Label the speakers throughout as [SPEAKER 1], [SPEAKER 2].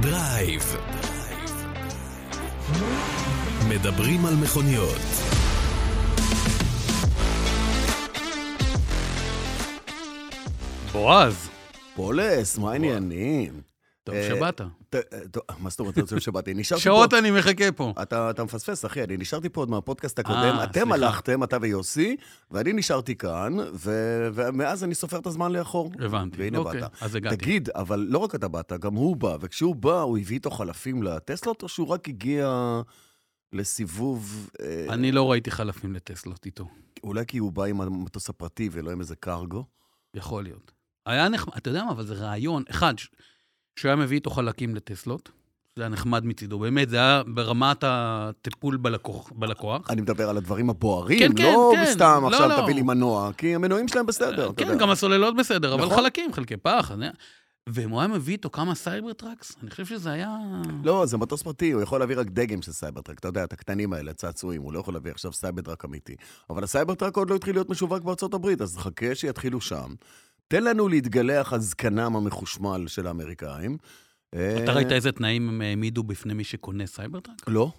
[SPEAKER 1] דרייב. מדברים על מכוניות.
[SPEAKER 2] בועז,
[SPEAKER 3] פולס, מה העניינים?
[SPEAKER 2] טוב
[SPEAKER 3] אה,
[SPEAKER 2] שבאת.
[SPEAKER 3] ת- אה, טוב, מה זאת אומרת, אתה רוצה שבאתי? נשארתי פה...
[SPEAKER 2] שעות אני מחכה פה.
[SPEAKER 3] אתה, אתה מפספס, אחי, אני נשארתי פה עוד מהפודקאסט הקודם.
[SPEAKER 2] אה,
[SPEAKER 3] אתם
[SPEAKER 2] סליחה.
[SPEAKER 3] הלכתם, אתה ויוסי, ואני נשארתי כאן, ו... ומאז אני סופר את הזמן לאחור.
[SPEAKER 2] הבנתי.
[SPEAKER 3] והנה
[SPEAKER 2] אוקיי,
[SPEAKER 3] באת.
[SPEAKER 2] אז הגעתי.
[SPEAKER 3] תגיד, אבל לא רק אתה באת, גם הוא בא, וכשהוא בא, הוא הביא איתו חלפים לטסלות, או שהוא רק הגיע לסיבוב... אה,
[SPEAKER 2] אני לא ראיתי חלפים לטסלות איתו.
[SPEAKER 3] אולי כי הוא בא עם המטוס הפרטי ולא עם איזה קרגו?
[SPEAKER 2] יכול להיות. היה נחמד, אתה יודע מה, אבל זה רעיון. אחד, ש- שהוא היה מביא איתו חלקים לטסלות, זה היה נחמד מצידו. באמת, זה היה ברמת הטיפול בלקוח. בלקוח.
[SPEAKER 3] אני מדבר על הדברים הבוערים,
[SPEAKER 2] כן, כן,
[SPEAKER 3] לא
[SPEAKER 2] כן.
[SPEAKER 3] סתם
[SPEAKER 2] לא,
[SPEAKER 3] עכשיו
[SPEAKER 2] לא.
[SPEAKER 3] תביא לי מנוע, כי המנועים שלהם בסדר, אתה
[SPEAKER 2] כן,
[SPEAKER 3] יודע.
[SPEAKER 2] גם הסוללות בסדר, אבל
[SPEAKER 3] נכון.
[SPEAKER 2] חלקים, חלקי פח. אני- ואם הוא היה מביא איתו כמה סייבר טראקס, אני חושב שזה היה...
[SPEAKER 3] לא, זה מטוס פרטי, הוא יכול להביא רק דגם של סייברטרק, אתה יודע, את הקטנים האלה, צעצועים, הוא לא יכול להביא עכשיו סייברטרק אמיתי. אבל הסייברטרק עוד לא התחיל להיות משווק בארצות הברית, אז חכה שיתחילו שם. תן לנו להתגלח על זקנם המחושמל של האמריקאים. אה,
[SPEAKER 2] אתה ראית איזה תנאים הם העמידו בפני מי שקונה סייבר טראק?
[SPEAKER 3] לא.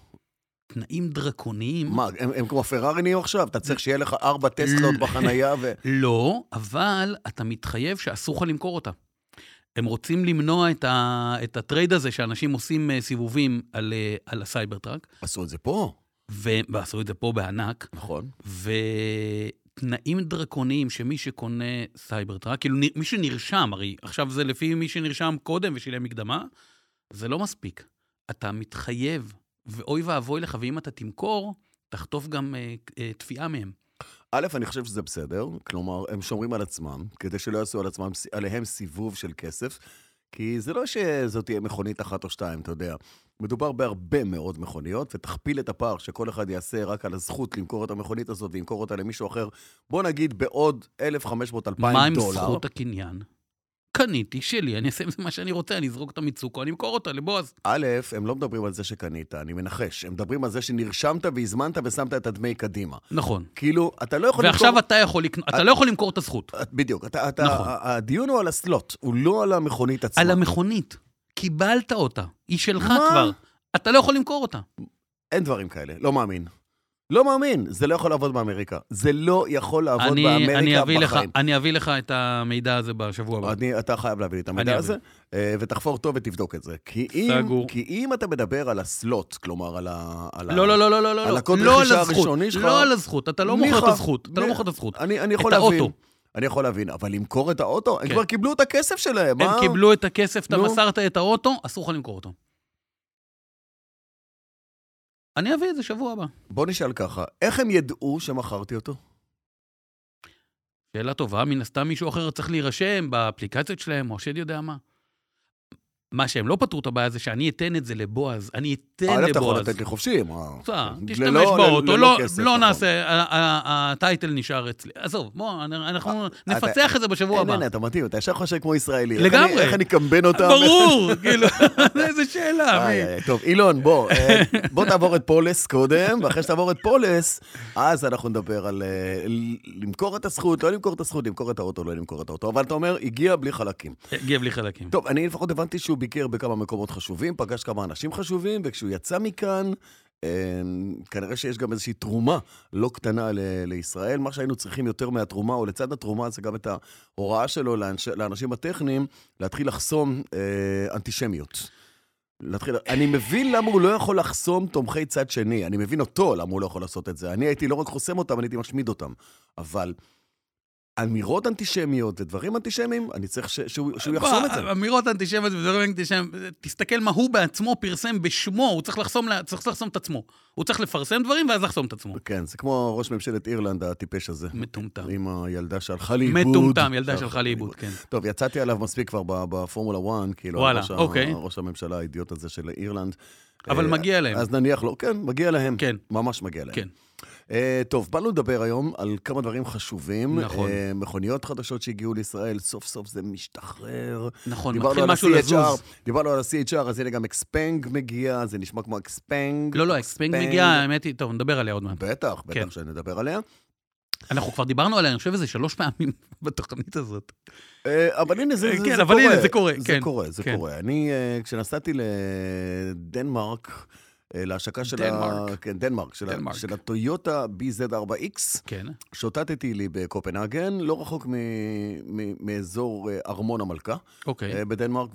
[SPEAKER 2] תנאים דרקוניים.
[SPEAKER 3] מה, הם, הם כמו פרארי נהיו עכשיו? אתה צריך שיהיה לך ארבע טסלות בחנייה ו...
[SPEAKER 2] לא, אבל אתה מתחייב שאסור לך למכור אותה. הם רוצים למנוע את, ה, את הטרייד הזה שאנשים עושים אה, סיבובים על, אה, על הסייבר טראק,
[SPEAKER 3] עשו את זה פה,
[SPEAKER 2] ו, ועשו את זה פה בענק,
[SPEAKER 3] נכון?
[SPEAKER 2] ותנאים דרקוניים שמי שקונה סייבר טראק, כאילו נ- מי שנרשם, הרי עכשיו זה לפי מי שנרשם קודם ושילם מקדמה, זה לא מספיק. אתה מתחייב, ואוי ואבוי לך, ואם אתה תמכור, תחטוף גם אה, אה, תביעה מהם.
[SPEAKER 3] א', אני חושב שזה בסדר, כלומר, הם שומרים על עצמם, כדי שלא יעשו על עצמם, עליהם סיבוב של כסף, כי זה לא שזאת תהיה מכונית אחת או שתיים, אתה יודע. מדובר בהרבה מאוד מכוניות, ותכפיל את הפער שכל אחד יעשה רק על הזכות למכור את המכונית הזאת וימכור אותה למישהו אחר, בוא נגיד בעוד 1,500-2,000 דולר.
[SPEAKER 2] מה עם זכות הקניין? קניתי שלי, אני אעשה עם זה מה שאני רוצה, אני אזרוק את המצוקו, אני אמכור אותה לבועז.
[SPEAKER 3] א', הם לא מדברים על זה שקנית, אני מנחש. הם מדברים על זה שנרשמת והזמנת ושמת את הדמי קדימה.
[SPEAKER 2] נכון.
[SPEAKER 3] כאילו, אתה לא יכול אה-
[SPEAKER 2] ועכשיו אתה יכול לקנות, אתה לא יכול למכור את הזכות.
[SPEAKER 3] בדיוק, אתה, אתה,
[SPEAKER 2] נכון.
[SPEAKER 3] ה- הדיון הוא על הסלוט, הוא לא על המכונית עצמה.
[SPEAKER 2] על המכונית, קיבלת אותה, היא שלך
[SPEAKER 3] מה?
[SPEAKER 2] כבר. אתה לא יכול למכור אותה.
[SPEAKER 3] אין דברים כאלה, לא מאמין. לא מאמין, זה לא יכול לעבוד באמריקה. זה לא יכול לעבוד
[SPEAKER 2] אני-
[SPEAKER 3] באמריקה
[SPEAKER 2] אני אביא לך-
[SPEAKER 3] בחיים.
[SPEAKER 2] אני אביא לך את המידע הזה בשבוע הבא.
[SPEAKER 3] אני, אתה חייב להביא לי את המידע
[SPEAKER 2] אני
[SPEAKER 3] הזה, אה, ותחפור טוב ותבדוק את זה. כי אם,
[SPEAKER 2] סגור.
[SPEAKER 3] כי אם אתה מדבר על הסלוט, כלומר על ה... על ה-
[SPEAKER 2] לא, לא, לא, לא, לא, לא,
[SPEAKER 3] על
[SPEAKER 2] לא.
[SPEAKER 3] הקוד
[SPEAKER 2] לא על
[SPEAKER 3] רכישה
[SPEAKER 2] הזכות,
[SPEAKER 3] הראשוני שלך-
[SPEAKER 2] לא על הזכות, אתה לא מוכר את
[SPEAKER 3] ניחא.
[SPEAKER 2] הזכות, אתה לא
[SPEAKER 3] מ-
[SPEAKER 2] מוכר את הזכות.
[SPEAKER 3] אני, אני יכול
[SPEAKER 2] את
[SPEAKER 3] להבין.
[SPEAKER 2] האוטו.
[SPEAKER 3] אני יכול להבין, אבל למכור את האוטו? הם
[SPEAKER 2] כן.
[SPEAKER 3] כבר קיבלו את הכסף שלהם, אה?
[SPEAKER 2] הם
[SPEAKER 3] מה?
[SPEAKER 2] קיבלו את הכסף, אתה
[SPEAKER 3] נו.
[SPEAKER 2] מסרת את האוטו, אסור לך למכור אותו. אני אביא את זה שבוע הבא.
[SPEAKER 3] בוא נשאל ככה, איך הם ידעו שמכרתי אותו?
[SPEAKER 2] שאלה טובה, מן הסתם מישהו אחר צריך להירשם באפליקציות שלהם, או השד יודע מה. מה שהם לא פתרו את הבעיה זה שאני אתן את זה לבועז, אני אתן
[SPEAKER 3] א', אה, אתה יכול
[SPEAKER 2] לבועז.
[SPEAKER 3] לתת לי חופשי, מה? לא,
[SPEAKER 2] בסדר, אה, תשתמש
[SPEAKER 3] ללא-
[SPEAKER 2] באוטו,
[SPEAKER 3] ללא
[SPEAKER 2] לא-
[SPEAKER 3] כסף,
[SPEAKER 2] לא
[SPEAKER 3] נכון.
[SPEAKER 2] נעשה, ה- ה- הטייטל נשאר אצלי. עזוב, בוא, אנ- אנחנו
[SPEAKER 3] אה,
[SPEAKER 2] נפצח את זה בשבוע
[SPEAKER 3] אין,
[SPEAKER 2] הבא.
[SPEAKER 3] אין, אתה מתאים, אתה ישר חושב כמו ישראלי. איך
[SPEAKER 2] לגמרי.
[SPEAKER 3] אני- איך אני אקמבן אותם?
[SPEAKER 2] ברור, כאילו, איזה שאלה.
[SPEAKER 3] איי,
[SPEAKER 2] אה, מי?
[SPEAKER 3] איי, טוב, אילון, בוא, אה, בוא תעבור את פולס קודם, ואחרי שתעבור את פולס, אז אנחנו נדבר על אה, ל- למכור את הזכות, לא למכור את הזכות, למכור את האוטו, לא למכור את האוטו, אבל אתה אומר, הגיע בלי חלקים.
[SPEAKER 2] הגיע בלי אה, חלקים.
[SPEAKER 3] טוב, אני לפחות הבנתי שהוא ביקר בכמה מקומות חשובים, פגש כמה אנשים חשובים, וכשהוא יצא מכאן, אה, כנראה שיש גם איזושהי תרומה לא קטנה ל- לישראל. מה שהיינו צריכים יותר מהתרומה, או לצד התרומה, זה גם את ההוראה שלו לאנש, לאנשים הטכניים להתחיל לחסום אה, אנטישמיות. להתחיל, אני מבין למה הוא לא יכול לחסום תומכי צד שני, אני מבין אותו למה הוא לא יכול לעשות את זה. אני הייתי לא רק חוסם אותם, אני הייתי משמיד אותם. אבל אמירות אנטישמיות ודברים אנטישמיים, אני צריך ש, שהוא,
[SPEAKER 2] אה,
[SPEAKER 3] שהוא יחסום את זה.
[SPEAKER 2] בוא, אמירות אנטישמיות ודברים אנטישמיים, תסתכל מה הוא בעצמו פרסם בשמו, הוא צריך לחסום, לה- צריך לחסום את עצמו. הוא צריך לפרסם דברים ואז לחסום את עצמו.
[SPEAKER 3] כן, זה כמו ראש ממשלת אירלנד הטיפש הזה.
[SPEAKER 2] מטומטם.
[SPEAKER 3] עם הילדה שהלכה לאיבוד.
[SPEAKER 2] נכון. מטומטם, ילדה שהלכה לאיבוד, כן.
[SPEAKER 3] טוב, יצאתי עליו מספיק כבר ב- בפורמולה 1, כאילו,
[SPEAKER 2] וואלה,
[SPEAKER 3] ראש ה-
[SPEAKER 2] אוקיי.
[SPEAKER 3] ראש הממשלה האידיוט הזה של אירלנד.
[SPEAKER 2] אבל
[SPEAKER 3] אה,
[SPEAKER 2] מגיע להם.
[SPEAKER 3] אז נניח לו, כן, מגיע להם.
[SPEAKER 2] כן.
[SPEAKER 3] ממש מגיע להם.
[SPEAKER 2] כן.
[SPEAKER 3] אה, טוב, באנו לדבר היום על כמה דברים חשובים.
[SPEAKER 2] נכון.
[SPEAKER 3] אה, מכוניות חדשות שהגיעו לישראל, סוף סוף זה משתחרר.
[SPEAKER 2] נכון,
[SPEAKER 3] דיברנו
[SPEAKER 2] מתחיל
[SPEAKER 3] על
[SPEAKER 2] משהו
[SPEAKER 3] ה-CHR,
[SPEAKER 2] לזוז.
[SPEAKER 3] דיברנו על ה-CHR, אז הנה גם אקספנג מגיע, זה נשמע כמו אקספנג.
[SPEAKER 2] לא, לא, אקספנג מגיע, האמת היא, טוב, נדבר עליה עוד מעט.
[SPEAKER 3] בטח, בטח
[SPEAKER 2] כן.
[SPEAKER 3] שנדבר עליה.
[SPEAKER 2] אנחנו כבר דיברנו עליה, אני חושב איזה שלוש פעמים בתוכנית הזאת.
[SPEAKER 3] אה, אבל הנה, זה,
[SPEAKER 2] כן,
[SPEAKER 3] זה,
[SPEAKER 2] כן,
[SPEAKER 3] זה
[SPEAKER 2] אבל
[SPEAKER 3] קורה.
[SPEAKER 2] הנה, זה קורה,
[SPEAKER 3] זה
[SPEAKER 2] כן,
[SPEAKER 3] קורה, זה
[SPEAKER 2] כן.
[SPEAKER 3] קורה. אני, אה, כשנסעתי לדנמרק, אה, להשקה של ה...
[SPEAKER 2] דנמרק.
[SPEAKER 3] כן, דנמרק. של,
[SPEAKER 2] דנמרק.
[SPEAKER 3] ה... של הטויוטה BZ4X,
[SPEAKER 2] כן.
[SPEAKER 3] שוטטתי לי בקופנהגן, לא רחוק מ... מ... מאזור אה, ארמון המלכה,
[SPEAKER 2] אוקיי.
[SPEAKER 3] אה, בדנמרק,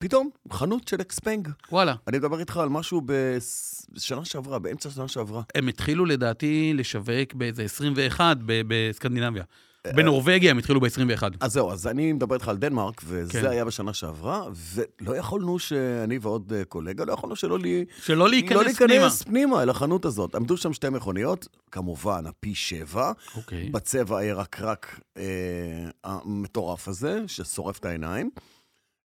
[SPEAKER 3] ופתאום, חנות של אקספנג.
[SPEAKER 2] וואלה.
[SPEAKER 3] אני מדבר איתך על משהו בשנה שעברה, באמצע שנה שעברה.
[SPEAKER 2] הם התחילו לדעתי לשווק באיזה 21 ב- בסקנדינביה.
[SPEAKER 3] אה.
[SPEAKER 2] בנורבגיה הם התחילו ב-21.
[SPEAKER 3] אז זהו, אז אני מדבר איתך על דנמרק, וזה
[SPEAKER 2] כן.
[SPEAKER 3] היה בשנה שעברה, ולא יכולנו שאני ועוד אה, קולגה, לא יכולנו שלא לי...
[SPEAKER 2] שלא
[SPEAKER 3] לא
[SPEAKER 2] להיכנס פנימה.
[SPEAKER 3] להיכנס פנימה אל החנות הזאת. עמדו שם שתי מכוניות, כמובן, הפי שבע,
[SPEAKER 2] אוקיי.
[SPEAKER 3] בצבע הירקרק אה, המטורף הזה, ששורף את העיניים,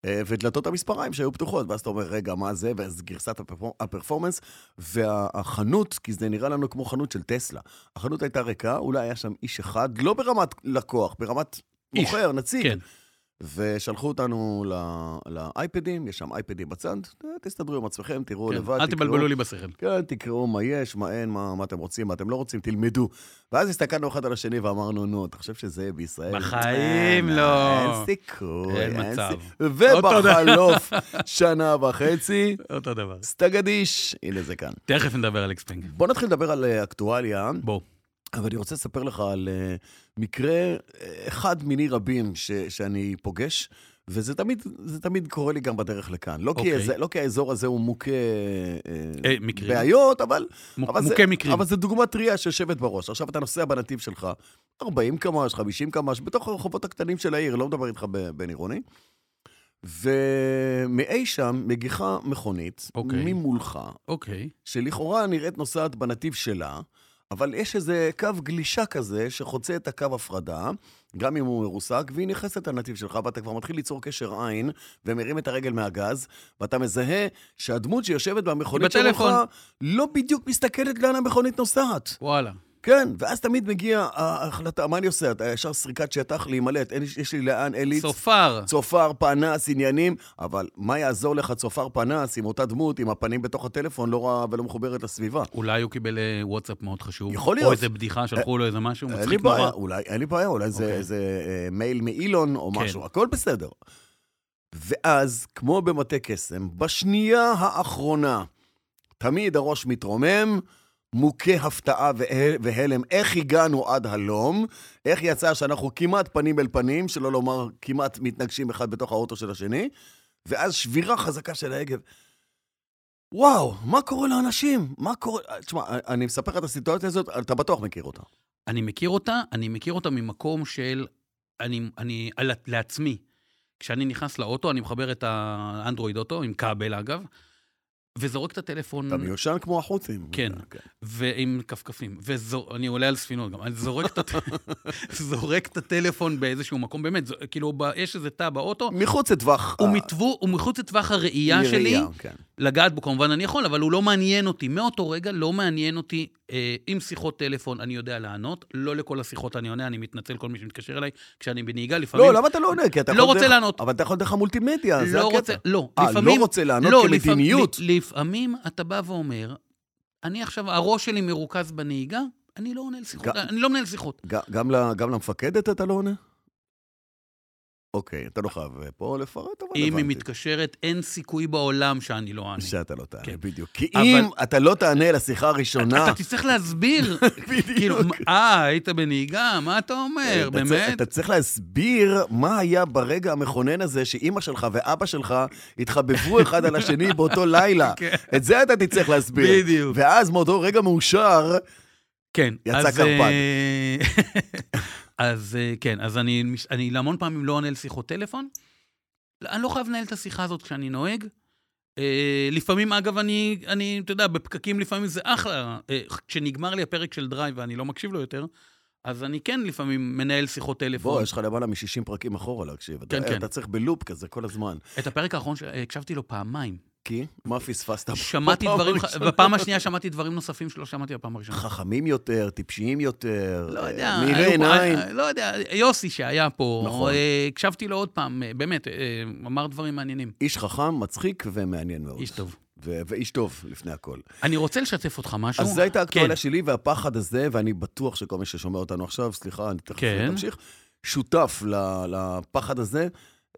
[SPEAKER 3] אה, ודלתות המספריים שהיו פתוחות, ואז אתה אומר, רגע, מה זה? ואז גרסת הפרפור- הפרפורמנס, והחנות, כי זה נראה לנו כמו חנות של טסלה. החנות הייתה ריקה, אולי היה שם איש אחד, לא ברמת לקוח, ברמת
[SPEAKER 2] איש,
[SPEAKER 3] מוכר, נציג.
[SPEAKER 2] כן.
[SPEAKER 3] ושלחו אותנו ל- לאייפדים, יש שם אייפדים בצד, אה, תסתדרו עם עצמכם, תראו
[SPEAKER 2] כן.
[SPEAKER 3] לבד,
[SPEAKER 2] אל
[SPEAKER 3] תקראו.
[SPEAKER 2] תבלבלו לי בשכל.
[SPEAKER 3] כן, תקראו מה יש, מה אין, מה, מה אתם רוצים, מה אתם לא רוצים, תלמדו. ואז הסתכלנו אחד על השני ואמרנו, נו, אתה חושב שזה יהיה בישראל?
[SPEAKER 2] בחיים
[SPEAKER 3] אה,
[SPEAKER 2] לא.
[SPEAKER 3] אין סיכוי,
[SPEAKER 2] אין מצב.
[SPEAKER 3] סיכוי.
[SPEAKER 2] אותו דבר.
[SPEAKER 3] ובחלוף שנה וחצי,
[SPEAKER 2] אותו דבר.
[SPEAKER 3] סטגדיש, הנה זה כאן.
[SPEAKER 2] תכף נדבר על אקספנג.
[SPEAKER 3] בוא נתחיל לדבר על אה, אקטואליה,
[SPEAKER 2] בוא.
[SPEAKER 3] אבל אני רוצה לספר לך על אה, מקרה אה, אחד מיני רבים ש, שאני פוגש. וזה תמיד, זה תמיד קורה לי גם בדרך לכאן. לא, okay. כי,
[SPEAKER 2] אוקיי.
[SPEAKER 3] איזה, לא כי האזור הזה הוא מוכה אה,
[SPEAKER 2] אה, מקרים.
[SPEAKER 3] בעיות, אבל
[SPEAKER 2] מוק-
[SPEAKER 3] אבל זה-
[SPEAKER 2] מוכה מקרים.
[SPEAKER 3] אבל זו דוגמה טריה שיושבת בראש. עכשיו אתה נוסע בנתיב שלך, 40 קמ"ש, 50 קמ"ש, בתוך הרחובות הקטנים של העיר, לא מדבר איתך ב- בין עירוני. ומאי שם מגיחה מכונית,
[SPEAKER 2] אוקיי.
[SPEAKER 3] ממולך,
[SPEAKER 2] אוקיי.
[SPEAKER 3] שלכאורה נראית נוסעת בנתיב שלה, אבל יש איזה קו גלישה כזה שחוצה את הקו הפרדה, גם אם הוא מרוסק, והיא נכנסת לנתיב שלך, ואתה כבר מתחיל ליצור קשר עין, ומרים את הרגל מהגז, ואתה מזהה שהדמות שיושבת במכונית
[SPEAKER 2] היא
[SPEAKER 3] שלך
[SPEAKER 2] בטלפון.
[SPEAKER 3] לא בדיוק מסתכלת לאן המכונית נוסעת.
[SPEAKER 2] וואלה.
[SPEAKER 3] כן, ואז תמיד מגיע ההחלטה, מה אני עושה? אתה ישר סריקת שטח להימלט, אין לי- יש לי לאן, אין לי...
[SPEAKER 2] צופר.
[SPEAKER 3] צופר פנס, עניינים, אבל מה יעזור לך צופר פנס עם אותה דמות, עם הפנים בתוך הטלפון, לא רואה ולא מחוברת לסביבה?
[SPEAKER 2] אולי הוא קיבל אה, וואטסאפ מאוד חשוב.
[SPEAKER 3] יכול
[SPEAKER 2] או
[SPEAKER 3] להיות. אה,
[SPEAKER 2] איזה בדיחה, שלחו לו איזה משהו
[SPEAKER 3] אין לי
[SPEAKER 2] מצחיק נורא.
[SPEAKER 3] בעיה, אולי, אין לי בעיה, אולי זה
[SPEAKER 2] אוקיי.
[SPEAKER 3] איזה אה, מייל מאילון או
[SPEAKER 2] כן.
[SPEAKER 3] משהו, הכל בסדר. ואז, כמו במטה קסם, בשנייה האחרונה, תמיד הראש מתרומם, מוכה הפתעה וה- והלם. איך הגענו עד הלום? איך יצא שאנחנו כמעט פנים אל פנים, שלא לומר כמעט מתנגשים אחד בתוך האוטו של השני? ואז שבירה חזקה של ההגה. וואו, מה קורה לאנשים? מה קורה... אה, תשמע, אני מספר לך את הסיטואציה הזאת, אתה בטוח מכיר אותה.
[SPEAKER 2] אני מכיר אותה, אני מכיר אותה ממקום של... אני, אני על, לעצמי, כשאני נכנס לאוטו, אני מחבר את האנדרואיד אוטו, עם כבל אגב, וזורק את הטלפון,
[SPEAKER 3] אתה מיושן כמו החות'ים.
[SPEAKER 2] כן. ועם כפכפים, ואני עולה על ספינות גם, אני זורק את, הט... זורק את הטלפון באיזשהו מקום, באמת, זו, כאילו, ב, יש איזה תא באוטו,
[SPEAKER 3] מחוץ לטווח...
[SPEAKER 2] הוא,
[SPEAKER 3] ה-
[SPEAKER 2] מטוו, הוא מחוץ לטווח הראייה
[SPEAKER 3] ירייה,
[SPEAKER 2] שלי,
[SPEAKER 3] כן.
[SPEAKER 2] לגעת בו כמובן אני יכול, אבל הוא לא מעניין אותי. מאותו רגע לא מעניין אותי. אה, עם שיחות טלפון אני יודע לענות, לא לכל השיחות אני עונה, אני מתנצל כל מי שמתקשר אליי כשאני בנהיגה, לפעמים...
[SPEAKER 3] לא, למה אתה לא עונה? כי אתה
[SPEAKER 2] לא
[SPEAKER 3] יכול
[SPEAKER 2] רוצה
[SPEAKER 3] דרך-
[SPEAKER 2] לענות.
[SPEAKER 3] אבל אתה יכול דרך המולטימדיה, זה
[SPEAKER 2] לא
[SPEAKER 3] הקטע.
[SPEAKER 2] רוצה, לא.
[SPEAKER 3] אה,
[SPEAKER 2] לפעמים-
[SPEAKER 3] לא רוצה לענות
[SPEAKER 2] לא, לפעמים-
[SPEAKER 3] כמדיניות.
[SPEAKER 2] ל- לפעמים אתה בא ואומר, אני עכשיו, הראש שלי מרוכז בנהיגה, אני לא עונה לשיחות,
[SPEAKER 3] גם-
[SPEAKER 2] אני לא מנהל שיחות.
[SPEAKER 3] ג- גם ל- גם למפקדת אתה לא עונה? אוקיי, אתה לא חייב אה, פה לפרט, אבל
[SPEAKER 2] אם היא
[SPEAKER 3] הבנתי
[SPEAKER 2] מתקשרת, אין סיכוי בעולם שאני לא אענה.
[SPEAKER 3] שאתה לא תענה,
[SPEAKER 2] כן.
[SPEAKER 3] בדיוק. כי
[SPEAKER 2] אבל-
[SPEAKER 3] אם אתה לא תענה לשיחה הראשונה...
[SPEAKER 2] אתה תצטרך להסביר, כאילו,
[SPEAKER 3] בדיוק.
[SPEAKER 2] אה, היית בנהיגה, מה אתה אומר,
[SPEAKER 3] אתה צריך-
[SPEAKER 2] באמת?
[SPEAKER 3] אתה צריך להסביר מה היה ברגע המכונן הזה שאימא שלך ואבא שלך התחבבו אחד על השני באותו לילה.
[SPEAKER 2] כן.
[SPEAKER 3] את זה אתה תצטרך להסביר.
[SPEAKER 2] בדיוק.
[SPEAKER 3] ואז מאותו רגע מאושר,
[SPEAKER 2] כן.
[SPEAKER 3] יצא
[SPEAKER 2] אז,
[SPEAKER 3] קרפד.
[SPEAKER 2] אה, אז אה, כן, אז אני, מש- אני המון פעמים לא עונה לשיחות טלפון. לא, אני לא חייב לנהל את השיחה הזאת כשאני נוהג. אה, לפעמים, אגב, אני, אני, אתה יודע, בפקקים לפעמים זה אחלה. אה, כשנגמר לי הפרק של דרייב ואני לא מקשיב לו יותר, אז אני כן לפעמים מנהל שיחות טלפון.
[SPEAKER 3] בוא, יש לך למעלה מ-60 פרקים אחורה להקשיב. אתה-
[SPEAKER 2] כן, כן.
[SPEAKER 3] אתה צריך בלופ כזה כל הזמן.
[SPEAKER 2] את הפרק האחרון, ש- אה, הקשבתי לו פעמיים.
[SPEAKER 3] כי, מה פספסת?
[SPEAKER 2] שמעתי
[SPEAKER 3] בפעם
[SPEAKER 2] דברים,
[SPEAKER 3] הראשונה?
[SPEAKER 2] בפעם השנייה שמעתי דברים נוספים שלא שמעתי בפעם הראשונה.
[SPEAKER 3] חכמים יותר, טיפשיים יותר,
[SPEAKER 2] לא
[SPEAKER 3] אה,
[SPEAKER 2] יודע,
[SPEAKER 3] מאירי
[SPEAKER 2] היו פה-
[SPEAKER 3] עיניים.
[SPEAKER 2] אה, לא יודע, יוסי שהיה פה,
[SPEAKER 3] נכון.
[SPEAKER 2] אה, הקשבתי לו עוד פעם, אה, באמת, אה, אמר דברים מעניינים.
[SPEAKER 3] איש חכם, מצחיק ומעניין מאוד.
[SPEAKER 2] איש טוב.
[SPEAKER 3] ו- ואיש טוב לפני הכל.
[SPEAKER 2] אני רוצה לשתף אותך משהו.
[SPEAKER 3] אז זו הייתה האקטואליה
[SPEAKER 2] כן.
[SPEAKER 3] שלי, והפחד הזה, ואני בטוח שכל מי ששומע אותנו עכשיו, סליחה, אני תכף
[SPEAKER 2] כן.
[SPEAKER 3] תמשיך, שותף ל- לפחד הזה.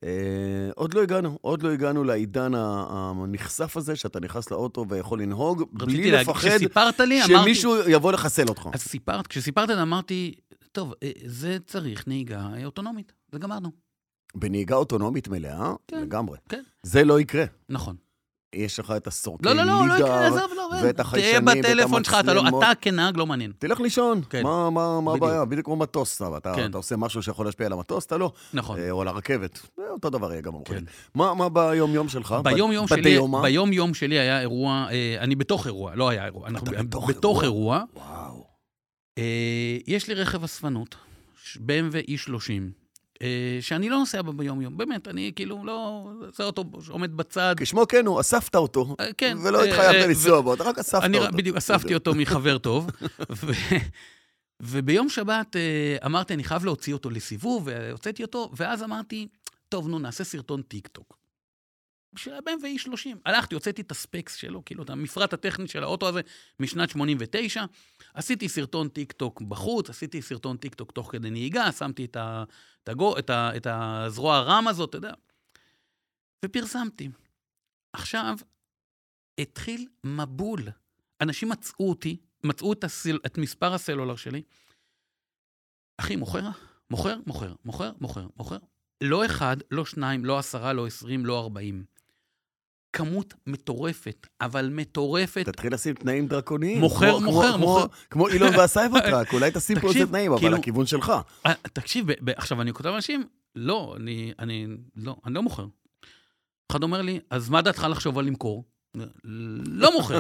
[SPEAKER 3] אה, עוד לא הגענו, עוד לא הגענו לעידן ה- הנכסף הזה, שאתה נכנס לאוטו ויכול לנהוג,
[SPEAKER 2] רציתי
[SPEAKER 3] בלי
[SPEAKER 2] להגיד,
[SPEAKER 3] לפחד
[SPEAKER 2] כשסיפרת לי, אמרתי...
[SPEAKER 3] שמישהו יבוא לחסל אותך.
[SPEAKER 2] אז סיפרת, כשסיפרת, אמרתי, טוב, אה, זה צריך נהיגה אה, אוטונומית. זה גמרנו.
[SPEAKER 3] בנהיגה אוטונומית מלאה,
[SPEAKER 2] כן.
[SPEAKER 3] לגמרי.
[SPEAKER 2] כן.
[SPEAKER 3] זה לא יקרה.
[SPEAKER 2] נכון.
[SPEAKER 3] יש לך את הסורקי
[SPEAKER 2] לא, לא, לא, לא יקרה,
[SPEAKER 3] לידר,
[SPEAKER 2] עזוב, לא,
[SPEAKER 3] ואת
[SPEAKER 2] תהיה
[SPEAKER 3] החיישנים, ואת
[SPEAKER 2] בטלפון שלך, אתה לא-
[SPEAKER 3] המצלמות.
[SPEAKER 2] אתה כנהג לא מעניין.
[SPEAKER 3] תלך לישון,
[SPEAKER 2] כן.
[SPEAKER 3] מה- מה מה
[SPEAKER 2] בדיוק.
[SPEAKER 3] הבעיה? בדיוק כמו מטוס, אבל אתה
[SPEAKER 2] כן.
[SPEAKER 3] אתה עושה משהו שיכול להשפיע על המטוס, אתה לא.
[SPEAKER 2] נכון.
[SPEAKER 3] אה, או על הרכבת, זה אותו דבר יהיה גם
[SPEAKER 2] כן.
[SPEAKER 3] במכונית. מה מה ביום-יום שלך?
[SPEAKER 2] ביום-יום
[SPEAKER 3] אוקיי. ב-
[SPEAKER 2] שלי,
[SPEAKER 3] בדיומה?
[SPEAKER 2] ביום-יום שלי היה אירוע, אה, אני בתוך אירוע, לא היה אירוע, אנחנו
[SPEAKER 3] אתה בתוך
[SPEAKER 2] בתוך
[SPEAKER 3] אירוע?
[SPEAKER 2] אירוע.
[SPEAKER 3] וואו.
[SPEAKER 2] אה, יש לי רכב אספנות, ש- BMW E30, E אה, שאני לא נוסע בו ביום-יום, באמת, אני כאילו לא... זה אוטו שעומד בצד.
[SPEAKER 3] כשמו כן הוא, אספת אותו,
[SPEAKER 2] אה, כן.
[SPEAKER 3] ולא
[SPEAKER 2] אה,
[SPEAKER 3] התחייבת
[SPEAKER 2] אה,
[SPEAKER 3] לנסוע בו, אתה רק אספת
[SPEAKER 2] אני
[SPEAKER 3] אותו.
[SPEAKER 2] בדיוק אספתי אותו מחבר טוב, ו... וביום שבת אה, אמרתי, אני חייב להוציא אותו לסיבוב, והוצאתי אותו, ואז אמרתי, טוב, נו, נעשה סרטון טיקטוק. של ה-BMW 30. הלכתי, הוצאתי את הספקס שלו, כאילו, את המפרט הטכני של האוטו הזה משנת 89. עשיתי סרטון טיקטוק בחוץ, עשיתי סרטון טיקטוק תוך כדי נהיגה, שמתי את, ה, את, הגו, את, ה, את הזרוע הרם הזאת, אתה יודע, ופרסמתי. עכשיו, התחיל מבול. אנשים מצאו אותי, מצאו את, הסל, את מספר הסלולר שלי. אחי, מוכר? מוכר, מוכר, מוכר, מוכר, מוכר. לא אחד, לא שניים, לא עשרה, לא עשרים, לא ארבעים. כמות מטורפת, אבל מטורפת.
[SPEAKER 3] תתחיל לשים תנאים דרקוניים.
[SPEAKER 2] מוכר,
[SPEAKER 3] כמו-
[SPEAKER 2] מוכר,
[SPEAKER 3] כמו-
[SPEAKER 2] מוכר.
[SPEAKER 3] כמו- כמו אילון והסייברטראק, אולי תשים פה איזה
[SPEAKER 2] תקשיב,
[SPEAKER 3] תנאים, אבל
[SPEAKER 2] כאילו-
[SPEAKER 3] הכיוון שלך.
[SPEAKER 2] אה, תקשיב, ב- ב- עכשיו אני כותב לאנשים, לא, אני, אני, לא, אני לא מוכר. אחד אומר לי, אז מה דעתך לחשוב על למכור? לא מוכר.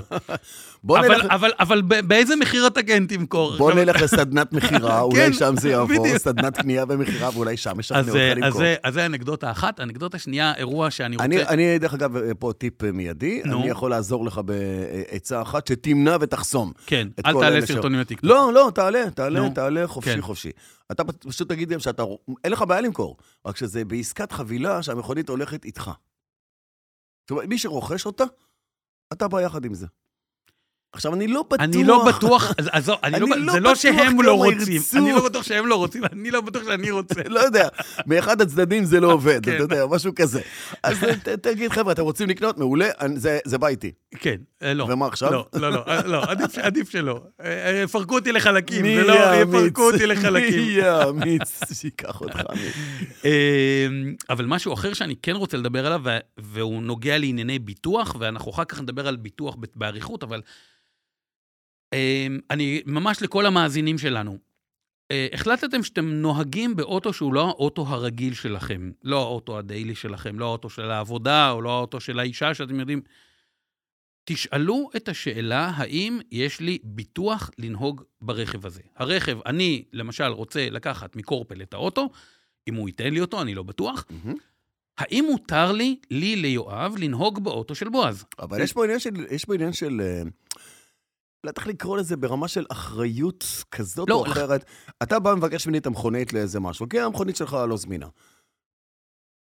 [SPEAKER 3] בוא
[SPEAKER 2] אבל,
[SPEAKER 3] נלך-
[SPEAKER 2] אבל, אבל ב- באיזה מחיר אתה כן תמכור?
[SPEAKER 3] בוא
[SPEAKER 2] עכשיו,
[SPEAKER 3] נלך לסדנת מכירה,
[SPEAKER 2] כן,
[SPEAKER 3] אולי שם זה יעבור,
[SPEAKER 2] בדיוק.
[SPEAKER 3] סדנת קנייה ומכירה, ואולי שם ישכנעו
[SPEAKER 2] אז,
[SPEAKER 3] אותך
[SPEAKER 2] אה, אז,
[SPEAKER 3] למכור.
[SPEAKER 2] זה- אז זה אנקדוטה אחת. אנקדוטה שנייה, אירוע שאני רוצה...
[SPEAKER 3] אני, אני, דרך אגב, אה, פה טיפ אה, מיידי,
[SPEAKER 2] נו.
[SPEAKER 3] אני יכול לעזור לך בעצה אחת שתמנע ותחסום.
[SPEAKER 2] כן,
[SPEAKER 3] את
[SPEAKER 2] אל
[SPEAKER 3] כל
[SPEAKER 2] תעלה
[SPEAKER 3] אלה ש-
[SPEAKER 2] סרטונים לטיקטוק.
[SPEAKER 3] לא, לא, תעלה, תעלה,
[SPEAKER 2] נו.
[SPEAKER 3] תעלה חופשי
[SPEAKER 2] כן.
[SPEAKER 3] חופשי. אתה פ- פשוט תגיד להם שאתה, רוא- אין לך בעיה למכור, רק שזה בעסקת חבילה שהמכונית הולכת איתך. זאת אומרת, מי שרוכש אותה, אתה בא יחד עם זה. עכשיו, אני לא בטוח...
[SPEAKER 2] אני לא בטוח, אז- אז זו- אני לא
[SPEAKER 3] אני
[SPEAKER 2] ב-
[SPEAKER 3] לא
[SPEAKER 2] זה לא
[SPEAKER 3] בטוח
[SPEAKER 2] שהם
[SPEAKER 3] כמה
[SPEAKER 2] לא רוצים,
[SPEAKER 3] ירצו.
[SPEAKER 2] אני לא בטוח שהם לא רוצים, אני לא בטוח שאני רוצה.
[SPEAKER 3] לא יודע, מאחד הצדדים זה לא עובד, אתה
[SPEAKER 2] כן.
[SPEAKER 3] יודע, משהו כזה. אז ת- תגיד, חבר'ה, אתם רוצים לקנות? מעולה, אני- זה- זה בא איתי.
[SPEAKER 2] כן, אה, לא.
[SPEAKER 3] ומה עכשיו?
[SPEAKER 2] לא, לא, לא, אה, לא, עדיף ש- עדיף שלא. אה, אה, יפרקו אותי לחלקים,
[SPEAKER 3] מי
[SPEAKER 2] זה לא,
[SPEAKER 3] יאמיץ?
[SPEAKER 2] יפרקו אותי לחלקים.
[SPEAKER 3] מי יאמיץ שייקח אותך? מי-
[SPEAKER 2] אה, אבל משהו אחר שאני כן רוצה לדבר עליו, וה- והוא נוגע לענייני ביטוח, ואנחנו אחר כך נדבר על ביטוח ב- באריכות, אבל אה, אני ממש לכל המאזינים שלנו. אה, החלטתם שאתם נוהגים באוטו שהוא לא האוטו הרגיל שלכם, לא האוטו הדיילי שלכם, לא האוטו של העבודה, או לא האוטו של האישה שאתם יודעים. תשאלו את השאלה האם יש לי ביטוח לנהוג ברכב הזה. הרכב, אני למשל רוצה לקחת מקורפל את האוטו, אם הוא ייתן לי אותו, אני לא בטוח.
[SPEAKER 3] מהמם.
[SPEAKER 2] האם מותר לי, לי ליואב, לנהוג באוטו של בועז?
[SPEAKER 3] אבל יש פה עניין של, יש פה עניין של, אה, לא צריך לקרוא לזה ברמה של אחריות כזאת
[SPEAKER 2] לא,
[SPEAKER 3] או
[SPEAKER 2] לח-
[SPEAKER 3] אחרת. אתה בא ומבקש ממני את המכונית לאיזה משהו, כי המכונית שלך לא זמינה.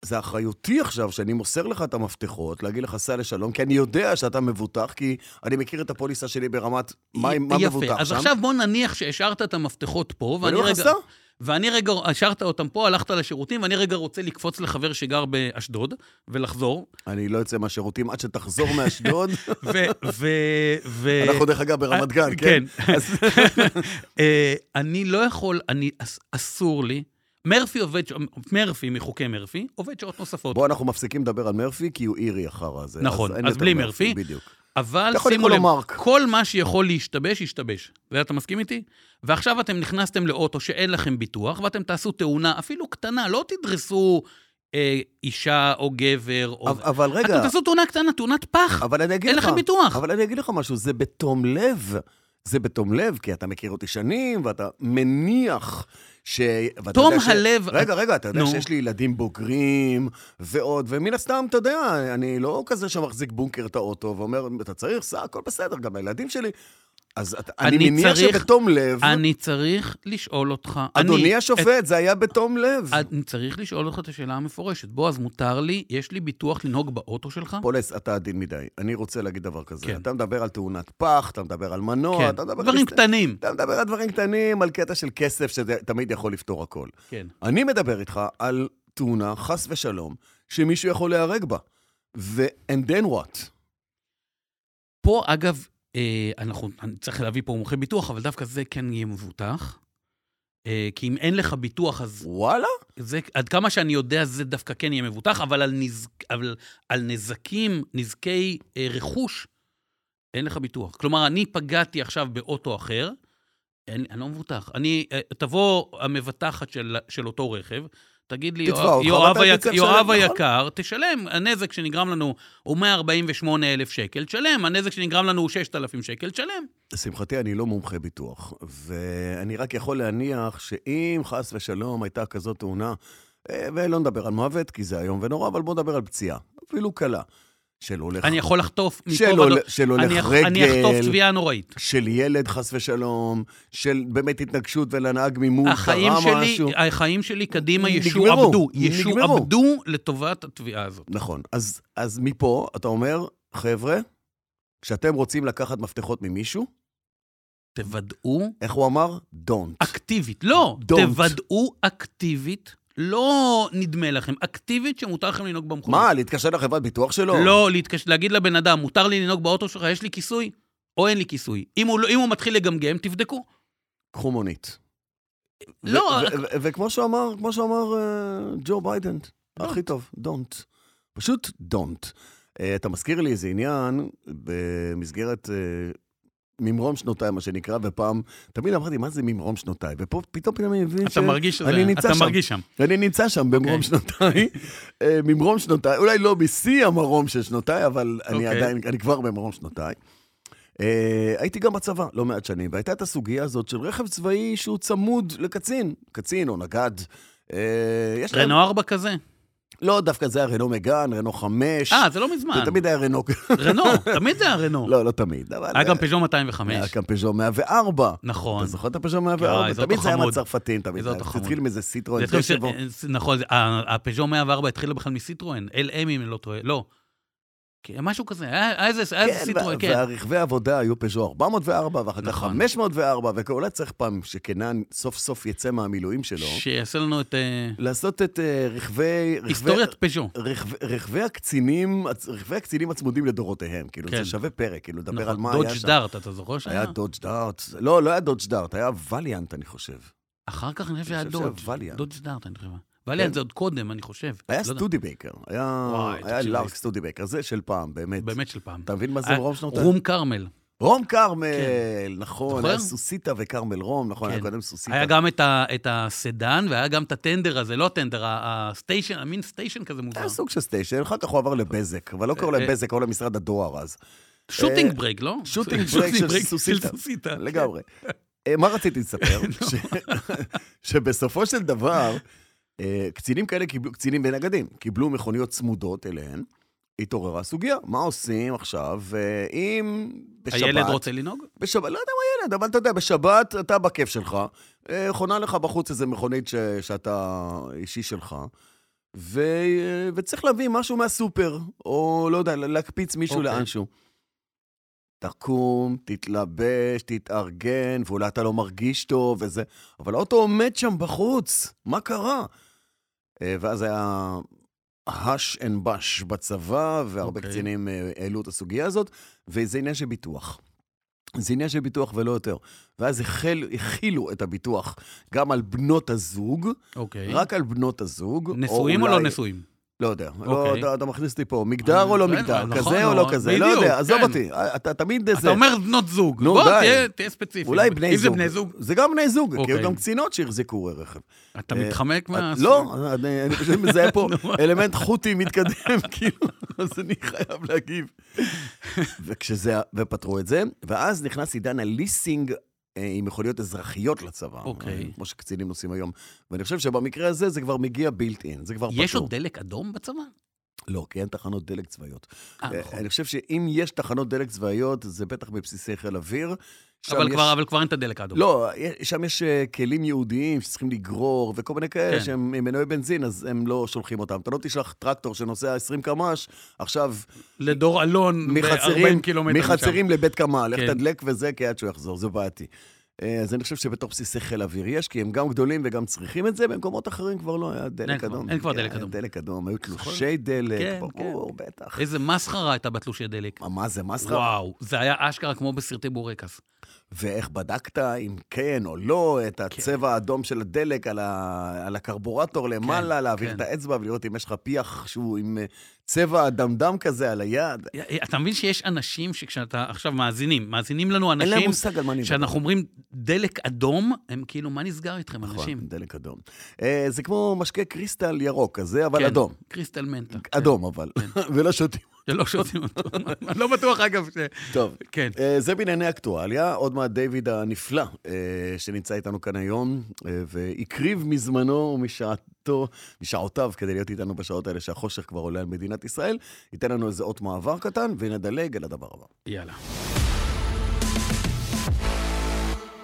[SPEAKER 3] זה אחריותי עכשיו שאני מוסר לך את המפתחות, להגיד לך סע לשלום, כי אני יודע שאתה מבוטח, כי אני מכיר את הפוליסה שלי ברמת מה, מה מבוטח
[SPEAKER 2] יפה, אז
[SPEAKER 3] שם. לא
[SPEAKER 2] עכשיו בוא נניח שהשארת את המפתחות פה,
[SPEAKER 3] ואני
[SPEAKER 2] ואני
[SPEAKER 3] אומר לך,
[SPEAKER 2] רגע...
[SPEAKER 3] סע.
[SPEAKER 2] ואני רגע, השארת אותם פה, הלכת לשירותים, ואני רגע רוצה לקפוץ לחבר שגר באשדוד, ולחזור.
[SPEAKER 3] אני לא אצא מהשירותים עד שתחזור מאשדוד.
[SPEAKER 2] ו... ו... ו...
[SPEAKER 3] אנחנו דרך אגב ברמת גן, כן? אז-
[SPEAKER 2] אה, אני לא יכול, אני, אס- אסור לי. מרפי עובד, ש- מרפי, מחוקי מרפי, עובד שעות נוספות.
[SPEAKER 3] בוא, אנחנו מפסיקים לדבר על מרפי, כי הוא אירי אחר הזה.
[SPEAKER 2] נכון,
[SPEAKER 3] אין
[SPEAKER 2] אז
[SPEAKER 3] יותר
[SPEAKER 2] בלי מרפי.
[SPEAKER 3] בדיוק.
[SPEAKER 2] אבל
[SPEAKER 3] אתה יכול
[SPEAKER 2] שימו
[SPEAKER 3] לקרוא
[SPEAKER 2] לב,
[SPEAKER 3] לו מרק.
[SPEAKER 2] כל מה שיכול להשתבש, ישתבש. זה אתה מסכים איתי? ועכשיו אתם נכנסתם לאוטו שאין לכם ביטוח, ואתם תעשו תאונה, אפילו קטנה, לא תדרסו אה, אישה או גבר, או...
[SPEAKER 3] אבל- אבל רגע,
[SPEAKER 2] אתם תעשו תאונה קטנה, תאונת פח.
[SPEAKER 3] אבל אני אגיד
[SPEAKER 2] אין
[SPEAKER 3] לך...
[SPEAKER 2] לכם ביטוח.
[SPEAKER 3] אבל אני אגיד לך משהו, זה בתום לב. זה בתום לב, כי אתה מכיר אותי שנים, ואתה מניח ש... ואתה
[SPEAKER 2] תום
[SPEAKER 3] יודע ש-
[SPEAKER 2] הלב-
[SPEAKER 3] רגע, רגע, אתה יודע
[SPEAKER 2] נו.
[SPEAKER 3] שיש לי ילדים בוגרים ועוד, ומן הסתם, אתה יודע, אני לא כזה שמחזיק בונקר את האוטו ואומר, אתה צריך, סע, הכל בסדר, גם הילדים שלי. אז את- אני
[SPEAKER 2] אני
[SPEAKER 3] מניח
[SPEAKER 2] צריך-
[SPEAKER 3] שבתום לב,
[SPEAKER 2] אני צריך לשאול אותך... אני-
[SPEAKER 3] אדוני
[SPEAKER 2] את-
[SPEAKER 3] השופט, זה היה בתום לב.
[SPEAKER 2] אני צריך לשאול אותך את השאלה המפורשת. בועז, מותר לי? יש לי ביטוח לנהוג באוטו שלך?
[SPEAKER 3] פולס, אתה עדין מדי. אני רוצה להגיד דבר כזה.
[SPEAKER 2] כן.
[SPEAKER 3] אתה מדבר על תאונת פח, אתה מדבר על מנוע,
[SPEAKER 2] כן.
[SPEAKER 3] אתה מדבר על...
[SPEAKER 2] דברים קטנים.
[SPEAKER 3] אתה מדבר על דברים קטנים, על קטע של כסף שתמיד יכול לפתור הכל.
[SPEAKER 2] כן.
[SPEAKER 3] אני מדבר איתך על תאונה, חס ושלום, שמישהו יכול להיהרג בה. ו- and then what?
[SPEAKER 2] פה, אגב, אה, אנחנו אני צריך להביא פה מומחה ביטוח, אבל דווקא זה כן יהיה מבוטח. אה, כי אם אין לך ביטוח, אז
[SPEAKER 3] וואלה?
[SPEAKER 2] זה, עד כמה שאני יודע, זה דווקא כן יהיה מבוטח, אבל על, נז, אבל, על נזקים, נזקי אה, רכוש, אין לך ביטוח. כלומר, אני פגעתי עכשיו באוטו אחר, אין, אני לא מבוטח. אני, אה, תבוא המבטחת של, של אותו רכב, תגיד לי,
[SPEAKER 3] תתבע
[SPEAKER 2] "יואב-
[SPEAKER 3] אותך,
[SPEAKER 2] יואב,
[SPEAKER 3] ואתה
[SPEAKER 2] היק,
[SPEAKER 3] תצטרך
[SPEAKER 2] יואב
[SPEAKER 3] לשלם, נכון?"
[SPEAKER 2] היקר, תשלם, הנזק שנגרם לנו הוא 148,000 שקל, תשלם, הנזק שנגרם לנו הוא 6,000 שקל, תשלם.
[SPEAKER 3] לשמחתי, אני לא מומחה ביטוח, ואני רק יכול להניח שאם חס ושלום הייתה כזאת תאונה, אה, ולא נדבר על מוות, כי זה איום ונורא, אבל בואו נדבר על פציעה, אפילו קלה, של הולך...
[SPEAKER 2] אני יכול לחטוף מפה
[SPEAKER 3] של
[SPEAKER 2] ועד-
[SPEAKER 3] הול- של הולך
[SPEAKER 2] אני אח-
[SPEAKER 3] רגל.
[SPEAKER 2] אני אחטוף תביעה נוראית.
[SPEAKER 3] של ילד, חס ושלום, של באמת התנגשות ולנהג ממול,
[SPEAKER 2] החיים
[SPEAKER 3] קרה
[SPEAKER 2] שלי,
[SPEAKER 3] משהו.
[SPEAKER 2] החיים שלי קדימה
[SPEAKER 3] נגמרו,
[SPEAKER 2] ישועבדו,
[SPEAKER 3] נגמרו.
[SPEAKER 2] ישועבדו לטובת התביעה הזאת.
[SPEAKER 3] נכון. אז, אז מפה אתה אומר, חבר'ה, כשאתם רוצים לקחת מפתחות ממישהו,
[SPEAKER 2] תוודאו
[SPEAKER 3] איך הוא אמר? Don't.
[SPEAKER 2] אקטיבית, לא,
[SPEAKER 3] Don't.
[SPEAKER 2] תוודאו אקטיבית, לא נדמה לכם, אקטיבית שמותר לכם לנהוג במכונית.
[SPEAKER 3] מה, להתקשר לחברת ביטוח שלו?
[SPEAKER 2] לא, להתקש... להגיד לבן אדם, מותר לי לנהוג באוטו שלך, יש לי כיסוי או אין לי כיסוי. אם הוא, לא- אם הוא מתחיל לגמגם, תבדקו.
[SPEAKER 3] קחו מונית. ו-
[SPEAKER 2] לא,
[SPEAKER 3] ו- ו- וכמו שאמר, כמו שאמר אה, ג'ו ביידן, הכי טוב, don't. פשוט don't. אה, אתה מזכיר לי איזה עניין במסגרת אה, ממרום שנותיי, מה שנקרא, ופעם, תמיד אמרתי, מה זה ממרום שנותיי? ופה פתאום פתאום אני מבין ש...
[SPEAKER 2] אתה מרגיש שזה,
[SPEAKER 3] אני נמצא
[SPEAKER 2] אתה
[SPEAKER 3] שם.
[SPEAKER 2] מרגיש שם.
[SPEAKER 3] אני נמצא שם במרום
[SPEAKER 2] אוקיי.
[SPEAKER 3] שנותיי, אה, ממרום שנותיי, אולי לא בשיא המרום של שנותיי, אבל אני
[SPEAKER 2] אוקיי.
[SPEAKER 3] עדיין, אני כבר במרום שנותיי. אה, הייתי גם בצבא לא מעט שנים, והייתה את הסוגיה הזאת של רכב צבאי שהוא צמוד לקצין, קצין או נגד. אה, יש להם-
[SPEAKER 2] רנו ארבע כזה?
[SPEAKER 3] לא, דווקא זה היה רנו מגן, רנו חמש.
[SPEAKER 2] אה, זה לא מזמן.
[SPEAKER 3] זה תמיד היה רנו...
[SPEAKER 2] רנו, תמיד זה היה רנו.
[SPEAKER 3] לא, לא תמיד, אבל...
[SPEAKER 2] היה גם
[SPEAKER 3] אה,
[SPEAKER 2] פז'ו 205.
[SPEAKER 3] היה גם פז'ו 104.
[SPEAKER 2] נכון.
[SPEAKER 3] אתה זוכר את הפז'ו
[SPEAKER 2] אה,
[SPEAKER 3] 104?
[SPEAKER 2] איזה
[SPEAKER 3] תמיד
[SPEAKER 2] אוטו
[SPEAKER 3] זה היה
[SPEAKER 2] חמוד.
[SPEAKER 3] מהצרפתים, תמיד.
[SPEAKER 2] איזה
[SPEAKER 3] זה היה-
[SPEAKER 2] אוטו
[SPEAKER 3] זה התחיל
[SPEAKER 2] חמוד.
[SPEAKER 3] מאיזה סיטרואן.
[SPEAKER 2] זה התחיל ש-
[SPEAKER 3] דשבו.
[SPEAKER 2] אה, נכון, זה- ה- הפז'ו 104 התחילה בכלל מסיטרואן, LM אם אני לא טועה, לא. כן, משהו כזה, היה היה איזה היה איזה סיטרואן,
[SPEAKER 3] וה-
[SPEAKER 2] כן.
[SPEAKER 3] והרכבי עבודה היו פז'ו 404, ואחר כך
[SPEAKER 2] נכון.
[SPEAKER 3] 504, ואולי צריך פעם שקנן סוף סוף יצא מהמילואים שלו,
[SPEAKER 2] שיעשה לנו את אה,
[SPEAKER 3] לעשות את אה, רכבי... רכבי-
[SPEAKER 2] היסטוריית פז'ו.
[SPEAKER 3] רכב- רכבי הקצינים, הצ- רכבי הקצינים הצמודים לדורותיהם, כאילו,
[SPEAKER 2] כן.
[SPEAKER 3] זה שווה פרק, כאילו, לדבר על
[SPEAKER 2] נכון,
[SPEAKER 3] מה היה
[SPEAKER 2] דודג'
[SPEAKER 3] שם.
[SPEAKER 2] דארט, אה. אתה זוכר שהיה?
[SPEAKER 3] היה דודג' דארט. לא, לא היה דודג' דארט, היה וליאנט, אני חושב.
[SPEAKER 2] אחר כך אני חושב שהיה
[SPEAKER 3] אני חושב שהיה
[SPEAKER 2] דודג'.
[SPEAKER 3] וליאנט.
[SPEAKER 2] דודג' דארט, אני חושב. וליאנט זה עוד קודם, אני חושב.
[SPEAKER 3] היה
[SPEAKER 2] לא יודע.
[SPEAKER 3] סטודיבקר, היה
[SPEAKER 2] וואי,
[SPEAKER 3] היה
[SPEAKER 2] תקשיב,
[SPEAKER 3] לארק סטודיבקר, זה של פעם, באמת.
[SPEAKER 2] באמת של פעם.
[SPEAKER 3] אתה מבין מה זה
[SPEAKER 2] היה-
[SPEAKER 3] רום שנותיי?
[SPEAKER 2] רום כרמל.
[SPEAKER 3] רום כרמל, נכון,
[SPEAKER 2] זוכר?
[SPEAKER 3] היה סוסיתא וכרמל רום, נכון, היה
[SPEAKER 2] כן.
[SPEAKER 3] קודם סוסיתא.
[SPEAKER 2] היה גם את ה- את הסדן, והיה גם את הטנדר הזה, לא הטנדר, ה- הסטיישן, המין סטיישן כזה מוזר.
[SPEAKER 3] היה סוג של סטיישן, אחר כך הוא עבר לבזק, אבל לא קראו להם
[SPEAKER 2] אה,
[SPEAKER 3] בזק, קראו להם משרד הדואר אז.
[SPEAKER 2] שוטינג ברייק, לא?
[SPEAKER 3] שוטינג ברייק אה, של סוסיתא.
[SPEAKER 2] סוסיתא.
[SPEAKER 3] לגמרי. אה, מה רציתי לספר? ש- שבסופו של דבר, אה, קצינים כאלה קיבלו, קצינים ונגדים, קיבלו מכוניות צמודות אליהן, התעוררה סוגיה, מה עושים עכשיו אה, אם בשבת...
[SPEAKER 2] הילד רוצה לנהוג?
[SPEAKER 3] בשבת, לא יודע מה ילד, אבל אתה יודע, בשבת אתה בכיף שלך, אה, חונה לך בחוץ איזה מכונית ש, שאתה אישי שלך, ו, אה, וצריך להביא משהו מהסופר, או לא יודע, להקפיץ מישהו okay.
[SPEAKER 2] אוקיי.
[SPEAKER 3] לאנשהו. תקום, תתלבש, תתארגן, ואולי אתה לא מרגיש טוב וזה, אבל האוטו עומד שם בחוץ, מה קרה? אה, ואז היה הש אנד בש בצבא, והרבה okay.
[SPEAKER 2] אוקיי.
[SPEAKER 3] קצינים אה, העלו את הסוגיה הזאת, וזה עניין של ביטוח. זה עניין של ביטוח ולא יותר. ואז החל, החילו את הביטוח גם על בנות הזוג,
[SPEAKER 2] אוקיי.
[SPEAKER 3] רק על בנות הזוג.
[SPEAKER 2] נשואים או לא
[SPEAKER 3] אולי-
[SPEAKER 2] נשואים?
[SPEAKER 3] לא יודע, לא,
[SPEAKER 2] אוקיי.
[SPEAKER 3] אתה, אתה מכניס אותי פה, מגדר או לא
[SPEAKER 2] אה,
[SPEAKER 3] מגדר,
[SPEAKER 2] נכון,
[SPEAKER 3] כזה או לא
[SPEAKER 2] נכון,
[SPEAKER 3] כזה, לא יודע,
[SPEAKER 2] בדיוק,
[SPEAKER 3] עזוב
[SPEAKER 2] כן.
[SPEAKER 3] אותי, אה, אתה תמיד
[SPEAKER 2] אתה
[SPEAKER 3] זה.
[SPEAKER 2] אומר בנות זוג.
[SPEAKER 3] נו,
[SPEAKER 2] בוא,
[SPEAKER 3] די.
[SPEAKER 2] תהיה- תהיה ספציפי.
[SPEAKER 3] אולי בני זוג.
[SPEAKER 2] אם זה בני זוג,
[SPEAKER 3] זה גם בני זוג, כי
[SPEAKER 2] אוקיי.
[SPEAKER 3] היו גם קצינות שהחזיקו רכב.
[SPEAKER 2] אתה
[SPEAKER 3] אה,
[SPEAKER 2] מתחמק מה...
[SPEAKER 3] לא, אני אני פשוט מזהה פה
[SPEAKER 2] נו.
[SPEAKER 3] אלמנט חותי מתקדם, כאילו, אז אני חייב להגיב. וכשזה, ופתרו את זה, ואז נכנס עידן הליסינג אה, עם מכוניות אזרחיות לצבא.
[SPEAKER 2] אוקיי.
[SPEAKER 3] אה, כמו שקצינים עושים היום. ואני חושב שבמקרה הזה זה כבר מגיע בילט אין, זה כבר פתור.
[SPEAKER 2] יש עוד דלק אדום בצבא?
[SPEAKER 3] לא, כי אין תחנות דלק צבאיות.
[SPEAKER 2] אה, נכון.
[SPEAKER 3] אני חושב שאם יש תחנות דלק צבאיות, זה בטח בבסיסי חיל אוויר. שם
[SPEAKER 2] אבל
[SPEAKER 3] יש-
[SPEAKER 2] כבר- אבל כבר אין את הדלק האדום.
[SPEAKER 3] לא, יש- שם יש אה, כלים ייעודיים שצריכים לגרור וכל מיני כאלה
[SPEAKER 2] כן.
[SPEAKER 3] שהם עם מנועי בנזין, אז הם לא שולחים אותם. אתה לא תשלח טרקטור שנוסע 20 קמ"ש, עכשיו
[SPEAKER 2] לדור אלון,
[SPEAKER 3] מחצרים,
[SPEAKER 2] ב-40 קילומטר משם.
[SPEAKER 3] מחצרים לבית קמ"ע, לך
[SPEAKER 2] כן.
[SPEAKER 3] תדלק וזה, כי עד שהוא יחזור, זה בעייתי. אה, אז אני חושב שבתוך בסיסי חיל אוויר יש, כי הם גם גדולים וגם צריכים את זה, במקומות אחרים כבר לא היה
[SPEAKER 2] אין
[SPEAKER 3] דלק
[SPEAKER 2] כבר-
[SPEAKER 3] אדום.
[SPEAKER 2] אין כבר
[SPEAKER 3] כן,
[SPEAKER 2] דלק אדום. נכון.
[SPEAKER 3] היה דלק אדום, היו תלושי דלק,
[SPEAKER 2] כן,
[SPEAKER 3] ברור, בטח.
[SPEAKER 2] איזה מסחרה הייתה בתלושי הדלק.
[SPEAKER 3] מה, מה זה מסחרה?
[SPEAKER 2] וואו, זה היה אשכרה כמו בסרטי בורקס.
[SPEAKER 3] ואיך בדקת אם כן או לא את הצבע האדום של הדלק על, ה... על הקרבורטור למעלה, להעביר
[SPEAKER 2] כן.
[SPEAKER 3] את האצבע ולראות אם יש לך פיח שהוא עם אה, צבע אדמדם כזה על היד.
[SPEAKER 2] אתה מבין שיש אנשים שכשאתה עכשיו מאזינים, מאזינים לנו
[SPEAKER 3] אין להם
[SPEAKER 2] אנשים,
[SPEAKER 3] מושג על מה אני מדבר.
[SPEAKER 2] כשאנחנו אומרים דלק אדום, הם כאילו, מה נסגר איתכם, אנשים?
[SPEAKER 3] נכון, דלק אדום. אה, זה כמו משקה קריסטל ירוק כזה, אבל
[SPEAKER 2] כן,
[SPEAKER 3] אדום.
[SPEAKER 2] קריסטל מנטה.
[SPEAKER 3] אדום אבל, ולא שותים.
[SPEAKER 2] שלא שותים אותו. אני לא בטוח, אגב, ש...
[SPEAKER 3] טוב.
[SPEAKER 2] כן.
[SPEAKER 3] אה, זה בענייני אקטואליה, עוד מעט דיוויד הנפלא אה, שנמצא איתנו כאן היום, אה, והקריב מזמנו ומשעתו, משעותיו כדי להיות איתנו בשעות האלה שהחושך כבר עולה על מדינת ישראל, ייתן לנו איזה אות מעבר קטן ונדלג על הדבר הבא.
[SPEAKER 2] יאללה.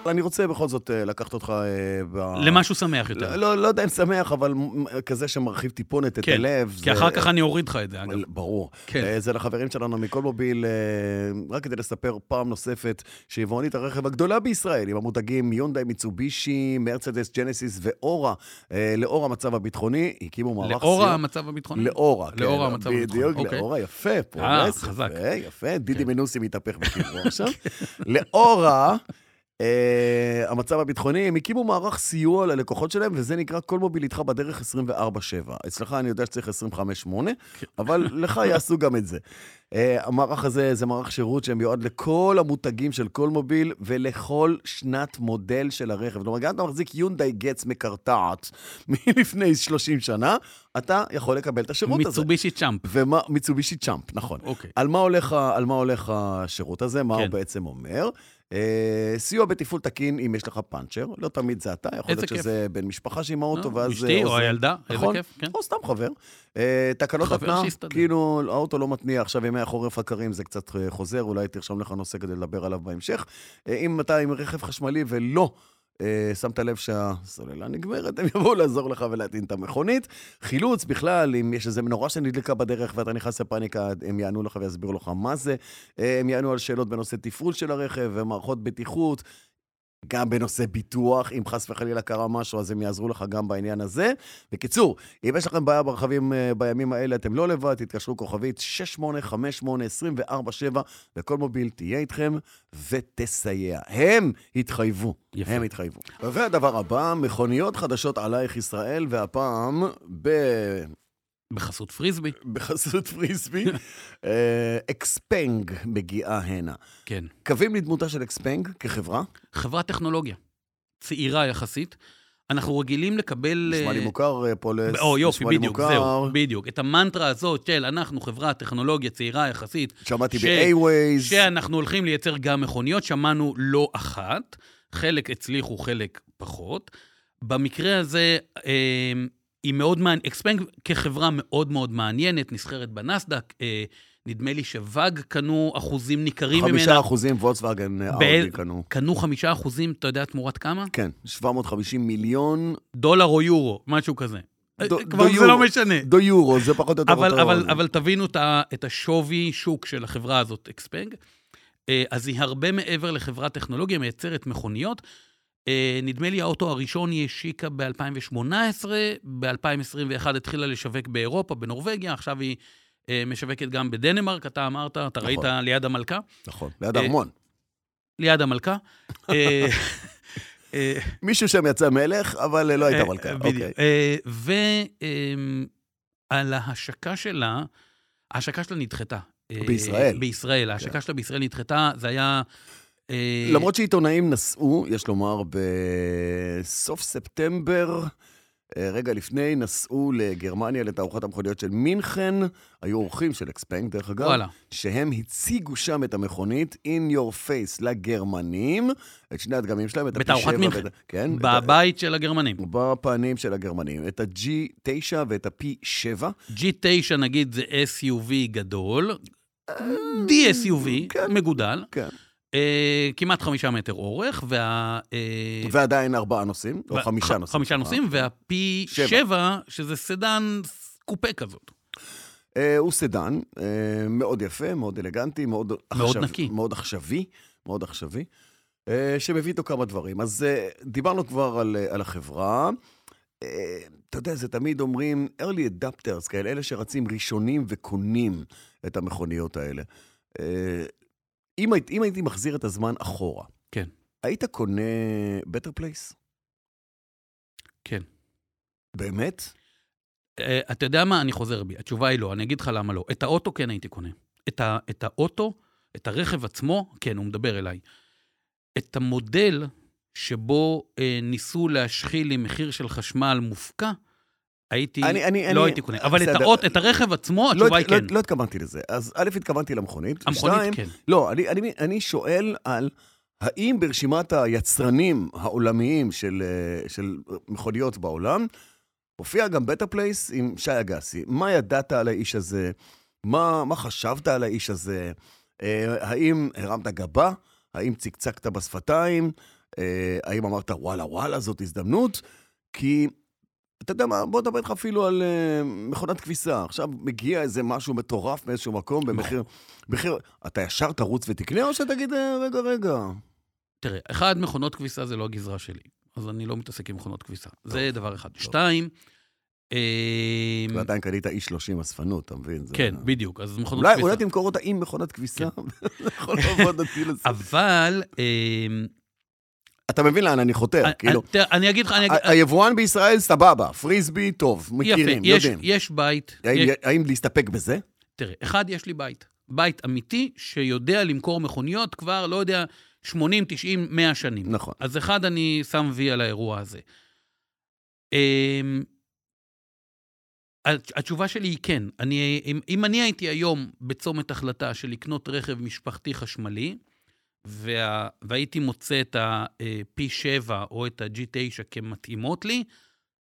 [SPEAKER 3] אבל אני רוצה בכל זאת אה, לקחת אותך אה, ב...
[SPEAKER 2] למשהו שמח יותר.
[SPEAKER 3] לא, לא, לא יודע אם שמח, אבל מ- מ- כזה שמרחיב טיפונת את
[SPEAKER 2] כן,
[SPEAKER 3] הלב.
[SPEAKER 2] כי
[SPEAKER 3] זה-
[SPEAKER 2] אחר כך אני אוריד לך את זה, אגב.
[SPEAKER 3] אבל ברור.
[SPEAKER 2] כן.
[SPEAKER 3] אה, זה לחברים שלנו מקולמוביל, אה, רק כדי לספר פעם נוספת שיבואנית הרכב הגדולה בישראל, עם המותגים יונדאי, מיצובישי, מרצדס, ג'נסיס ואורה, אה, לאור המצב הביטחוני, הקימו מערך
[SPEAKER 2] לאור המצב הביטחוני.
[SPEAKER 3] לאורה, כן,
[SPEAKER 2] לאור המצב הביטחוני,
[SPEAKER 3] בדיוק,
[SPEAKER 2] אוקיי.
[SPEAKER 3] לאורה, יפה, פרוגרסיב.
[SPEAKER 2] חזק. כן.
[SPEAKER 3] יפה, יפה, דידי מנוסי מתהפך בקברו עכשיו. לאורה, אה, המצב הביטחוני, הם הקימו מערך סיוע ללקוחות שלהם, וזה נקרא כל מוביל איתך בדרך 24/7. אצלך אני יודע שצריך 25/8, אבל לך יעשו גם את זה. אה, המערך הזה זה מערך שירות שמיועד לכל המותגים של כל מוביל ולכל שנת מודל של הרכב. כלומר, גם אם אתה מחזיק יונדאי גץ מקרטעת מלפני 30 שנה, אתה יכול לקבל את השירות הזה.
[SPEAKER 2] מיצובישי צ'אמפ.
[SPEAKER 3] ומה, מיצובישי צ'אמפ, נכון.
[SPEAKER 2] אוקיי.
[SPEAKER 3] על מה, הולך, ה- על מה הולך השירות הזה, מה
[SPEAKER 2] כן.
[SPEAKER 3] הוא בעצם אומר. אה, סיוע בתפעול תקין אם יש לך פאנצ'ר, לא תמיד זה אתה, יכול
[SPEAKER 2] איזה
[SPEAKER 3] להיות
[SPEAKER 2] כיף.
[SPEAKER 3] שזה בן משפחה שעם האוטו,
[SPEAKER 2] לא,
[SPEAKER 3] ואז...
[SPEAKER 2] אשתי
[SPEAKER 3] אה,
[SPEAKER 2] או
[SPEAKER 3] עוזר.
[SPEAKER 2] הילדה, איזה
[SPEAKER 3] נכון,
[SPEAKER 2] כיף, כן.
[SPEAKER 3] או סתם חבר. אה, תקלות
[SPEAKER 2] חבר
[SPEAKER 3] התנעה,
[SPEAKER 2] שיסתדר.
[SPEAKER 3] כאילו האוטו לא מתניע, עכשיו ימי החורף הקרים זה קצת אה, חוזר, אולי תרשום לך נושא כדי לדבר עליו בהמשך. אה, אם אתה עם רכב חשמלי ולא... אה, שמת לב שהסוללה נגמרת, הם יבואו לעזור לך ולהטעין את המכונית. חילוץ בכלל, אם יש איזה מנורה שנדלקה בדרך ואתה נכנס לפאניקה, הם יענו לך ויסבירו לך מה זה. אה, הם יענו על שאלות בנושא תפעול של הרכב ומערכות בטיחות. גם בנושא ביטוח, אם חס וחלילה קרה משהו, אז הם יעזרו לך גם בעניין הזה. בקיצור, אם יש לכם בעיה ברכבים אה, בימים האלה, אתם לא לבד, תתקשרו כוכבית 6858-247, וכל מוביל תהיה איתכם ותסייע. הם התחייבו.
[SPEAKER 2] יפה.
[SPEAKER 3] הם התחייבו. והדבר הבא, מכוניות חדשות עלייך ישראל, והפעם ב...
[SPEAKER 2] בחסות פריסבי.
[SPEAKER 3] בחסות פריסבי, אה, אקספנג מגיעה הנה.
[SPEAKER 2] כן.
[SPEAKER 3] קווים לדמותה של אקספנג כחברה,
[SPEAKER 2] חברת טכנולוגיה, צעירה יחסית. אנחנו רגילים לקבל...
[SPEAKER 3] נשמע לי
[SPEAKER 2] אה,
[SPEAKER 3] מוכר אה, פולס,
[SPEAKER 2] או יופי,
[SPEAKER 3] נשמע לי
[SPEAKER 2] בדיוק,
[SPEAKER 3] מוכר,
[SPEAKER 2] זהו, בדיוק. את המנטרה הזאת של אנחנו חברה, טכנולוגיה צעירה יחסית,
[SPEAKER 3] שמעתי
[SPEAKER 2] ש-
[SPEAKER 3] ב-A-Waze.
[SPEAKER 2] שאנחנו הולכים לייצר גם מכוניות, שמענו לא אחת, חלק הצליחו, חלק פחות. במקרה הזה, אה, היא מאוד מעניינת, אקספנג כחברה מאוד מאוד מעניינת, נסחרת בנסדק, אה, נדמה לי שוואג קנו אחוזים ניכרים
[SPEAKER 3] חמישה
[SPEAKER 2] ממנה.
[SPEAKER 3] אחוזים וולצוואגן אה,
[SPEAKER 2] ב-
[SPEAKER 3] אאודי קנו.
[SPEAKER 2] קנו חמישה אחוזים, אתה יודע תמורת כמה?
[SPEAKER 3] כן, 750 מיליון
[SPEAKER 2] דולר או יורו, משהו כזה.
[SPEAKER 3] דו-
[SPEAKER 2] אה,
[SPEAKER 3] דו
[SPEAKER 2] כבר זה
[SPEAKER 3] יורו.
[SPEAKER 2] לא משנה.
[SPEAKER 3] דו יורו, זה פחות או יותר
[SPEAKER 2] אבל,
[SPEAKER 3] אותו...
[SPEAKER 2] אבל, אבל תבינו את, ה, את השווי שוק של החברה הזאת, אקספנג. אה, אז היא הרבה מעבר לחברת טכנולוגיה, מייצרת מכוניות. אה, נדמה לי האוטו הראשון היא השיקה ב-2018, ב-2021 התחילה לשווק באירופה, בנורבגיה, עכשיו היא אה, משווקת גם בדנמרק, אתה אמרת, אתה
[SPEAKER 3] נכון.
[SPEAKER 2] נכון. ראית ליד המלכה?
[SPEAKER 3] נכון, ליד
[SPEAKER 2] אה,
[SPEAKER 3] ארמון.
[SPEAKER 2] ליד המלכה. אה, אה,
[SPEAKER 3] מישהו שם יצא מלך, אבל אה, לא הייתה
[SPEAKER 2] אה,
[SPEAKER 3] מלכה.
[SPEAKER 2] בדיוק. אה,
[SPEAKER 3] אוקיי.
[SPEAKER 2] ועל ההשקה שלה, ההשקה שלה נדחתה. אה,
[SPEAKER 3] בישראל. כן.
[SPEAKER 2] בישראל, ההשקה שלה בישראל נדחתה, זה היה... אה,
[SPEAKER 3] למרות שעיתונאים נסעו, יש לומר, בסוף ספטמבר, אה, רגע לפני נסעו לגרמניה לתערוכת המכוניות של מינכן, היו אורחים של אקספנג, דרך אגב,
[SPEAKER 2] וואלה.
[SPEAKER 3] שהם הציגו שם את המכונית in your face לגרמנים, את שני הדגמים שלהם, את ה-P7
[SPEAKER 2] בתערוכת
[SPEAKER 3] ואת ה-
[SPEAKER 2] מינכן.
[SPEAKER 3] כן, את ה-
[SPEAKER 2] בבית של הגרמנים.
[SPEAKER 3] בפנים של הגרמנים, את ה-G9 ואת ה-P7.
[SPEAKER 2] G9 נגיד זה SUV גדול, DSUV,
[SPEAKER 3] כן.
[SPEAKER 2] מגודל,
[SPEAKER 3] כן.
[SPEAKER 2] אה, כמעט חמישה מטר אורך, וה... אה,
[SPEAKER 3] ועדיין ארבעה נוסעים, או
[SPEAKER 2] וה-
[SPEAKER 3] לא, חמישה
[SPEAKER 2] ח-
[SPEAKER 3] נוסעים.
[SPEAKER 2] חמישה
[SPEAKER 3] סליחה.
[SPEAKER 2] נוסעים, וה-P7, שזה סדן קופה כזאת.
[SPEAKER 3] אה, הוא סדן, אה, מאוד יפה, מאוד אלגנטי, מאוד,
[SPEAKER 2] נקי.
[SPEAKER 3] מאוד עכשווי, מאוד עכשווי, אה, שמביא איתו כמה דברים. אז אה, דיברנו כבר על, אה, על החברה. אה, אתה יודע, זה תמיד אומרים early adapters כאלה, אלה שרצים ראשונים וקונים את המכוניות האלה. אה, אם, היית, אם הייתי מחזיר את הזמן אחורה,
[SPEAKER 2] כן.
[SPEAKER 3] היית קונה better place?
[SPEAKER 2] כן.
[SPEAKER 3] באמת?
[SPEAKER 2] אה, אתה יודע מה? אני חוזר בי. התשובה היא לא, אני אגיד לך למה לא. את האוטו כן הייתי קונה. את, ה, את האוטו, את הרכב עצמו, כן, הוא מדבר אליי. את המודל שבו אה, ניסו להשחיל עם מחיר של חשמל מופקע, הייתי,
[SPEAKER 3] אני- אני-
[SPEAKER 2] לא
[SPEAKER 3] אני-
[SPEAKER 2] הייתי קונה. אבל את,
[SPEAKER 3] בסדר.
[SPEAKER 2] האות, את הרכב עצמו,
[SPEAKER 3] לא,
[SPEAKER 2] התשובה היא
[SPEAKER 3] הת- לא,
[SPEAKER 2] כן.
[SPEAKER 3] לא התכוונתי לזה. אז א', התכוונתי למכונית.
[SPEAKER 2] המכונית כן.
[SPEAKER 3] לא, אני, אני, אני שואל על האם ברשימת היצרנים העולמיים של, אה, של מכוניות בעולם, הופיע גם בטה פלייס עם שי אגסי. מה ידעת על האיש הזה? מה, מה חשבת על האיש הזה? אה, האם הרמת גבה? האם צקצקת בשפתיים? אה, האם אמרת, וואלה, וואלה, זאת הזדמנות? כי, אתה יודע מה, בוא נדבר איתך אפילו על אה, מכונת כביסה. עכשיו מגיע איזה משהו מטורף מאיזשהו מקום במחיר... מחיר... אתה ישר תרוץ ותקנה, או שתגיד, "אה, רגע, רגע.
[SPEAKER 2] תראה, אחד, מכונות כביסה זה לא הגזרה שלי. אז אני לא מתעסק עם מכונות כביסה. זה דבר אחד. שתיים, אה,
[SPEAKER 3] ועדיין קנית אי 30 אספנות, אתה מבין? זה- לא.
[SPEAKER 2] כן, בדיוק, אז מכונות
[SPEAKER 3] אולי,
[SPEAKER 2] כביסה. כן.
[SPEAKER 3] אולי תמכור אותה עם מכונת כביסה, זה יכול לעבוד הטיל הזה.
[SPEAKER 2] אבל, אמ,
[SPEAKER 3] אתה מבין לאן אני חותר,
[SPEAKER 2] אני-
[SPEAKER 3] כאילו.
[SPEAKER 2] תראה, אני אגיד לך, אני אגיד,
[SPEAKER 3] ה- היבואן בישראל סבבה, פריסבי טוב,
[SPEAKER 2] יפה,
[SPEAKER 3] אה, מכירים,
[SPEAKER 2] יש-
[SPEAKER 3] יודעים.
[SPEAKER 2] יש בית,
[SPEAKER 3] האם-
[SPEAKER 2] יש-
[SPEAKER 3] האם להסתפק בזה?
[SPEAKER 2] תראה, אחד, יש לי בית, בית אמיתי שיודע למכור מכוניות כבר, לא יודע, 80, 90, 100 שנים.
[SPEAKER 3] נכון.
[SPEAKER 2] אז אחד, אני שם וי על האירוע הזה. אמ, הת- התשובה שלי היא כן. אני, אם, אם אני הייתי היום בצומת החלטה של לקנות רכב משפחתי חשמלי, וה, והייתי מוצא את ה-P7 או את ה-G9 כמתאימות לי,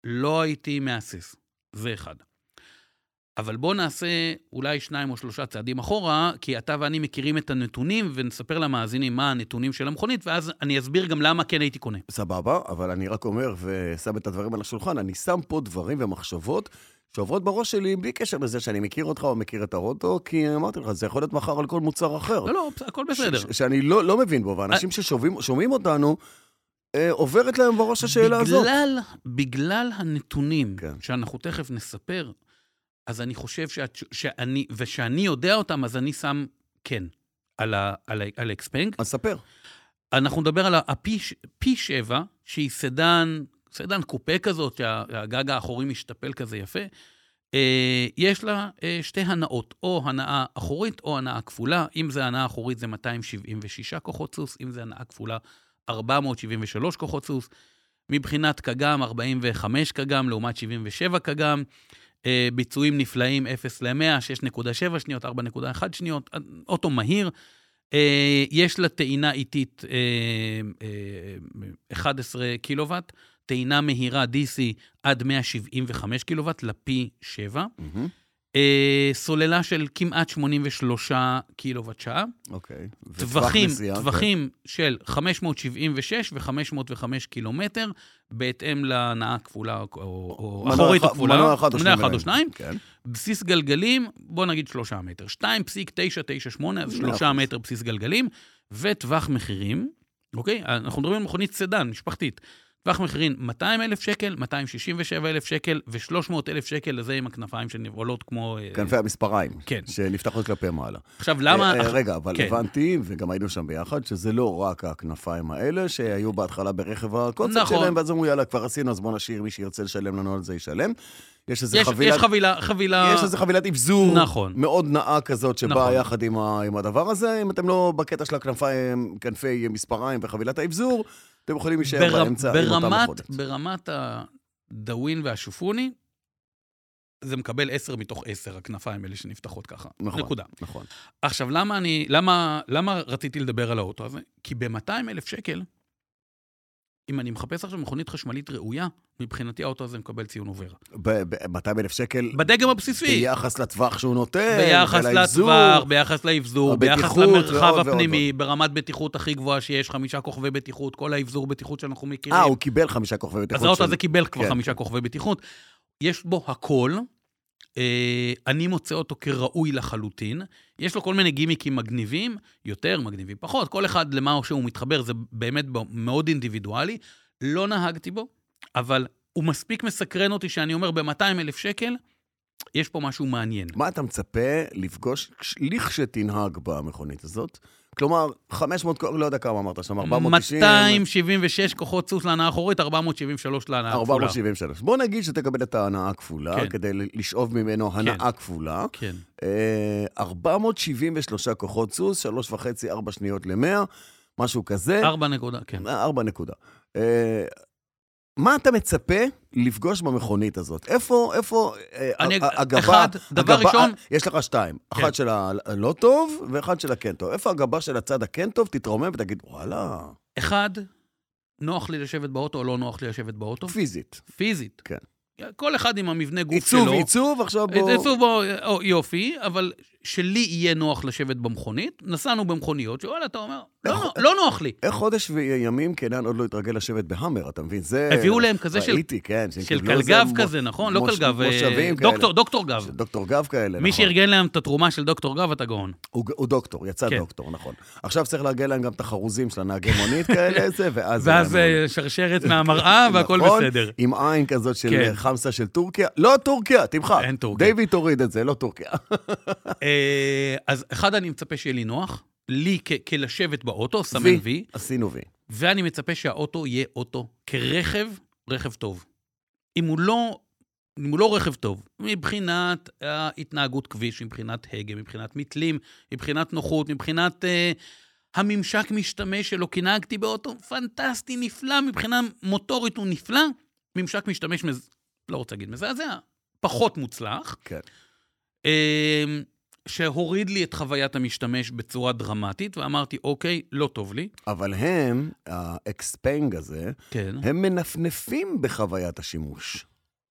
[SPEAKER 2] לא הייתי מהסס. זה אחד. אבל בואו נעשה אולי שניים או שלושה צעדים אחורה, כי אתה ואני מכירים את הנתונים, ונספר למאזינים מה הנתונים של המכונית, ואז אני אסביר גם למה כן הייתי קונה.
[SPEAKER 3] סבבה, אבל אני רק אומר ושם את הדברים על השולחן, אני שם פה דברים ומחשבות שעוברות בראש שלי בלי קשר לזה שאני מכיר אותך או מכיר את האוטו, כי אמרתי לך, זה יכול להיות מחר על כל מוצר אחר.
[SPEAKER 2] לא, לא, הכל בסדר.
[SPEAKER 3] אוקיי.
[SPEAKER 2] אה-
[SPEAKER 3] ש- ש- שאני לא, לא מבין בו, ואנשים ששומעים אותנו, אה, עוברת להם בראש השאלה הזאת.
[SPEAKER 2] בגלל, בגלל הנתונים
[SPEAKER 3] כן.
[SPEAKER 2] כן. שאנחנו תכף נספר, אז אני חושב שאת, שאני, ושאני יודע אותם, אז אני שם כן על, ה, על, ה- על אקספנג.
[SPEAKER 3] אז ספר.
[SPEAKER 2] אנחנו נדבר על ה-P7, שהיא סדן, סדן קופה כזאת, שה- שהגג האחורי משתפל כזה יפה. אה, יש לה אה, שתי הנעות, או הנעה אחורית או הנעה כפולה. אם זה הנעה אחורית זה 276 כוחות סוס, אם זה הנעה כפולה 473 כוחות סוס. מבחינת קג"ם, 45 קג"ם לעומת 77 קג"ם. אה, ביצועים נפלאים 0 ל-100, 6.7 שניות, 4.1 שניות, אוטו מהיר. אה, יש לה טעינה איטית אה, אה, 11 קילוואט, טעינה מהירה DC עד 175 קילוואט לפי 7,
[SPEAKER 3] מהמם,
[SPEAKER 2] אה, סוללה של כמעט 83 קילוואט שעה,
[SPEAKER 3] אוקיי. וטווח
[SPEAKER 2] טווחים,
[SPEAKER 3] נסיעה, כן.
[SPEAKER 2] טווחים של 576 ו-505 קילומטר, בהתאם להנעה הכפולה או- או או
[SPEAKER 3] מנוע
[SPEAKER 2] אחורית או
[SPEAKER 3] אחד-
[SPEAKER 2] כפולה,
[SPEAKER 3] מנוע אחד או
[SPEAKER 2] מנוע
[SPEAKER 3] שניים.
[SPEAKER 2] אחד או שניים,
[SPEAKER 3] כן.
[SPEAKER 2] בסיס גלגלים, בוא נגיד שלושה מטר. 2.998, אז
[SPEAKER 3] מאה
[SPEAKER 2] שלושה
[SPEAKER 3] אחוז.
[SPEAKER 2] מטר בסיס גלגלים, וטווח מחירים, אוקיי? אנחנו מדברים על מכונית סדן, משפחתית. טווח מחירים 200 אלף שקל, 267 אלף שקל ו-300 אלף שקל לזה עם הכנפיים שנבעולות כמו... אה,
[SPEAKER 3] כנפי המספריים,
[SPEAKER 2] כן.
[SPEAKER 3] שנפתחות כלפי מעלה.
[SPEAKER 2] עכשיו, למה...
[SPEAKER 3] אה, אה, רגע, אבל
[SPEAKER 2] כן.
[SPEAKER 3] הבנתי, וגם היינו שם ביחד, שזה לא רק הכנפיים האלה, שהיו בהתחלה ברכב הקונספט
[SPEAKER 2] נכון.
[SPEAKER 3] שלהם, ואז אמרו, יאללה, כבר עשינו, אז בוא נשאיר, מי שירצה לשלם לנו על זה ישלם. יש איזה
[SPEAKER 2] יש,
[SPEAKER 3] חבילת...
[SPEAKER 2] יש חבילה... חבילה...
[SPEAKER 3] יש איזה חבילת אבזור
[SPEAKER 2] נכון.
[SPEAKER 3] מאוד נאה כזאת שבאה
[SPEAKER 2] נכון.
[SPEAKER 3] יחד עם, ה, עם הדבר הזה. אם אתם לא בקטע של הכנפיים, כנפי מספריים וחבילת האבזור, אתם יכולים להישאר
[SPEAKER 2] בר-
[SPEAKER 3] באמצע עם אותה
[SPEAKER 2] ברמת,
[SPEAKER 3] מכונת.
[SPEAKER 2] ברמת ה- דאווין והשופוני, זה מקבל 10 מתוך 10, הכנפיים האלה שנפתחות ככה.
[SPEAKER 3] נכון.
[SPEAKER 2] נקודה.
[SPEAKER 3] נכון.
[SPEAKER 2] עכשיו, למה אני, למה, למה רציתי לדבר על האוטו הזה? כי ב-200 אלף שקל, אם אני מחפש עכשיו מכונית חשמלית ראויה, מבחינתי האוטו הזה מקבל ציון עובר.
[SPEAKER 3] ב-200 אלף שקל,
[SPEAKER 2] בדגם הבסיסי,
[SPEAKER 3] ביחס לטווח שהוא נותן,
[SPEAKER 2] ביחס
[SPEAKER 3] ולאבזור.
[SPEAKER 2] לטווח, ביחס לאבזור, ביחס
[SPEAKER 3] הבטיחות ועוד
[SPEAKER 2] למרחב
[SPEAKER 3] ועוד
[SPEAKER 2] הפנימי, ברמת בטיחות הכי גבוהה שיש, חמישה כוכבי בטיחות, כל האבזור בטיחות שאנחנו מכירים.
[SPEAKER 3] אה, הוא קיבל חמישה כוכבי בטיחות.
[SPEAKER 2] אז האוטו
[SPEAKER 3] של-
[SPEAKER 2] הזה קיבל כבר
[SPEAKER 3] כן.
[SPEAKER 2] חמישה כוכבי בטיחות. יש בו הכל. אה, אני מוצא אותו כראוי לחלוטין. יש לו כל מיני גימיקים מגניבים, יותר, מגניבים פחות. כל אחד למה שהוא מתחבר, זה באמת ב- מאוד אינדיבידואלי. לא נהגתי בו, אבל הוא מספיק מסקרן אותי שאני אומר, ב-200 אלף שקל, יש פה משהו מעניין.
[SPEAKER 3] מה אתה מצפה לפגוש כש- לכשתנהג במכונית הזאת? כלומר, 500, לא יודע כמה אמרת שם, 490...
[SPEAKER 2] 276 כוחות סוס להנאה האחורית, 473 להנאה הכפולה.
[SPEAKER 3] 473. בוא נגיד שתקבל את ההנאה הכפולה,
[SPEAKER 2] כן.
[SPEAKER 3] כדי ל- לשאוב ממנו הנאה כפולה.
[SPEAKER 2] כן.
[SPEAKER 3] אה, 473 כוחות סוס, 3.5, 4 שניות ל-100, משהו כזה.
[SPEAKER 2] 4 נקודה, כן.
[SPEAKER 3] אה, ארבע נקודה. אה, מה אתה מצפה לפגוש במכונית הזאת? איפה, איפה אה,
[SPEAKER 2] אני-
[SPEAKER 3] ה- ה- הגבה...
[SPEAKER 2] אחד, דבר
[SPEAKER 3] הגבה-
[SPEAKER 2] ראשון-
[SPEAKER 3] אה, יש לך שתיים.
[SPEAKER 2] כן.
[SPEAKER 3] אחת של הלא טוב ואחת של הכן טוב. איפה הגבה של הצד הכן טוב? תתרומם ותגיד, וואלה,
[SPEAKER 2] אחד, נוח לי לשבת באוטו או לא נוח לי לשבת באוטו?
[SPEAKER 3] פיזית.
[SPEAKER 2] פיזית.
[SPEAKER 3] כן.
[SPEAKER 2] כל אחד עם המבנה גוף
[SPEAKER 3] עיצוב,
[SPEAKER 2] שלו. אה,
[SPEAKER 3] עיצוב, עכשיו בוא...
[SPEAKER 2] עיצוב, בו, או, יופי, אבל שלי יהיה נוח לשבת במכונית. נסענו במכוניות, שוואלה, אתה אומר, לא,
[SPEAKER 3] איך-
[SPEAKER 2] נוח- לא נוח לי.
[SPEAKER 3] איך אה, חודש וימים קנן עוד לא התרגל לשבת בהאמר, אתה מבין? זה...
[SPEAKER 2] הביאו להם כזה של-
[SPEAKER 3] ראיתי, כן. שהם
[SPEAKER 2] של
[SPEAKER 3] קיבלו איזה
[SPEAKER 2] קלגב
[SPEAKER 3] מוש-
[SPEAKER 2] כזה, נכון? לא
[SPEAKER 3] מוש-
[SPEAKER 2] קלגב, אה,
[SPEAKER 3] מושבים כאלה.
[SPEAKER 2] דוקטור, דוקטור גב.
[SPEAKER 3] של דוקטור גב כאלה,
[SPEAKER 2] מי
[SPEAKER 3] נכון.
[SPEAKER 2] שארגן להם את התרומה של דוקטור גב, אתה גאון.
[SPEAKER 3] הוא, הוא דוקטור, יצא
[SPEAKER 2] כן.
[SPEAKER 3] דוקטור, נכון. עכשיו צריך לארגן להם גם את החרוזים של הנהגי מונית כאלה, זה, ואז...
[SPEAKER 2] ואז
[SPEAKER 3] הם-
[SPEAKER 2] אה, שרשרת מהמראה והכל
[SPEAKER 3] נכון,
[SPEAKER 2] בסדר.
[SPEAKER 3] עם עין כזאת של
[SPEAKER 2] כן.
[SPEAKER 3] חמסה של טורקיה. לא טורקיה, תמחק.
[SPEAKER 2] אין טורקיה.
[SPEAKER 3] דיוויד תוריד את זה, לא טורקיה.
[SPEAKER 2] אה, אז אחד, אני מצפה שיהיה לי נוח, לי כ- כלשבת באוטו, סמן וי.
[SPEAKER 3] עשינו וי.
[SPEAKER 2] ואני מצפה שהאוטו יהיה אוטו כרכב, רכב טוב. אם הוא לא, אם הוא לא רכב טוב, מבחינת אה, התנהגות כביש, מבחינת הגה, מבחינת מתלים, מבחינת נוחות, מבחינת אה, הממשק משתמש שלו, כי נהגתי באוטו פנטסטי, נפלא, מבחינה מוטורית הוא נפלא, ממשק משתמש, מז... לא רוצה להגיד מזעזע, פחות מוצלח.
[SPEAKER 3] כן.
[SPEAKER 2] אה, שהוריד לי את חוויית המשתמש בצורה דרמטית, ואמרתי, אוקיי, לא טוב לי.
[SPEAKER 3] אבל הם, האקספנג הזה,
[SPEAKER 2] כן.
[SPEAKER 3] הם מנפנפים בחוויית השימוש.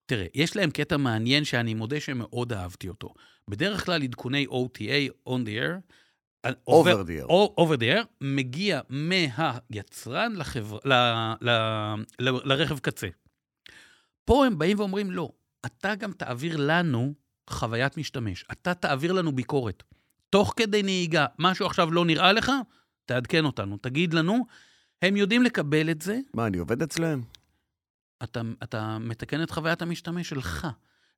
[SPEAKER 2] תראה, יש להם קטע מעניין שאני מודה שמאוד אהבתי אותו. בדרך כלל עדכוני OTA, on the air, אה,
[SPEAKER 3] Over the air.
[SPEAKER 2] או- over the air, מגיע מהיצרן לחבר... ל... ל... ל... לרכב קצה. פה הם באים ואומרים, לא, אתה גם תעביר לנו חוויית משתמש, אתה תעביר לנו ביקורת. תוך כדי נהיגה, משהו עכשיו לא נראה לך, תעדכן אותנו, תגיד לנו. הם יודעים לקבל את זה,
[SPEAKER 3] מה, אני עובד אצלהם?
[SPEAKER 2] אתה, אתה מתקן את חוויית המשתמש שלך.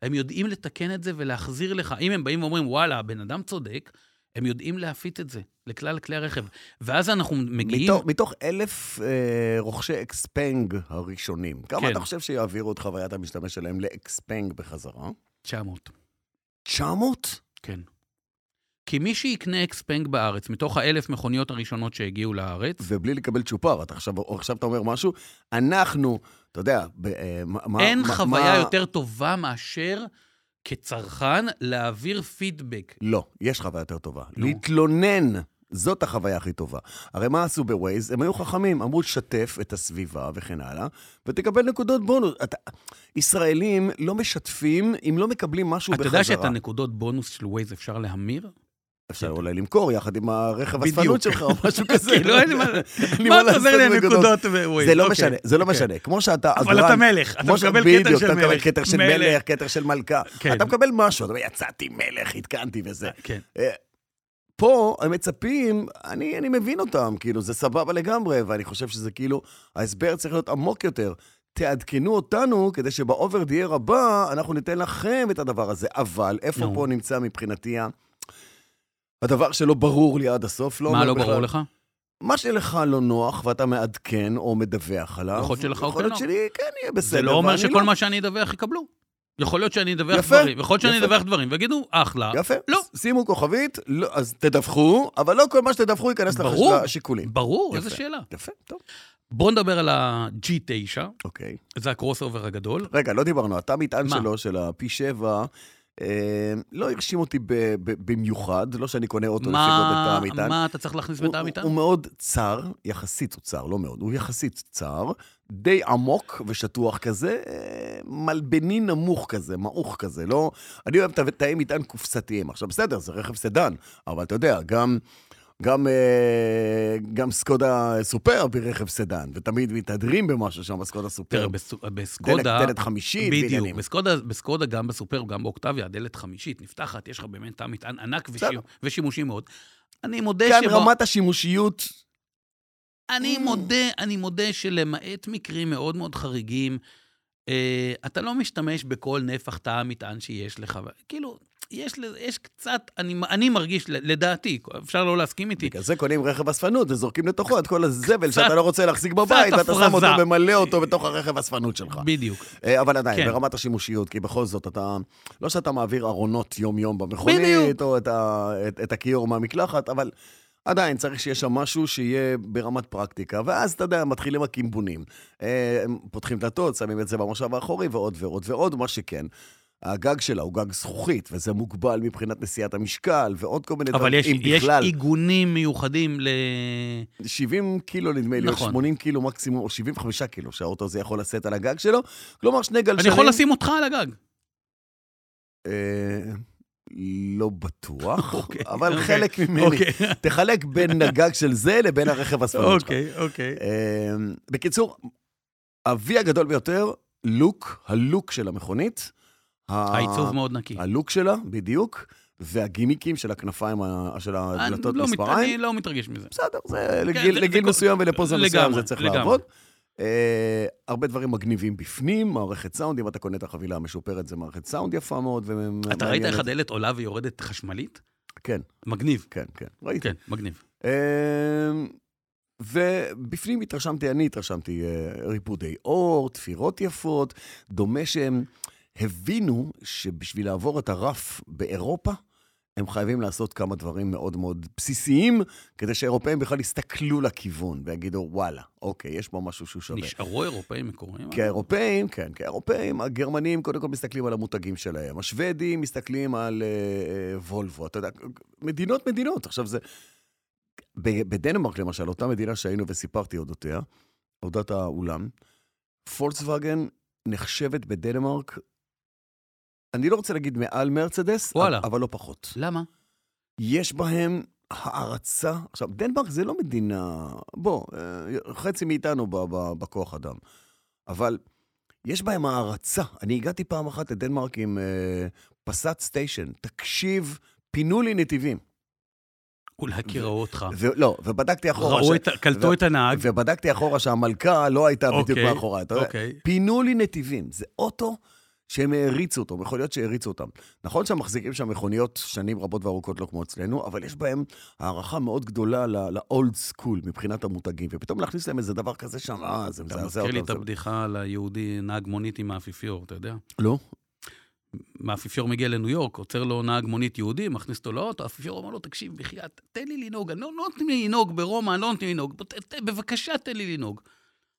[SPEAKER 2] הם יודעים לתקן את זה ולהחזיר לך. אם הם באים ואומרים, וואלה, הבן אדם צודק, הם יודעים להפיץ את זה לכלל כלי הרכב. ואז אנחנו מגיעים...
[SPEAKER 3] מתוך- מתוך אלף אה, רוכשי אקספנג הראשונים, כמה
[SPEAKER 2] כן.
[SPEAKER 3] אתה חושב שיעבירו את חוויית המשתמש שלהם לאקספנג בחזרה?
[SPEAKER 2] 900,
[SPEAKER 3] 900?
[SPEAKER 2] כן. כי מי שיקנה אקספנג בארץ, מתוך האלף מכוניות הראשונות שהגיעו לארץ,
[SPEAKER 3] ובלי לקבל צ'ופר, אתה עכשיו, עכשיו אתה אומר משהו, אנחנו, אתה יודע, ב, אה, מה- מה...
[SPEAKER 2] אין
[SPEAKER 3] מה-
[SPEAKER 2] חוויה
[SPEAKER 3] מה-
[SPEAKER 2] יותר טובה מאשר כצרכן להעביר פידבק.
[SPEAKER 3] לא, יש חוויה יותר טובה.
[SPEAKER 2] נו.
[SPEAKER 3] להתלונן, זאת החוויה הכי טובה. הרי מה עשו בווייז? הם היו חכמים, אמרו שתף את הסביבה וכן הלאה, ותקבל נקודות בונוס. אתה... ישראלים לא משתפים אם לא מקבלים משהו
[SPEAKER 2] אתה
[SPEAKER 3] בחזרה.
[SPEAKER 2] יודע שאת הנקודות בונוס של ווייז אפשר להמיר?
[SPEAKER 3] אפשר אולי למכור יחד עם הרכב
[SPEAKER 2] בדיוק.
[SPEAKER 3] הספנות שלך או משהו כזה. לא
[SPEAKER 2] כאילו, אין לי מה-
[SPEAKER 3] אין לי
[SPEAKER 2] מה אתה
[SPEAKER 3] לעשות
[SPEAKER 2] עוזר לי
[SPEAKER 3] עם
[SPEAKER 2] הנקודות בווייז?
[SPEAKER 3] זה לא
[SPEAKER 2] אוקיי.
[SPEAKER 3] משנה, זה לא
[SPEAKER 2] אוקיי.
[SPEAKER 3] משנה. כמו שאתה
[SPEAKER 2] אבל אתה מלך, אתה
[SPEAKER 3] כמו ש-
[SPEAKER 2] מקבל כתר
[SPEAKER 3] בדיוק,
[SPEAKER 2] של
[SPEAKER 3] אתה מקבל
[SPEAKER 2] מלך.
[SPEAKER 3] כתר של
[SPEAKER 2] מלך.
[SPEAKER 3] מלך, כתר של מלכה.
[SPEAKER 2] כן.
[SPEAKER 3] אתה מקבל משהו, אתה אומר, יצאתי מלך, עדכנתי וזה.
[SPEAKER 2] כן.
[SPEAKER 3] אה, פה הם מצפים, אני, אני מבין אותם, כאילו, זה סבבה לגמרי, ואני חושב שזה כאילו, ההסבר צריך להיות עמוק יותר. תעדכנו אותנו כדי שבאובר דייר הבא, אנחנו ניתן לכם את הדבר הזה. אבל איפה
[SPEAKER 2] נו.
[SPEAKER 3] פה נמצא מבחינתי ה- הדבר שלא ברור לי עד הסוף?
[SPEAKER 2] מה
[SPEAKER 3] אומר
[SPEAKER 2] לא
[SPEAKER 3] בכלל-
[SPEAKER 2] ברור לך?
[SPEAKER 3] מה שלך לא נוח ואתה מעדכן או מדווח עליו,
[SPEAKER 2] יכול להיות שלך
[SPEAKER 3] יכול
[SPEAKER 2] אוקיי
[SPEAKER 3] להיות
[SPEAKER 2] לא.
[SPEAKER 3] שלי כן יהיה בסדר.
[SPEAKER 2] זה לא אומר
[SPEAKER 3] ואני
[SPEAKER 2] שכל מה שאני אדווח יקבלו. יכול להיות שאני אדווח
[SPEAKER 3] יפה,
[SPEAKER 2] דברים, יכול להיות שאני
[SPEAKER 3] יפה.
[SPEAKER 2] אדווח דברים, ויגידו, אחלה.
[SPEAKER 3] יפה,
[SPEAKER 2] לא.
[SPEAKER 3] ש- שימו כוכבית, לא, אז תדווחו, אבל לא כל מה שתדווחו ייכנס לך
[SPEAKER 2] ברור.
[SPEAKER 3] לשיקולים.
[SPEAKER 2] ברור,
[SPEAKER 3] יפה.
[SPEAKER 2] איזה שאלה.
[SPEAKER 3] יפה, טוב.
[SPEAKER 2] בואו נדבר על ה-G9,
[SPEAKER 3] אוקיי.
[SPEAKER 2] זה הקרוס אובר הגדול.
[SPEAKER 3] רגע, לא דיברנו. אתה מטען
[SPEAKER 2] מה?
[SPEAKER 3] שלו, של הפי שבע, אה, לא הרשים אותי ב- ב- במיוחד, לא שאני קונה אוטו לפי גודל תא
[SPEAKER 2] מה,
[SPEAKER 3] המטען.
[SPEAKER 2] מה אתה צריך להכניס
[SPEAKER 3] הוא-
[SPEAKER 2] בתא המטען?
[SPEAKER 3] הוא הוא מאוד צר, יחסית הוא צר, לא מאוד, הוא יחסית צר, די עמוק ושטוח כזה, אה, מלבני נמוך כזה, מעוך כזה, לא... אני אוהב את תאי מטען קופסתיים. עכשיו, בסדר, זה רכב סדן, אבל אתה יודע, גם... גם, אה, גם סקודה סופרב היא רכב סדן, ותמיד מתהדרים במשהו שם בסקודה
[SPEAKER 2] תראה,
[SPEAKER 3] סופרב.
[SPEAKER 2] בסו-
[SPEAKER 3] דלת,
[SPEAKER 2] בסקודה...
[SPEAKER 3] דלת חמישית,
[SPEAKER 2] בדיוק,
[SPEAKER 3] בעניינים.
[SPEAKER 2] בסקודה, בסקודה גם בסופר, גם באוקטביה, הדלת חמישית נפתחת, יש לך באמת תא מטען ענק ושימ-
[SPEAKER 3] בסדר.
[SPEAKER 2] ושימושי מאוד. אני מודה
[SPEAKER 3] כאן
[SPEAKER 2] שבא-
[SPEAKER 3] רמת השימושיות,
[SPEAKER 2] אני
[SPEAKER 3] Mm.
[SPEAKER 2] מודה, אני מודה שלמעט מקרים מאוד מאוד חריגים, אה, אתה לא משתמש בכל נפח תא המטען שיש לך. כאילו, יש, לזה- יש קצת, אני, אני מרגיש, לדעתי, אפשר לא להסכים איתי,
[SPEAKER 3] בגלל זה קונים רכב אספנות וזורקים לתוכו את כל הזבל שאתה לא רוצה להחזיק בבית,
[SPEAKER 2] קצת
[SPEAKER 3] ואתה שם אותו
[SPEAKER 2] הפרזה.
[SPEAKER 3] ומלא אותו בתוך הרכב אספנות שלך.
[SPEAKER 2] בדיוק.
[SPEAKER 3] אה, אבל עדיין,
[SPEAKER 2] כן.
[SPEAKER 3] ברמת השימושיות, כי בכל זאת אתה... לא שאתה מעביר ארונות יום-יום במכונית,
[SPEAKER 2] בדיוק.
[SPEAKER 3] או את ה- את את הכיור מהמקלחת, אבל עדיין צריך שיהיה שם משהו שיהיה ברמת פרקטיקה. ואז, אתה יודע, מתחילים הקימבונים. אה, הם פותחים דלתות, שמים את זה במושב האחורי, ועוד ועוד ועוד, מה שכן. הגג שלה הוא גג זכוכית, וזה מוגבל מבחינת נשיאת המשקל, ועוד כל מיני
[SPEAKER 2] אבל
[SPEAKER 3] דברים,
[SPEAKER 2] יש,
[SPEAKER 3] אם
[SPEAKER 2] יש
[SPEAKER 3] בכלל.
[SPEAKER 2] עיגונים מיוחדים ל...
[SPEAKER 3] 70 קילו נדמה לי, או
[SPEAKER 2] נכון.
[SPEAKER 3] 80 קילו מקסימום, או 75 קילו שהאוטו הזה יכול לשאת על הגג שלו. כלומר, שני גלשנים...
[SPEAKER 2] אני יכול לשים אותך על הגג.
[SPEAKER 3] אה, לא בטוח,
[SPEAKER 2] אוקיי,
[SPEAKER 3] אבל
[SPEAKER 2] אוקיי,
[SPEAKER 3] חלק ממני.
[SPEAKER 2] אוקיי,
[SPEAKER 3] תחלק בין הגג של זה לבין הרכב הספנות שלך.
[SPEAKER 2] אוקיי, אוקיי.
[SPEAKER 3] אה, בקיצור, אבי הגדול ביותר, לוק, הלוק של המכונית. ה-
[SPEAKER 2] העיצוב מאוד נקי.
[SPEAKER 3] הלוק שלה, בדיוק, והגימיקים של הכנפיים, ה- של
[SPEAKER 2] אני
[SPEAKER 3] הדלתות
[SPEAKER 2] לא מת-
[SPEAKER 3] מספריים.
[SPEAKER 2] אני לא מתרגש מזה.
[SPEAKER 3] בסדר, זה
[SPEAKER 2] זה-
[SPEAKER 3] לגיל,
[SPEAKER 2] זה
[SPEAKER 3] לגיל
[SPEAKER 2] כל-
[SPEAKER 3] מסוים ולפוזה מסוים
[SPEAKER 2] לגמרי,
[SPEAKER 3] זה צריך
[SPEAKER 2] לגמרי.
[SPEAKER 3] לעבוד. Uh, הרבה דברים מגניבים בפנים, מערכת סאונד, אם אתה קונה את החבילה המשופרת, זה מערכת סאונד יפה מאוד. ומעניינת.
[SPEAKER 2] אתה ראית איך הדלת עולה ויורדת חשמלית?
[SPEAKER 3] כן,
[SPEAKER 2] מגניב.
[SPEAKER 3] כן, כן, ראיתי.
[SPEAKER 2] כן, מגניב.
[SPEAKER 3] אמ, ובפנים התרשמתי, אני התרשמתי, אה, ריפודי אור, תפירות יפות, דומה שהם הבינו שבשביל לעבור את הרף באירופה, הם חייבים לעשות כמה דברים מאוד מאוד בסיסיים, כדי שהאירופאים בכלל יסתכלו לכיוון ויגידו, וואלה, אוקיי, יש פה משהו שהוא שווה.
[SPEAKER 2] נשארו אירופאים מקוריים?
[SPEAKER 3] כי האירופאים, כן, כי האירופאים, הגרמנים קודם כל מסתכלים על המותגים שלהם, השוודים מסתכלים על אה, אה, וולבו, אתה יודע, מדינות מדינות. עכשיו זה... ב- בדנמרק למשל, אותה מדינה שהיינו וסיפרתי אודותיה, אודות האולם, פולקסווגן נחשבת בדנמרק, אני לא רוצה להגיד מעל מרצדס,
[SPEAKER 2] וואלה.
[SPEAKER 3] אבל לא פחות.
[SPEAKER 2] למה?
[SPEAKER 3] יש בהם הערצה. עכשיו, דנמרק זה לא מדינה... בוא, אה, חצי מאיתנו ב- ב- בכוח אדם. אבל יש בהם הערצה. אני הגעתי פעם אחת לדנמרק עם אה, פסאט סטיישן. תקשיב, פינו לי נתיבים.
[SPEAKER 2] אולי כי ראו אותך.
[SPEAKER 3] ו- לא, ובדקתי אחורה...
[SPEAKER 2] אה. ראו
[SPEAKER 3] ש-
[SPEAKER 2] את ה- קלטו
[SPEAKER 3] ו-
[SPEAKER 2] את הנהג.
[SPEAKER 3] ובדקתי אחורה שהמלכה לא הייתה בדיוק
[SPEAKER 2] אוקיי,
[SPEAKER 3] מאחורי. אתה יודע,
[SPEAKER 2] אוקיי.
[SPEAKER 3] פינו לי נתיבים. זה אוטו שהם העריצו אותו, יכול להיות שהעריצו אותם. נכון שהם מחזיקים שם מכוניות שנים רבות וארוכות לא כמו אצלנו, אבל יש בהם הערכה מאוד גדולה לאולד סקול מבחינת המותגים, ופתאום להכניס להם איזה דבר כזה שם, אה, זה
[SPEAKER 2] אתה
[SPEAKER 3] מזעזע
[SPEAKER 2] מזכיר לי את
[SPEAKER 3] אותם. זה-
[SPEAKER 2] הבדיחה על היהודי נהג מונית עם האפיפיור, אתה יודע?
[SPEAKER 3] לא?
[SPEAKER 2] מהאפיפיור מגיע לניו יורק, עוצר לו נהג מונית יהודי, מכניס אותו לאוטו, האפיפיור אומר לו, תקשיב, בחייאת, תן לי לנהוג, אני לא לא נותנים לי לנהוג ברומא, אני לא נותנים לי לנהוג, בוא, ת- ת- בבקשה תן לי לנהוג.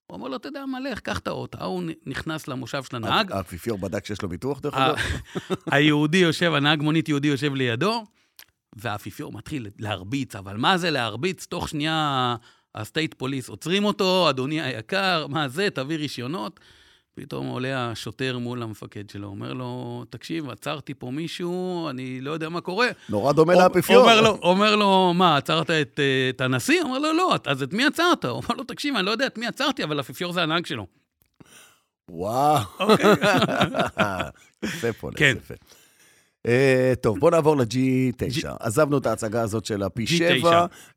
[SPEAKER 2] הוא אומר לו, אתה יודע מה, לך, קח את האוטו. ההוא נ- נכנס למושב של הנהג,
[SPEAKER 3] האפיפיור בדק שיש לו ביטוח דרך
[SPEAKER 2] אה.
[SPEAKER 3] אגב?
[SPEAKER 2] ה- היהודי יושב, הנהג מונית יהודי יושב לידו, והאפיפיור מתחיל להרביץ, אבל מה זה להרביץ? תוך שנייה הסטייט פוליס עוצרים אותו, אדוני היקר, מה זה, תביא רישיונות. פתאום עולה השוטר מול המפקד שלו, אומר לו, תקשיב, עצרתי פה מישהו, אני לא יודע מה קורה.
[SPEAKER 3] נורא דומה
[SPEAKER 2] אומר
[SPEAKER 3] לאפיפיור.
[SPEAKER 2] לו, אומר לו, מה, עצרת את, אה, את הנשיא? אומר לו, לא, אז את מי עצרת? הוא אומר לו, תקשיב, אני לא יודע את מי עצרתי, אבל האפיפיור זה הנהג שלו.
[SPEAKER 3] וואו. יפה פה,
[SPEAKER 2] אוקיי. כן.
[SPEAKER 3] יפה. אה, טוב, בוא נעבור ל-G9. עזבנו את ההצגה הזאת של ה-P7,
[SPEAKER 2] G9.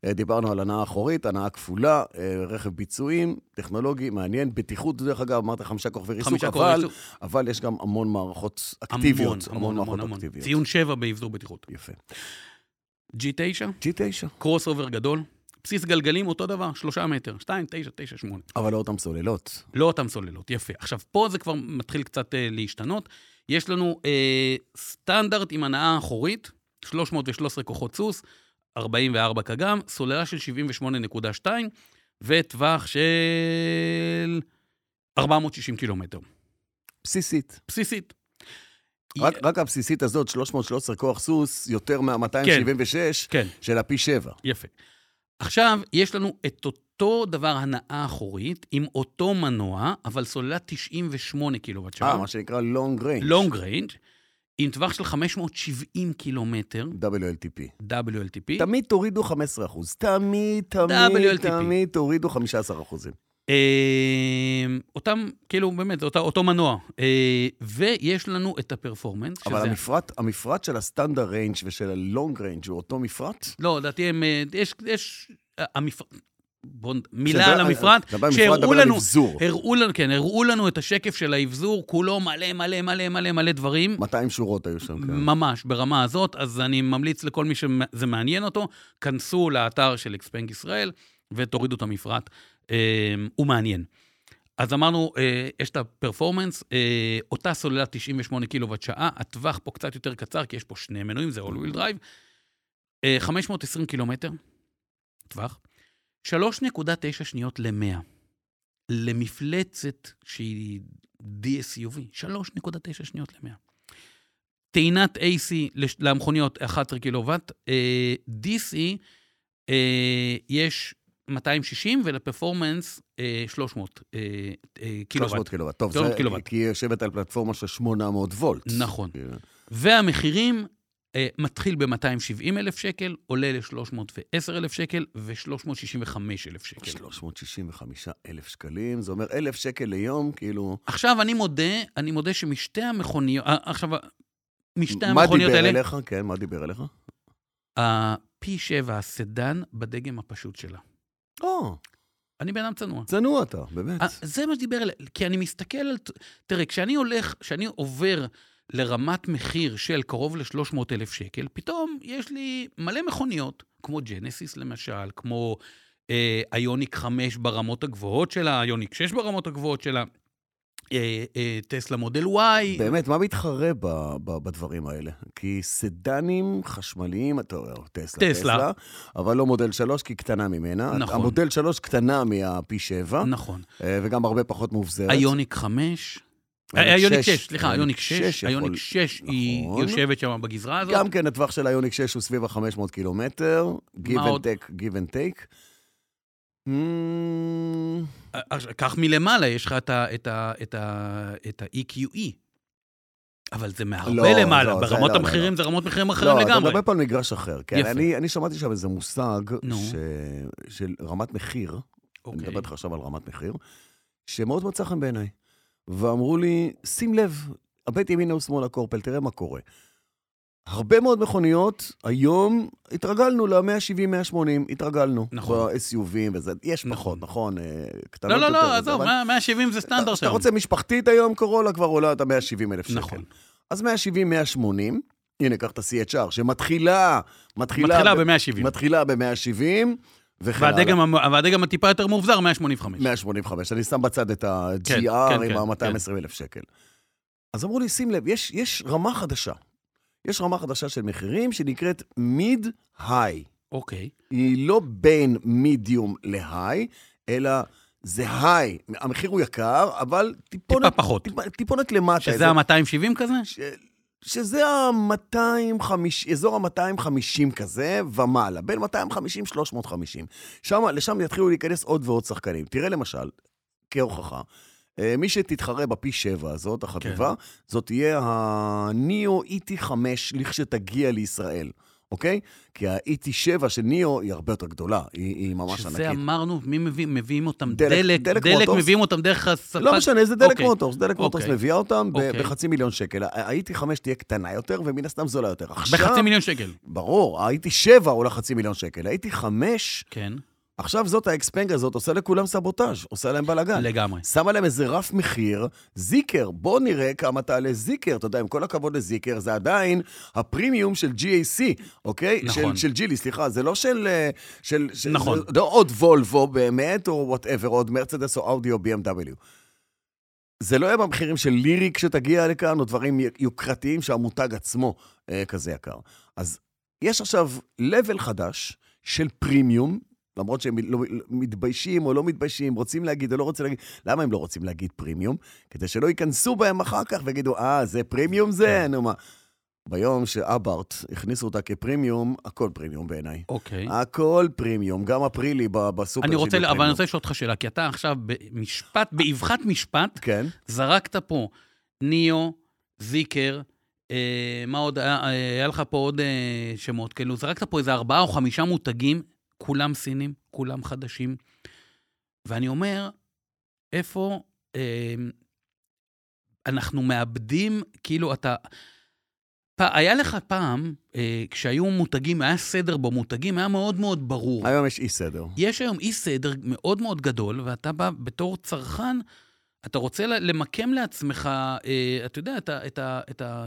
[SPEAKER 3] אה, דיברנו על הנאה אחורית, הנאה כפולה, אה, רכב ביצועים, טכנולוגי, מעניין, בטיחות, דרך אגב, אמרת חמישה כוכבי ריסוק,
[SPEAKER 2] חמישה כוכבי
[SPEAKER 3] אבל-
[SPEAKER 2] ריסוק.
[SPEAKER 3] אבל יש גם המון מערכות
[SPEAKER 2] המון,
[SPEAKER 3] אקטיביות.
[SPEAKER 2] המון, המון, המון.
[SPEAKER 3] אקטיביות.
[SPEAKER 2] ציון 7 באבזור בטיחות.
[SPEAKER 3] יפה.
[SPEAKER 2] G9,
[SPEAKER 3] G9,
[SPEAKER 2] קרוס אובר גדול, בסיס גלגלים אותו דבר, שלושה מטר, שתיים, תשע, תשע, שמונה.
[SPEAKER 3] אבל לא אותן סוללות.
[SPEAKER 2] לא אותם סוללות, יפה. עכשיו, פה זה כבר מתחיל קצת אה, להשתנות. יש לנו אה, סטנדרט עם הנאה אחורית, 313 כוחות סוס, 44 כגם, סוללה של 78.2, וטווח של 460 קילומטר.
[SPEAKER 3] בסיסית.
[SPEAKER 2] בסיסית.
[SPEAKER 3] רק, רק הבסיסית הזאת, 313 כוח סוס, יותר מה-276
[SPEAKER 2] כן.
[SPEAKER 3] של הפי 7.
[SPEAKER 2] יפה. עכשיו, יש לנו את אותו דבר הנעה אחורית, עם אותו מנוע, אבל סוללת 98 קילוואט
[SPEAKER 3] אה,
[SPEAKER 2] שעה,
[SPEAKER 3] מה שנקרא long range.
[SPEAKER 2] לונג ריינג', עם טווח של 570 קילומטר,
[SPEAKER 3] WLTP.
[SPEAKER 2] WLTP.
[SPEAKER 3] תמיד תורידו 15 אחוז. תמיד, תמיד,
[SPEAKER 2] WLTP.
[SPEAKER 3] תמיד תורידו 15 אחוזים.
[SPEAKER 2] אה, אותם, כאילו, באמת, זה אותה- אותו מנוע. אה, ויש לנו את הפרפורמנס,
[SPEAKER 3] אבל המפרט, המפרט של הסטנדר ריינג' ושל הלונג ריינג' הוא אותו מפרט?
[SPEAKER 2] לא, לדעתי הם... אה, יש... יש... אה, המפרט... בואו, מילה
[SPEAKER 3] שזה-
[SPEAKER 2] על המפרט,
[SPEAKER 3] דבר על המפרט,
[SPEAKER 2] שהראו
[SPEAKER 3] דבר על
[SPEAKER 2] לנו,
[SPEAKER 3] האבזור.
[SPEAKER 2] הראו לנו, כן, הראו לנו את השקף של האבזור, כולו מלא מלא מלא מלא מלא דברים,
[SPEAKER 3] 200 שורות היו שם, כן.
[SPEAKER 2] ממש ברמה הזאת, אז אני ממליץ לכל מי שזה מעניין אותו, כנסו לאתר של אקספנק ישראל ותורידו את המפרט, אה, הוא מעניין. אז אמרנו, אה, יש את הפרפורמנס, אה, אותה סוללה 98 קילוואט שעה, הטווח פה קצת יותר קצר, כי יש פה שני מנועים, זה all-wheel drive. אה, 520 קילומטר, טווח, 3.9 שניות ל-100. למפלצת שהיא DSUV, 3.9 שניות ל-100. טעינת AC לש- למכוניות 11 קילוואט, אה, DC אה, יש 260 ולפרפורמנס אה, 300 אה, אה, קילוואט.
[SPEAKER 3] 300 קילוואט. טוב,
[SPEAKER 2] 300
[SPEAKER 3] זה
[SPEAKER 2] קילוואט.
[SPEAKER 3] כי היא יושבת על פלטפורמה של 800 וולט.
[SPEAKER 2] נכון.
[SPEAKER 3] כן.
[SPEAKER 2] והמחירים אה, מתחיל ב-270 אלף שקל, עולה ל-310 אלף שקל ו-365 אלף שקל.
[SPEAKER 3] 365 אלף שקלים, זה אומר אלף שקל ליום, כאילו...
[SPEAKER 2] עכשיו, אני מודה, אני מודה שמשתי המכוניות, אה, עכשיו, משתי
[SPEAKER 3] מה
[SPEAKER 2] המכוניות
[SPEAKER 3] דיבר
[SPEAKER 2] האלה,
[SPEAKER 3] אליך? כן, מה דיבר אליך?
[SPEAKER 2] ה-P7, הסדן, בדגם הפשוט שלה.
[SPEAKER 3] או,
[SPEAKER 2] אני בן אדם צנוע.
[SPEAKER 3] צנוע אתה, באמת.
[SPEAKER 2] אה, זה מה שדיבר אליי, כי אני מסתכל על... ת- תראה, כשאני הולך, כשאני עובר לרמת מחיר של קרוב ל-300 אלף שקל, פתאום יש לי מלא מכוניות, כמו ג'נסיס למשל, כמו אה, איוניק 5 ברמות הגבוהות שלה, איוניק 6 ברמות הגבוהות שלה, אה, אה, טסלה מודל Y.
[SPEAKER 3] באמת, מה מתחרה ב- ב- בדברים האלה? כי סדנים חשמליים, אתה רואה, טסלה,
[SPEAKER 2] טסלה.
[SPEAKER 3] טסלה, אבל לא מודל 3, כי היא קטנה ממנה.
[SPEAKER 2] נכון.
[SPEAKER 3] המודל 3 קטנה מה-פי 7,
[SPEAKER 2] נכון.
[SPEAKER 3] וגם הרבה פחות מאובזרת.
[SPEAKER 2] איוניק 5.
[SPEAKER 3] איוניק
[SPEAKER 2] אה, איוניק
[SPEAKER 3] שש.
[SPEAKER 2] 6, סליחה,
[SPEAKER 3] איוניק
[SPEAKER 2] איוניק
[SPEAKER 3] שש
[SPEAKER 2] 6,
[SPEAKER 3] יכול-
[SPEAKER 2] איוניק 6 היא
[SPEAKER 3] נכון.
[SPEAKER 2] יושבת שם בגזרה הזאת.
[SPEAKER 3] גם כן, הטווח של היוניק 6 הוא סביב ה-500 קילומטר, give
[SPEAKER 2] מה
[SPEAKER 3] and
[SPEAKER 2] עוד?
[SPEAKER 3] take, give and take. Hmm,
[SPEAKER 2] אה, עכשיו, קח מלמעלה, יש לך את ה- את ה- את ה- את ה-EQE. אבל זה
[SPEAKER 3] לא,
[SPEAKER 2] מהרבה למעלה,
[SPEAKER 3] לא, זה
[SPEAKER 2] ברמות
[SPEAKER 3] לא, לא,
[SPEAKER 2] המחירים, זה רמות מחירים
[SPEAKER 3] לא,
[SPEAKER 2] אחרים
[SPEAKER 3] אתה
[SPEAKER 2] לגמרי.
[SPEAKER 3] מדבר פה על מגרש אחר. כן,
[SPEAKER 2] יפה.
[SPEAKER 3] אני, אני שמעתי שם איזה מושג
[SPEAKER 2] נו.
[SPEAKER 3] ש... של רמת מחיר, אני
[SPEAKER 2] אוקיי.
[SPEAKER 3] מדבר איתך עכשיו על רמת מחיר, שמאוד מצא חן בעיניי. ואמרו לי, שים לב, הבט ימינה ושמאלה קורפל, תראה מה קורה. הרבה מאוד מכוניות, היום התרגלנו ל-170-180, התרגלנו.
[SPEAKER 2] נכון.
[SPEAKER 3] ב-SUVים וזה, יש
[SPEAKER 2] נכון.
[SPEAKER 3] פחות, נכון? אה, קטנות
[SPEAKER 2] לא, לא,
[SPEAKER 3] יותר,
[SPEAKER 2] לא, עזוב,
[SPEAKER 3] אבל-
[SPEAKER 2] 170 זה סטנדרט
[SPEAKER 3] אתה
[SPEAKER 2] שם.
[SPEAKER 3] רוצה משפחתית היום, קורולה כבר עולה את ה-170 אלף שקל.
[SPEAKER 2] נכון.
[SPEAKER 3] אז 170, 180, הנה, קח את ה-CHR, שמתחילה, מתחילה...
[SPEAKER 2] מתחילה
[SPEAKER 3] ב-
[SPEAKER 2] ב-170.
[SPEAKER 3] מתחילה ב-170, וכן הלאה.
[SPEAKER 2] והדגם הטיפה יותר מאובזר, 185.
[SPEAKER 3] 185, אני שם בצד את ה-GR
[SPEAKER 2] כן, כן, כן,
[SPEAKER 3] עם ה-220 אלף שקל. אז אמרו לי, שים לב, יש, יש רמה חדשה. יש רמה חדשה של מחירים שנקראת mid-high.
[SPEAKER 2] אוקיי.
[SPEAKER 3] היא לא בין medium ל-high, אלא זה high. המחיר הוא יקר, אבל טיפונת...
[SPEAKER 2] טיפה פחות.
[SPEAKER 3] טיפ, טיפונת למטה. איזה-
[SPEAKER 2] שזה ה-270 כזה?
[SPEAKER 3] ש... שזה ה-250, אזור ה-250 כזה ומעלה, בין 250 350. שם, לשם יתחילו להיכנס עוד ועוד שחקנים. תראה למשל, כהוכחה, אה, מי שתתחרה בפי 7 הזאת, החביבה, כן. זאת תהיה הניאו ET5 לכשתגיע לישראל, אוקיי? כי ה-ET7 של ניאו היא הרבה יותר גדולה, היא, היא ממש
[SPEAKER 2] שזה
[SPEAKER 3] ענקית.
[SPEAKER 2] אמרנו, מי מביא? מביאים אותם
[SPEAKER 3] דלק-
[SPEAKER 2] דלק.
[SPEAKER 3] דלק
[SPEAKER 2] דלק
[SPEAKER 3] מוטוס?
[SPEAKER 2] מביאים אותם דרך הספק.
[SPEAKER 3] לא משנה, זה דלק
[SPEAKER 2] אוקיי.
[SPEAKER 3] מוטורס, דלק מוטורס
[SPEAKER 2] אוקיי.
[SPEAKER 3] מביאה אותם ב-
[SPEAKER 2] אוקיי.
[SPEAKER 3] בחצי מיליון שקל. ה-ET5 תהיה קטנה יותר, ומן הסתם זולה יותר. עכשיו...
[SPEAKER 2] בחצי מיליון שקל.
[SPEAKER 3] ברור, הייתי שבע עולה חצי מיליון שקל, הייתי חמש,
[SPEAKER 2] כן,
[SPEAKER 3] עכשיו זאת האקספנג הזאת עושה לכולם סבוטאז', עושה להם בלאגן.
[SPEAKER 2] לגמרי.
[SPEAKER 3] שמה להם איזה רף מחיר, זיקר, בוא נראה כמה תעלה זיקר. אתה יודע, עם כל הכבוד לזיקר, זה עדיין הפרימיום של GAC, אוקיי?
[SPEAKER 2] נכון.
[SPEAKER 3] של, של ג'ילי, סליחה, זה לא של... אה, של, של
[SPEAKER 2] נכון.
[SPEAKER 3] זה, לא עוד וולבו באמת, או וואטאבר, עוד מרצדס או אאודי או BMW. זה לא יהיה במחירים של לירי כשתגיע לכאן, או דברים יוקרתיים שהמותג עצמו אה, כזה יקר. אז יש עכשיו level חדש של פרימיום למרות שהם לא, מתביישים או לא מתביישים, רוצים להגיד או לא רוצים להגיד. למה הם לא רוצים להגיד פרימיום? כדי שלא ייכנסו בהם אחר כך ויגידו, אה, זה פרימיום
[SPEAKER 2] כן.
[SPEAKER 3] זה, נו מה. ביום שאברט הכניסו אותה כפרימיום, הכל פרימיום בעיניי.
[SPEAKER 2] אוקיי.
[SPEAKER 3] הכל פרימיום, גם הפרילי ב- בסופר
[SPEAKER 2] אני
[SPEAKER 3] שלי
[SPEAKER 2] רוצה, אבל אני
[SPEAKER 3] פרימיום.
[SPEAKER 2] רוצה לשאול אותך שאלה, כי אתה עכשיו במשפט, באבחת משפט,
[SPEAKER 3] כן,
[SPEAKER 2] זרקת פה ניאו, זיקר, אה, מה עוד, היה אה, היה לך פה עוד אה, שמות, כאילו, זרקת פה איזה ארבעה או חמישה מותגים, כולם סינים, כולם חדשים. ואני אומר, איפה אה, אנחנו מאבדים, כאילו, אתה... פ... היה לך פעם, אה, כשהיו מותגים, היה סדר במותגים, היה מאוד מאוד ברור.
[SPEAKER 3] היום יש אי סדר.
[SPEAKER 2] יש היום אי סדר מאוד מאוד גדול, ואתה בא בתור צרכן, אתה רוצה ל- למקם לעצמך, אה, אתה יודע, את, ה, את, ה, את, ה,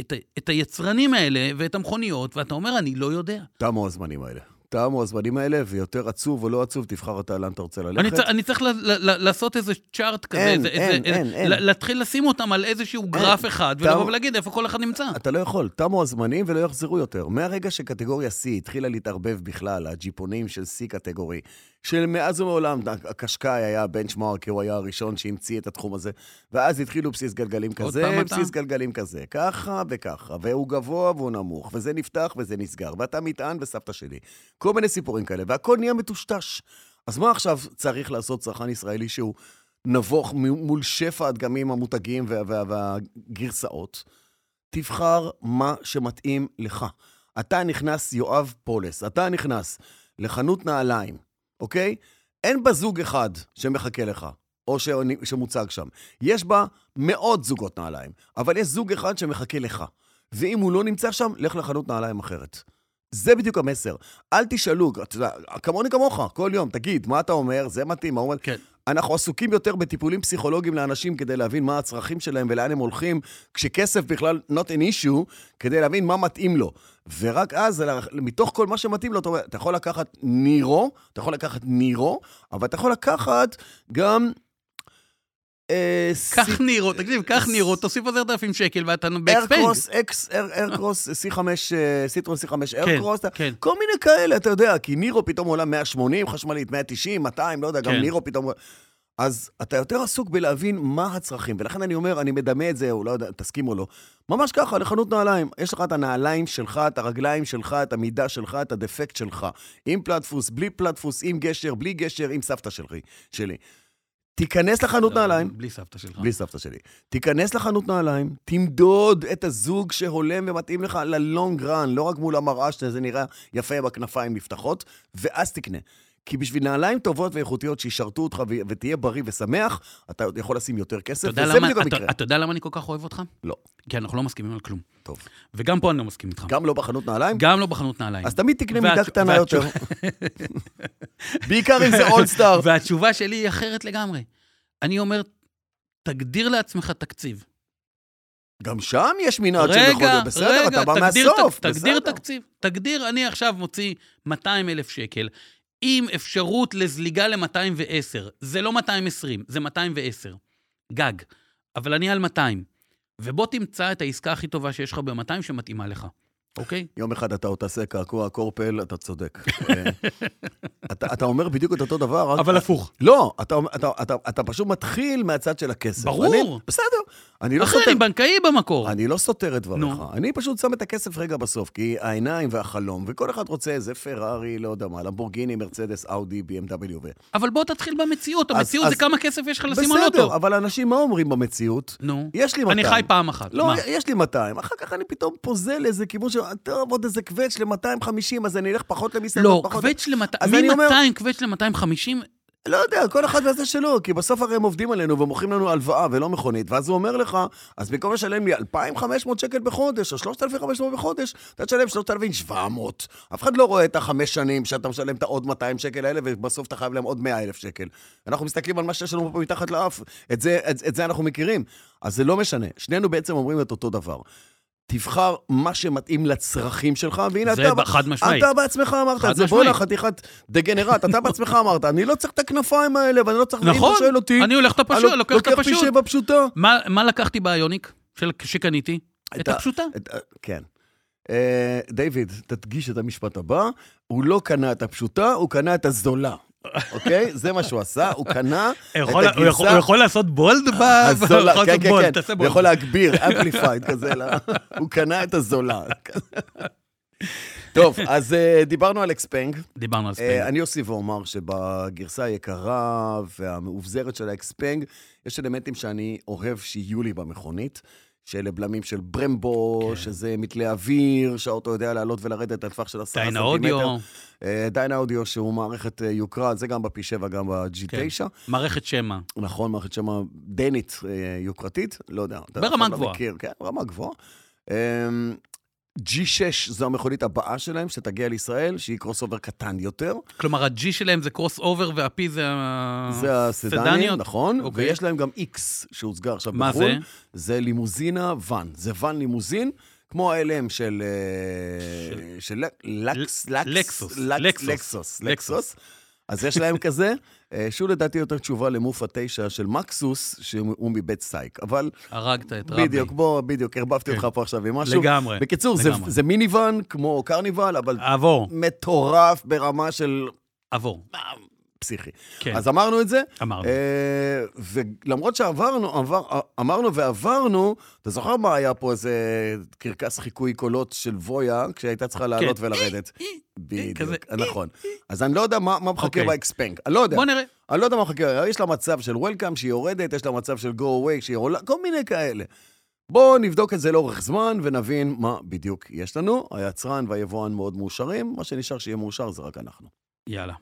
[SPEAKER 2] את, ה, את היצרנים האלה ואת המכוניות, ואתה אומר, אני לא יודע.
[SPEAKER 3] תמו הזמנים האלה. תמו הזמנים האלה, ויותר עצוב או לא עצוב, תבחר אתה לאן אתה רוצה ללכת.
[SPEAKER 2] אני, צר, אני צריך ל, ל, ל, לעשות איזה צ'ארט כזה,
[SPEAKER 3] אין,
[SPEAKER 2] איזה,
[SPEAKER 3] אין,
[SPEAKER 2] איזה,
[SPEAKER 3] אין,
[SPEAKER 2] איזה,
[SPEAKER 3] אין.
[SPEAKER 2] ל- להתחיל לשים אותם על איזשהו גרף אחד,
[SPEAKER 3] אתה-
[SPEAKER 2] ולבוא ולהגיד איפה כל אחד נמצא.
[SPEAKER 3] אתה לא יכול, תמו הזמנים ולא יחזרו יותר. מהרגע שקטגוריה C התחילה להתערבב בכלל, הג'יפונים של C קטגורי, שמאז ומעולם הקשקאי היה הבנצ'מארק, הוא היה הראשון שהמציא את התחום הזה, ואז התחילו בסיס גלגלים
[SPEAKER 2] עוד פעם
[SPEAKER 3] כזה,
[SPEAKER 2] אתה?
[SPEAKER 3] בסיס גלגלים כזה, ככה וככה, והוא גבוה והוא נמוך, וזה נפתח וזה נסגר, ואתה מטען וסבתא שלי. כל מיני סיפורים כאלה, והכל נהיה מטושטש. אז מה עכשיו צריך לעשות צרכן ישראלי שהוא נבוך מ- מול שפע הדגמים המותגים וה- וה- והגרסאות? תבחר מה שמתאים לך. אתה נכנס, יואב פולס, אתה נכנס לחנות נעליים, אוקיי? אין בה זוג אחד שמחכה לך, או ש... שמוצג שם. יש בה מאות זוגות נעליים, אבל יש זוג אחד שמחכה לך. ואם הוא לא נמצא שם, לך לחנות נעליים אחרת. זה בדיוק המסר. אל תשאלו, אתה יודע, כמוני כמוך, כל יום, תגיד, מה אתה אומר, זה מתאים, מה הוא אומר.
[SPEAKER 2] כן.
[SPEAKER 3] אנחנו עסוקים יותר בטיפולים פסיכולוגיים לאנשים כדי להבין מה הצרכים שלהם ולאן הם הולכים, כשכסף בכלל not an issue, כדי להבין מה מתאים לו. ורק אז, מתוך כל מה שמתאים לו, אתה אומר, אתה יכול לקחת נירו, אתה יכול לקחת נירו, אבל אתה יכול לקחת גם... אה,
[SPEAKER 2] קח
[SPEAKER 3] ס-
[SPEAKER 2] נירו, תקשיב, קח נירו, תוסיף עוד 10,000 שקל ואתה בהקפנג.
[SPEAKER 3] איירקרוס, אקס, אר- איירקרוס, C5, אה, סיטרון C5 איירקרוס, אתה-
[SPEAKER 2] כן.
[SPEAKER 3] כל מיני כאלה, אתה יודע, כי נירו פתאום עולה 180 חשמלית, 190, 200, לא יודע, גם
[SPEAKER 2] כן.
[SPEAKER 3] נירו פתאום... עולה. אז אתה יותר עסוק בלהבין מה הצרכים, ולכן אני אומר, אני מדמה את זה, או לא יודע, תסכים או לא. ממש ככה, לחנות נעליים. יש לך את הנעליים שלך, את הרגליים שלך, את המידה שלך, את הדפקט שלך. עם פלטפוס, בלי פלטפוס, עם גשר, בלי גשר, עם סבתא שלי. שלי. תיכנס לחנות
[SPEAKER 2] לא,
[SPEAKER 3] נעליים,
[SPEAKER 2] בלי סבתא שלך.
[SPEAKER 3] בלי סבתא שלי. תיכנס לחנות נעליים, תמדוד את הזוג שהולם ומתאים לך ללונג רן, לא רק מול המראה שזה נראה יפה עם הכנפיים נפתחות, ואז תקנה. כי בשביל נעליים טובות ואיכותיות שישרתו אותך ו- ותהיה בריא ושמח, אתה יכול לשים יותר כסף,
[SPEAKER 2] אתה יודע
[SPEAKER 3] וזה
[SPEAKER 2] למה-
[SPEAKER 3] בדיוק
[SPEAKER 2] אתה-
[SPEAKER 3] המקרה.
[SPEAKER 2] אתה יודע למה אני כל כך אוהב אותך?
[SPEAKER 3] לא,
[SPEAKER 2] כי אנחנו לא מסכימים על כלום.
[SPEAKER 3] טוב.
[SPEAKER 2] וגם פה אני לא מסכים איתך.
[SPEAKER 3] גם לא בחנות נעליים?
[SPEAKER 2] גם לא בחנות נעליים.
[SPEAKER 3] אז תמיד תקנה
[SPEAKER 2] והתש-
[SPEAKER 3] מידה קטנה
[SPEAKER 2] והתש-
[SPEAKER 3] יותר. בעיקר אם זה אולסטאר.
[SPEAKER 2] והתשובה שלי היא אחרת לגמרי. אני אומר, תגדיר לעצמך תקציב.
[SPEAKER 3] גם שם יש מנעד של יכול
[SPEAKER 2] רגע,
[SPEAKER 3] להיות בסדר,
[SPEAKER 2] רגע,
[SPEAKER 3] אתה בא
[SPEAKER 2] תגדיר
[SPEAKER 3] מהסוף,
[SPEAKER 2] ת- תגדיר
[SPEAKER 3] בסדר.
[SPEAKER 2] תקציב. תגדיר, אני עכשיו מוציא 200 אלף שקל, עם אפשרות לזליגה ל-210. זה לא 220, זה 210. גג. אבל אני על 200. ובוא תמצא את העסקה הכי טובה שיש לך ב-200 שמתאימה לך, אוקיי?
[SPEAKER 3] יום אחד אתה עוד תעשה קעקוע קורפל, אתה צודק. אה, אתה, אתה אומר בדיוק את אותו דבר, רק...
[SPEAKER 2] הפוך.
[SPEAKER 3] לא, אתה, אתה, אתה, אתה פשוט מתחיל מהצד של הכסף.
[SPEAKER 2] ברור.
[SPEAKER 3] אני, בסדר. אני לא,
[SPEAKER 2] אחי,
[SPEAKER 3] סותר,
[SPEAKER 2] אני בנקאי במקור.
[SPEAKER 3] אני לא סותר את דבריך.
[SPEAKER 2] נו.
[SPEAKER 3] אני פשוט שם את הכסף רגע בסוף, כי העיניים והחלום, וכל אחד רוצה איזה פרארי, לא יודע מה, למבורגיני, מרצדס, אאודי, BMW. ו...
[SPEAKER 2] אבל בוא תתחיל במציאות.
[SPEAKER 3] אז-
[SPEAKER 2] המציאות זה
[SPEAKER 3] אז-
[SPEAKER 2] כמה כסף יש לך לשים על
[SPEAKER 3] בסדר,
[SPEAKER 2] אוטו.
[SPEAKER 3] אבל אנשים, מה אומרים במציאות?
[SPEAKER 2] נו.
[SPEAKER 3] יש לי 200.
[SPEAKER 2] אני חי פעם אחת.
[SPEAKER 3] לא,
[SPEAKER 2] מה?
[SPEAKER 3] יש לי 200. אחר כך אני פתאום פוזל לאיזה כיוון של, טוב, עוד איזה קווץ' ל-250, אז אני אלך פחות למסעדות.
[SPEAKER 2] לא,
[SPEAKER 3] פחות-
[SPEAKER 2] קווץ'
[SPEAKER 3] אז אני אומר-
[SPEAKER 2] ל-200, קווץ' ל-250,
[SPEAKER 3] לא יודע, כל אחד והזה שלו, כי בסוף הרי הם עובדים עלינו ומוכרים לנו הלוואה ולא מכונית, ואז הוא אומר לך, אז במקום לשלם לי 2,500 שקל בחודש, או 3,500 בחודש, אתה תשלם 3,700. אף אחד לא רואה את החמש שנים שאתה משלם את העוד 200 שקל האלה, ובסוף אתה חייב להם עוד 100,000 שקל. אנחנו מסתכלים על מה שיש לנו פה מתחת לאף, את זה, את, את זה אנחנו מכירים. אז זה לא משנה, שנינו בעצם אומרים את אותו דבר. תבחר מה שמתאים לצרכים שלך, והנה
[SPEAKER 2] זה
[SPEAKER 3] אתה...
[SPEAKER 2] חד משמעית.
[SPEAKER 3] אתה בעצמך אמרת
[SPEAKER 2] חד
[SPEAKER 3] את זה,
[SPEAKER 2] משמעית.
[SPEAKER 3] בואנה, חתיכת דגנרט, אתה בעצמך אמרת, אני לא צריך את הכנפיים האלה, ואני לא צריך... ואם אתה
[SPEAKER 2] נכון,
[SPEAKER 3] שואל אותי,
[SPEAKER 2] אני הולך את
[SPEAKER 3] אני
[SPEAKER 2] הפשוט, לוקח את
[SPEAKER 3] לוקח
[SPEAKER 2] הפשוט.
[SPEAKER 3] פישה בפשוטה.
[SPEAKER 2] מה- מה לקחתי באיוניק של- שקניתי?
[SPEAKER 3] את
[SPEAKER 2] את
[SPEAKER 3] ה-
[SPEAKER 2] הפשוטה.
[SPEAKER 3] את ה- כן. אה, דיוויד, תדגיש את המשפט הבא, הוא לא קנה את הפשוטה, הוא קנה את הזולה. אוקיי? זה מה שהוא עשה, הוא קנה את
[SPEAKER 2] יכול- הוא יכול- הוא
[SPEAKER 3] הגרסה
[SPEAKER 2] יכול לעשות בולד ב... הוא
[SPEAKER 3] הזולה.
[SPEAKER 2] יכול
[SPEAKER 3] כן,
[SPEAKER 2] לעשות
[SPEAKER 3] כן,
[SPEAKER 2] בולד,
[SPEAKER 3] כן.
[SPEAKER 2] תעשה
[SPEAKER 3] הוא
[SPEAKER 2] בולד.
[SPEAKER 3] יכול להגביר, אמפליפייד כזה, ל- הוא קנה את הזולה. טוב, אז אה, דיברנו על אקספנג.
[SPEAKER 2] דיברנו על
[SPEAKER 3] אה,
[SPEAKER 2] ספנג.
[SPEAKER 3] אני אוסיף ואומר שבגרסה היקרה והמאובזרת של האקספנג, יש אלמנטים שאני אוהב שיהיו לי במכונית, שאלה בלמים של ברמבו,
[SPEAKER 2] כן.
[SPEAKER 3] שזה מתלי אוויר, שהאוטו יודע לעלות ולרדת על טווח של עשרה
[SPEAKER 2] דיין
[SPEAKER 3] סנטימטר.
[SPEAKER 2] האודיו,
[SPEAKER 3] אה, דיין האודיו, שהוא מערכת אה, יוקרה, זה גם בפי 7, גם ב-G9.
[SPEAKER 2] מערכת שמע.
[SPEAKER 3] נכון, מערכת שמה דנית אה, יוקרתית, לא יודע. אתה
[SPEAKER 2] ברמה
[SPEAKER 3] אף פעם לא
[SPEAKER 2] גבוהה.
[SPEAKER 3] מכיר, כן, ברמה גבוהה. אמ, G6 זו המכונית הבאה שלהם, שתגיע לישראל, שהיא קרוס אובר קטן יותר.
[SPEAKER 2] כלומר, הג'י שלהם זה קרוס אובר והפי זה ה-
[SPEAKER 3] זה הסדנים,
[SPEAKER 2] אה, סדניות?
[SPEAKER 3] נכון?
[SPEAKER 2] אוקיי.
[SPEAKER 3] ויש להם גם X שהוצגר עכשיו בחו"ל.
[SPEAKER 2] מה זה?
[SPEAKER 3] זה לימוזינה ואן. זה ואן לימוזין, כמו ה-LM של... אה, של לקס...
[SPEAKER 2] ל-
[SPEAKER 3] לקס-
[SPEAKER 2] לקסוס.
[SPEAKER 3] לקס-
[SPEAKER 2] לקסוס.
[SPEAKER 3] לקסוס. לקסוס.
[SPEAKER 2] לקסוס.
[SPEAKER 3] אז יש להם כזה, אה, שהוא לדעתי יותר תשובה למוף התשע של מקסוס, שהוא מבית סייק. אבל
[SPEAKER 2] הרגת את רבי. כן.
[SPEAKER 3] בדיוק, בוא, בדיוק, הרבבתי אותך פה עכשיו עם משהו.
[SPEAKER 2] לגמרי.
[SPEAKER 3] בקיצור, זה-
[SPEAKER 2] לגמרי. אה.
[SPEAKER 3] זה מיניוון כמו קרניבל, אבל
[SPEAKER 2] עבור,
[SPEAKER 3] מטורף ברמה של אה,
[SPEAKER 2] עבור.
[SPEAKER 3] פסיכי.
[SPEAKER 2] כן,
[SPEAKER 3] אז אמרנו את זה.
[SPEAKER 2] אמרנו.
[SPEAKER 3] אה, ולמרות שעברנו, עבר, אמרנו ועברנו, אתה זוכר מה היה פה איזה קרקס חיקוי קולות של וויה, כשהייתה צריכה לעלות
[SPEAKER 2] כן.
[SPEAKER 3] ולרדת? בדיוק,
[SPEAKER 2] כזה.
[SPEAKER 3] נכון. אז אני לא יודע מה מה מחכה
[SPEAKER 2] אוקיי.
[SPEAKER 3] באקספנג, אני לא יודע.
[SPEAKER 2] בוא נראה.
[SPEAKER 3] אני לא יודע מה מחכה, יש לה מצב של וולקאם שהיא יורדת, יש לה מצב של go away שהיא עולה, כל מיני כאלה. בואו נבדוק את זה לאורך זמן ונבין מה בדיוק יש לנו. היצרן והיבואן מאוד מאושרים, מה שנשאר שיהיה מאושר זה רק אנחנו.
[SPEAKER 2] יאללה.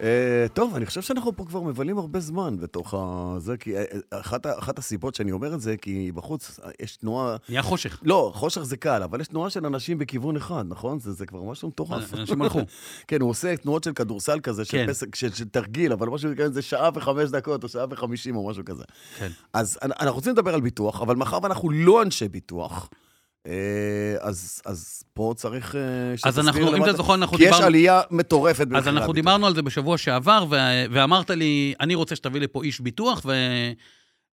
[SPEAKER 3] אה, טוב, אני חושב שאנחנו פה כבר מבלים הרבה זמן בתוך ה... זה, כי אה, אה, אחת, ה- אחת הסיבות שאני אומר את זה, כי בחוץ אה, יש תנועה...
[SPEAKER 2] נהיה חושך.
[SPEAKER 3] לא, חושך זה קל, אבל יש תנועה של אנשים בכיוון אחד, נכון? זה, זה כבר משהו מטורף.
[SPEAKER 2] אה, אנשים הלכו.
[SPEAKER 3] כן, הוא עושה תנועות של כדורסל כזה, של,
[SPEAKER 2] כן.
[SPEAKER 3] פסק, של, של תרגיל, אבל משהו כזה, זה שעה וחמש דקות, או שעה וחמישים, או משהו כזה.
[SPEAKER 2] כן.
[SPEAKER 3] אז אנ- אנחנו רוצים לדבר על ביטוח, אבל מאחר ואנחנו לא אנשי ביטוח, אה, אז, אז פה צריך אה,
[SPEAKER 2] אז אנחנו, אם
[SPEAKER 3] למה
[SPEAKER 2] אתה זוכר, אנחנו
[SPEAKER 3] כי יש
[SPEAKER 2] דיברנו...
[SPEAKER 3] עלייה מטורפת במחירי
[SPEAKER 2] אז אנחנו
[SPEAKER 3] הביטוח.
[SPEAKER 2] דיברנו על זה בשבוע שעבר, ו- ואמרת לי, אני רוצה שתביא לפה איש ביטוח, ו...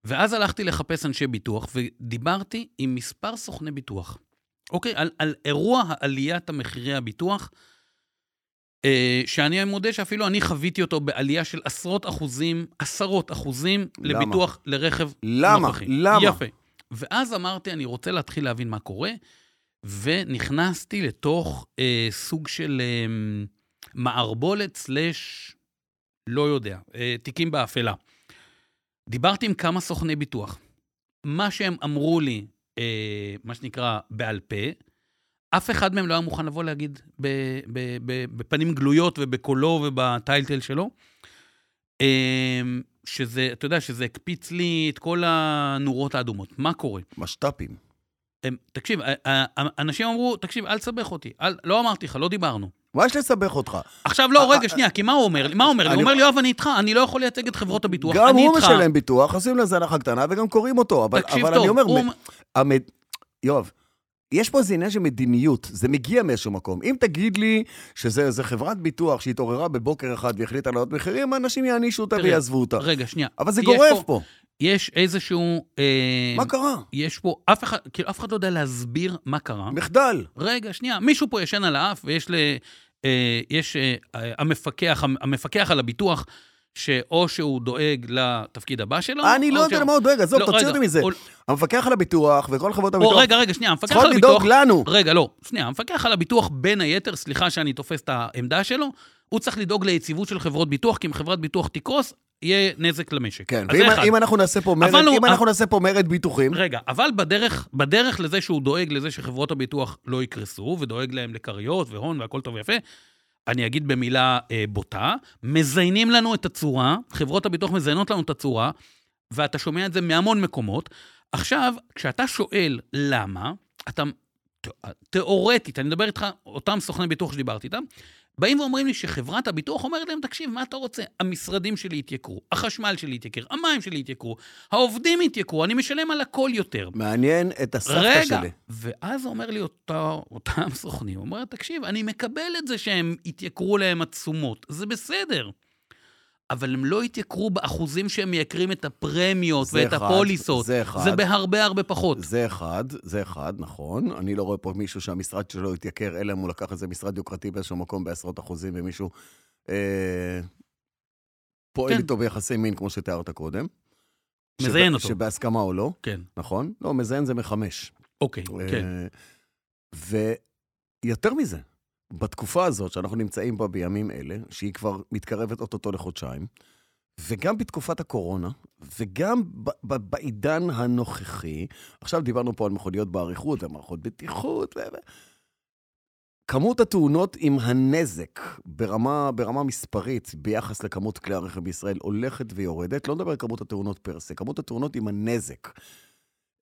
[SPEAKER 2] ואז הלכתי לחפש אנשי ביטוח, ודיברתי עם מספר סוכני ביטוח. אוקיי? על, על אירוע עליית המחירי הביטוח, אה, שאני מודה שאפילו אני חוויתי אותו בעלייה של עשרות אחוזים, עשרות אחוזים,
[SPEAKER 3] למה?
[SPEAKER 2] לביטוח לרכב
[SPEAKER 3] למה?
[SPEAKER 2] נוכחי.
[SPEAKER 3] למה?
[SPEAKER 2] יפה. ואז אמרתי, אני רוצה להתחיל להבין מה קורה, ונכנסתי לתוך אה, סוג של אה, מערבולת סלאש, לא יודע, אה, תיקים באפלה. דיברתי עם כמה סוכני ביטוח. מה שהם אמרו לי, אה, מה שנקרא, בעל פה, אף אחד מהם לא היה מוכן לבוא להגיד ב, ב, ב, בפנים גלויות ובקולו ובטייטל שלו. אה, שזה, אתה יודע, שזה הקפיץ לי את כל הנורות האדומות. מה קורה?
[SPEAKER 3] משת"פים.
[SPEAKER 2] הם, תקשיב, ה- ה- אנשים אמרו, תקשיב, אל תסבך אותי. אל, לא אמרתי לך, לא דיברנו.
[SPEAKER 3] מה יש לסבך אותך?
[SPEAKER 2] עכשיו,
[SPEAKER 3] אה,
[SPEAKER 2] לא, רגע,
[SPEAKER 3] אה,
[SPEAKER 2] שנייה, כי מה הוא אומר לי? מה הוא אומר לי? הוא
[SPEAKER 3] אני-
[SPEAKER 2] אומר לי, יואב, אני איתך, אני לא יכול לייצג את חברות הביטוח,
[SPEAKER 3] גם
[SPEAKER 2] אני
[SPEAKER 3] הוא
[SPEAKER 2] איתך.
[SPEAKER 3] משלם ביטוח, עושים לזה הנחה קטנה וגם קוראים אותו. אבל,
[SPEAKER 2] תקשיב
[SPEAKER 3] אבל
[SPEAKER 2] טוב,
[SPEAKER 3] אני אומר,
[SPEAKER 2] הוא...
[SPEAKER 3] מ- המד... יואב, יש פה איזה עניין של מדיניות, זה מגיע מאיזשהו מקום. אם תגיד לי שזה איזה חברת ביטוח שהתעוררה בבוקר אחד והחליטה להעלות מחירים, האנשים יענישו אותה
[SPEAKER 2] תראה,
[SPEAKER 3] ויעזבו אותה.
[SPEAKER 2] רגע, שנייה.
[SPEAKER 3] אבל זה
[SPEAKER 2] יש
[SPEAKER 3] גורף
[SPEAKER 2] פה-
[SPEAKER 3] פה.
[SPEAKER 2] יש איזשהו... אה,
[SPEAKER 3] מה קרה?
[SPEAKER 2] יש פה, אף אחד, כאילו, אף אחד לא יודע להסביר מה קרה.
[SPEAKER 3] מחדל.
[SPEAKER 2] רגע, שנייה, מישהו פה ישן על האף, ויש ל... אה, יש אה, המפקח, המפקח על הביטוח, שאו שהוא דואג לתפקיד הבא שלו,
[SPEAKER 3] אני לא
[SPEAKER 2] או
[SPEAKER 3] יודע
[SPEAKER 2] שהוא-
[SPEAKER 3] למה הוא דואג, עזוב,
[SPEAKER 2] אה, לא,
[SPEAKER 3] תוציא
[SPEAKER 2] רגע,
[SPEAKER 3] אותי מזה.
[SPEAKER 2] או-
[SPEAKER 3] המפקח על הביטוח וכל חברות
[SPEAKER 2] או
[SPEAKER 3] הביטוח
[SPEAKER 2] רגע, רגע, שנייה, המפקח
[SPEAKER 3] צריכות
[SPEAKER 2] על הביטוח...
[SPEAKER 3] לדאוג לנו.
[SPEAKER 2] רגע, לא, שנייה, המפקח על הביטוח, בין היתר, סליחה שאני תופס את העמדה שלו, הוא צריך לדאוג ליציבות של חברות ביטוח, כי אם חברת ביטוח תקרוס, יהיה נזק למשק.
[SPEAKER 3] כן,
[SPEAKER 2] אז
[SPEAKER 3] ואם
[SPEAKER 2] זה אחד.
[SPEAKER 3] אם אנחנו נעשה פה מרד-
[SPEAKER 2] אבל הוא-
[SPEAKER 3] אם אנחנו נעשה פה מרד ביטוחים,
[SPEAKER 2] רגע, אבל בדרך, בדרך לזה שהוא דואג לזה שחברות הביטוח לא יקרסו, ודואג להם לכריות והון והכל טוב ויפה, אני אגיד במילה אה, בוטה, מזיינים לנו את הצורה, חברות הביטוח מזיינות לנו את הצורה, ואתה שומע את זה מהמון מקומות. עכשיו, כשאתה שואל למה, אתה, ת- תיאורטית, אני מדבר איתך, אותם סוכני ביטוח שדיברתי איתם, באים ואומרים לי שחברת הביטוח אומרת להם, תקשיב, מה אתה רוצה? המשרדים שלי יתייקרו, החשמל שלי יתייקר, המים שלי יתייקרו, העובדים יתייקרו, אני משלם על הכל יותר.
[SPEAKER 3] מעניין את הסבתא
[SPEAKER 2] רגע,
[SPEAKER 3] שלי.
[SPEAKER 2] ואז אומר לי אותו, אותם סוכנים, הוא אומר, תקשיב, אני מקבל את זה שהם יתייקרו להם התשומות, זה בסדר. אבל הם לא יתייקרו באחוזים שהם מייקרים את הפרמיות
[SPEAKER 3] זה
[SPEAKER 2] ואת
[SPEAKER 3] אחד,
[SPEAKER 2] הפוליסות.
[SPEAKER 3] זה אחד.
[SPEAKER 2] זה בהרבה הרבה פחות.
[SPEAKER 3] זה אחד, זה אחד, נכון. אני לא רואה פה מישהו שהמשרד שלו התייקר, אלא אם הוא לקח איזה משרד יוקרתי באיזשהו מקום בעשרות אחוזים, ומישהו אה, פועל
[SPEAKER 2] כן.
[SPEAKER 3] איתו ביחסי מין, כמו שתיארת קודם.
[SPEAKER 2] מזיין
[SPEAKER 3] שב-
[SPEAKER 2] אותו.
[SPEAKER 3] שבהסכמה או לא,
[SPEAKER 2] כן,
[SPEAKER 3] נכון? לא, מזיין זה מחמש.
[SPEAKER 2] אוקיי, כן.
[SPEAKER 3] אה, ויותר מזה, בתקופה הזאת שאנחנו נמצאים בה בימים אלה, שהיא כבר מתקרבת אוטוטו לחודשיים, וגם בתקופת הקורונה, וגם ב- ב- בעידן הנוכחי, עכשיו דיברנו פה על מכוניות באריכות ומערכות בטיחות, ו... ו- כמות התאונות עם הנזק ברמה, ברמה מספרית ביחס לכמות כלי הרכב בישראל הולכת ויורדת. לא נדבר על כמות התאונות פר סה, כמות התאונות עם הנזק.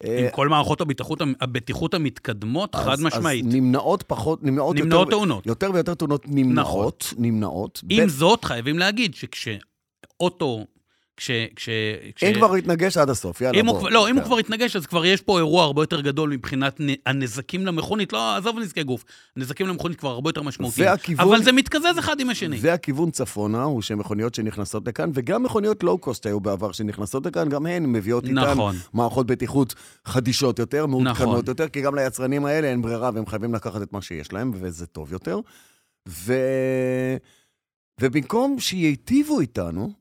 [SPEAKER 2] עם כל מערכות הבטיחות, הבטיחות המתקדמות, חד
[SPEAKER 3] אה, אז-
[SPEAKER 2] משמעית.
[SPEAKER 3] אז נמנעות פחות, נמנעות,
[SPEAKER 2] נמנעות נכון.
[SPEAKER 3] יותר,
[SPEAKER 2] תאונות.
[SPEAKER 3] יותר ויותר תאונות נמנעות, נמנעות.
[SPEAKER 2] עם
[SPEAKER 3] בין-
[SPEAKER 2] זאת, חייבים להגיד שכשאוטו, כש... כש... כש-
[SPEAKER 3] אם כבר התנגש עד הסוף, יאללה,
[SPEAKER 2] אם הוא,
[SPEAKER 3] בוא.
[SPEAKER 2] כבר- לא, אם הוא
[SPEAKER 3] כן.
[SPEAKER 2] כבר התנגש, אז כבר יש פה אירוע הרבה יותר גדול מבחינת נ- הנזקים למכונית. לא, עזוב נזקי גוף. נזקים למכונית כבר הרבה יותר משמעותיים.
[SPEAKER 3] זה הכיוון-
[SPEAKER 2] אבל זה מתקזז אחד עם השני.
[SPEAKER 3] והכיוון צפונה הוא שמכוניות שנכנסות לכאן, וגם מכוניות לואו-קוסט היו בעבר שנכנסות לכאן, גם הן מביאות איתן
[SPEAKER 2] נכון.
[SPEAKER 3] מערכות בטיחות חדישות יותר, מעודכנות
[SPEAKER 2] נכון.
[SPEAKER 3] יותר, כי גם ליצרנים האלה אין ברירה והם חייבים לקחת את מה שיש להם, וזה טוב יותר. ו... ובמקום שייטיבו איתנו,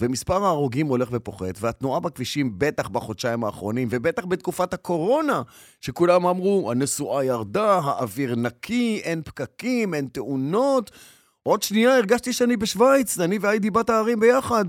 [SPEAKER 3] ומספר ההרוגים הולך ופוחת, והתנועה בכבישים, בטח בחודשיים האחרונים, ובטח בתקופת הקורונה, שכולם אמרו, הנסועה ירדה, האוויר נקי, אין פקקים, אין תאונות. עוד שנייה הרגשתי שאני בשוויץ, אני והיידי בת הערים ביחד.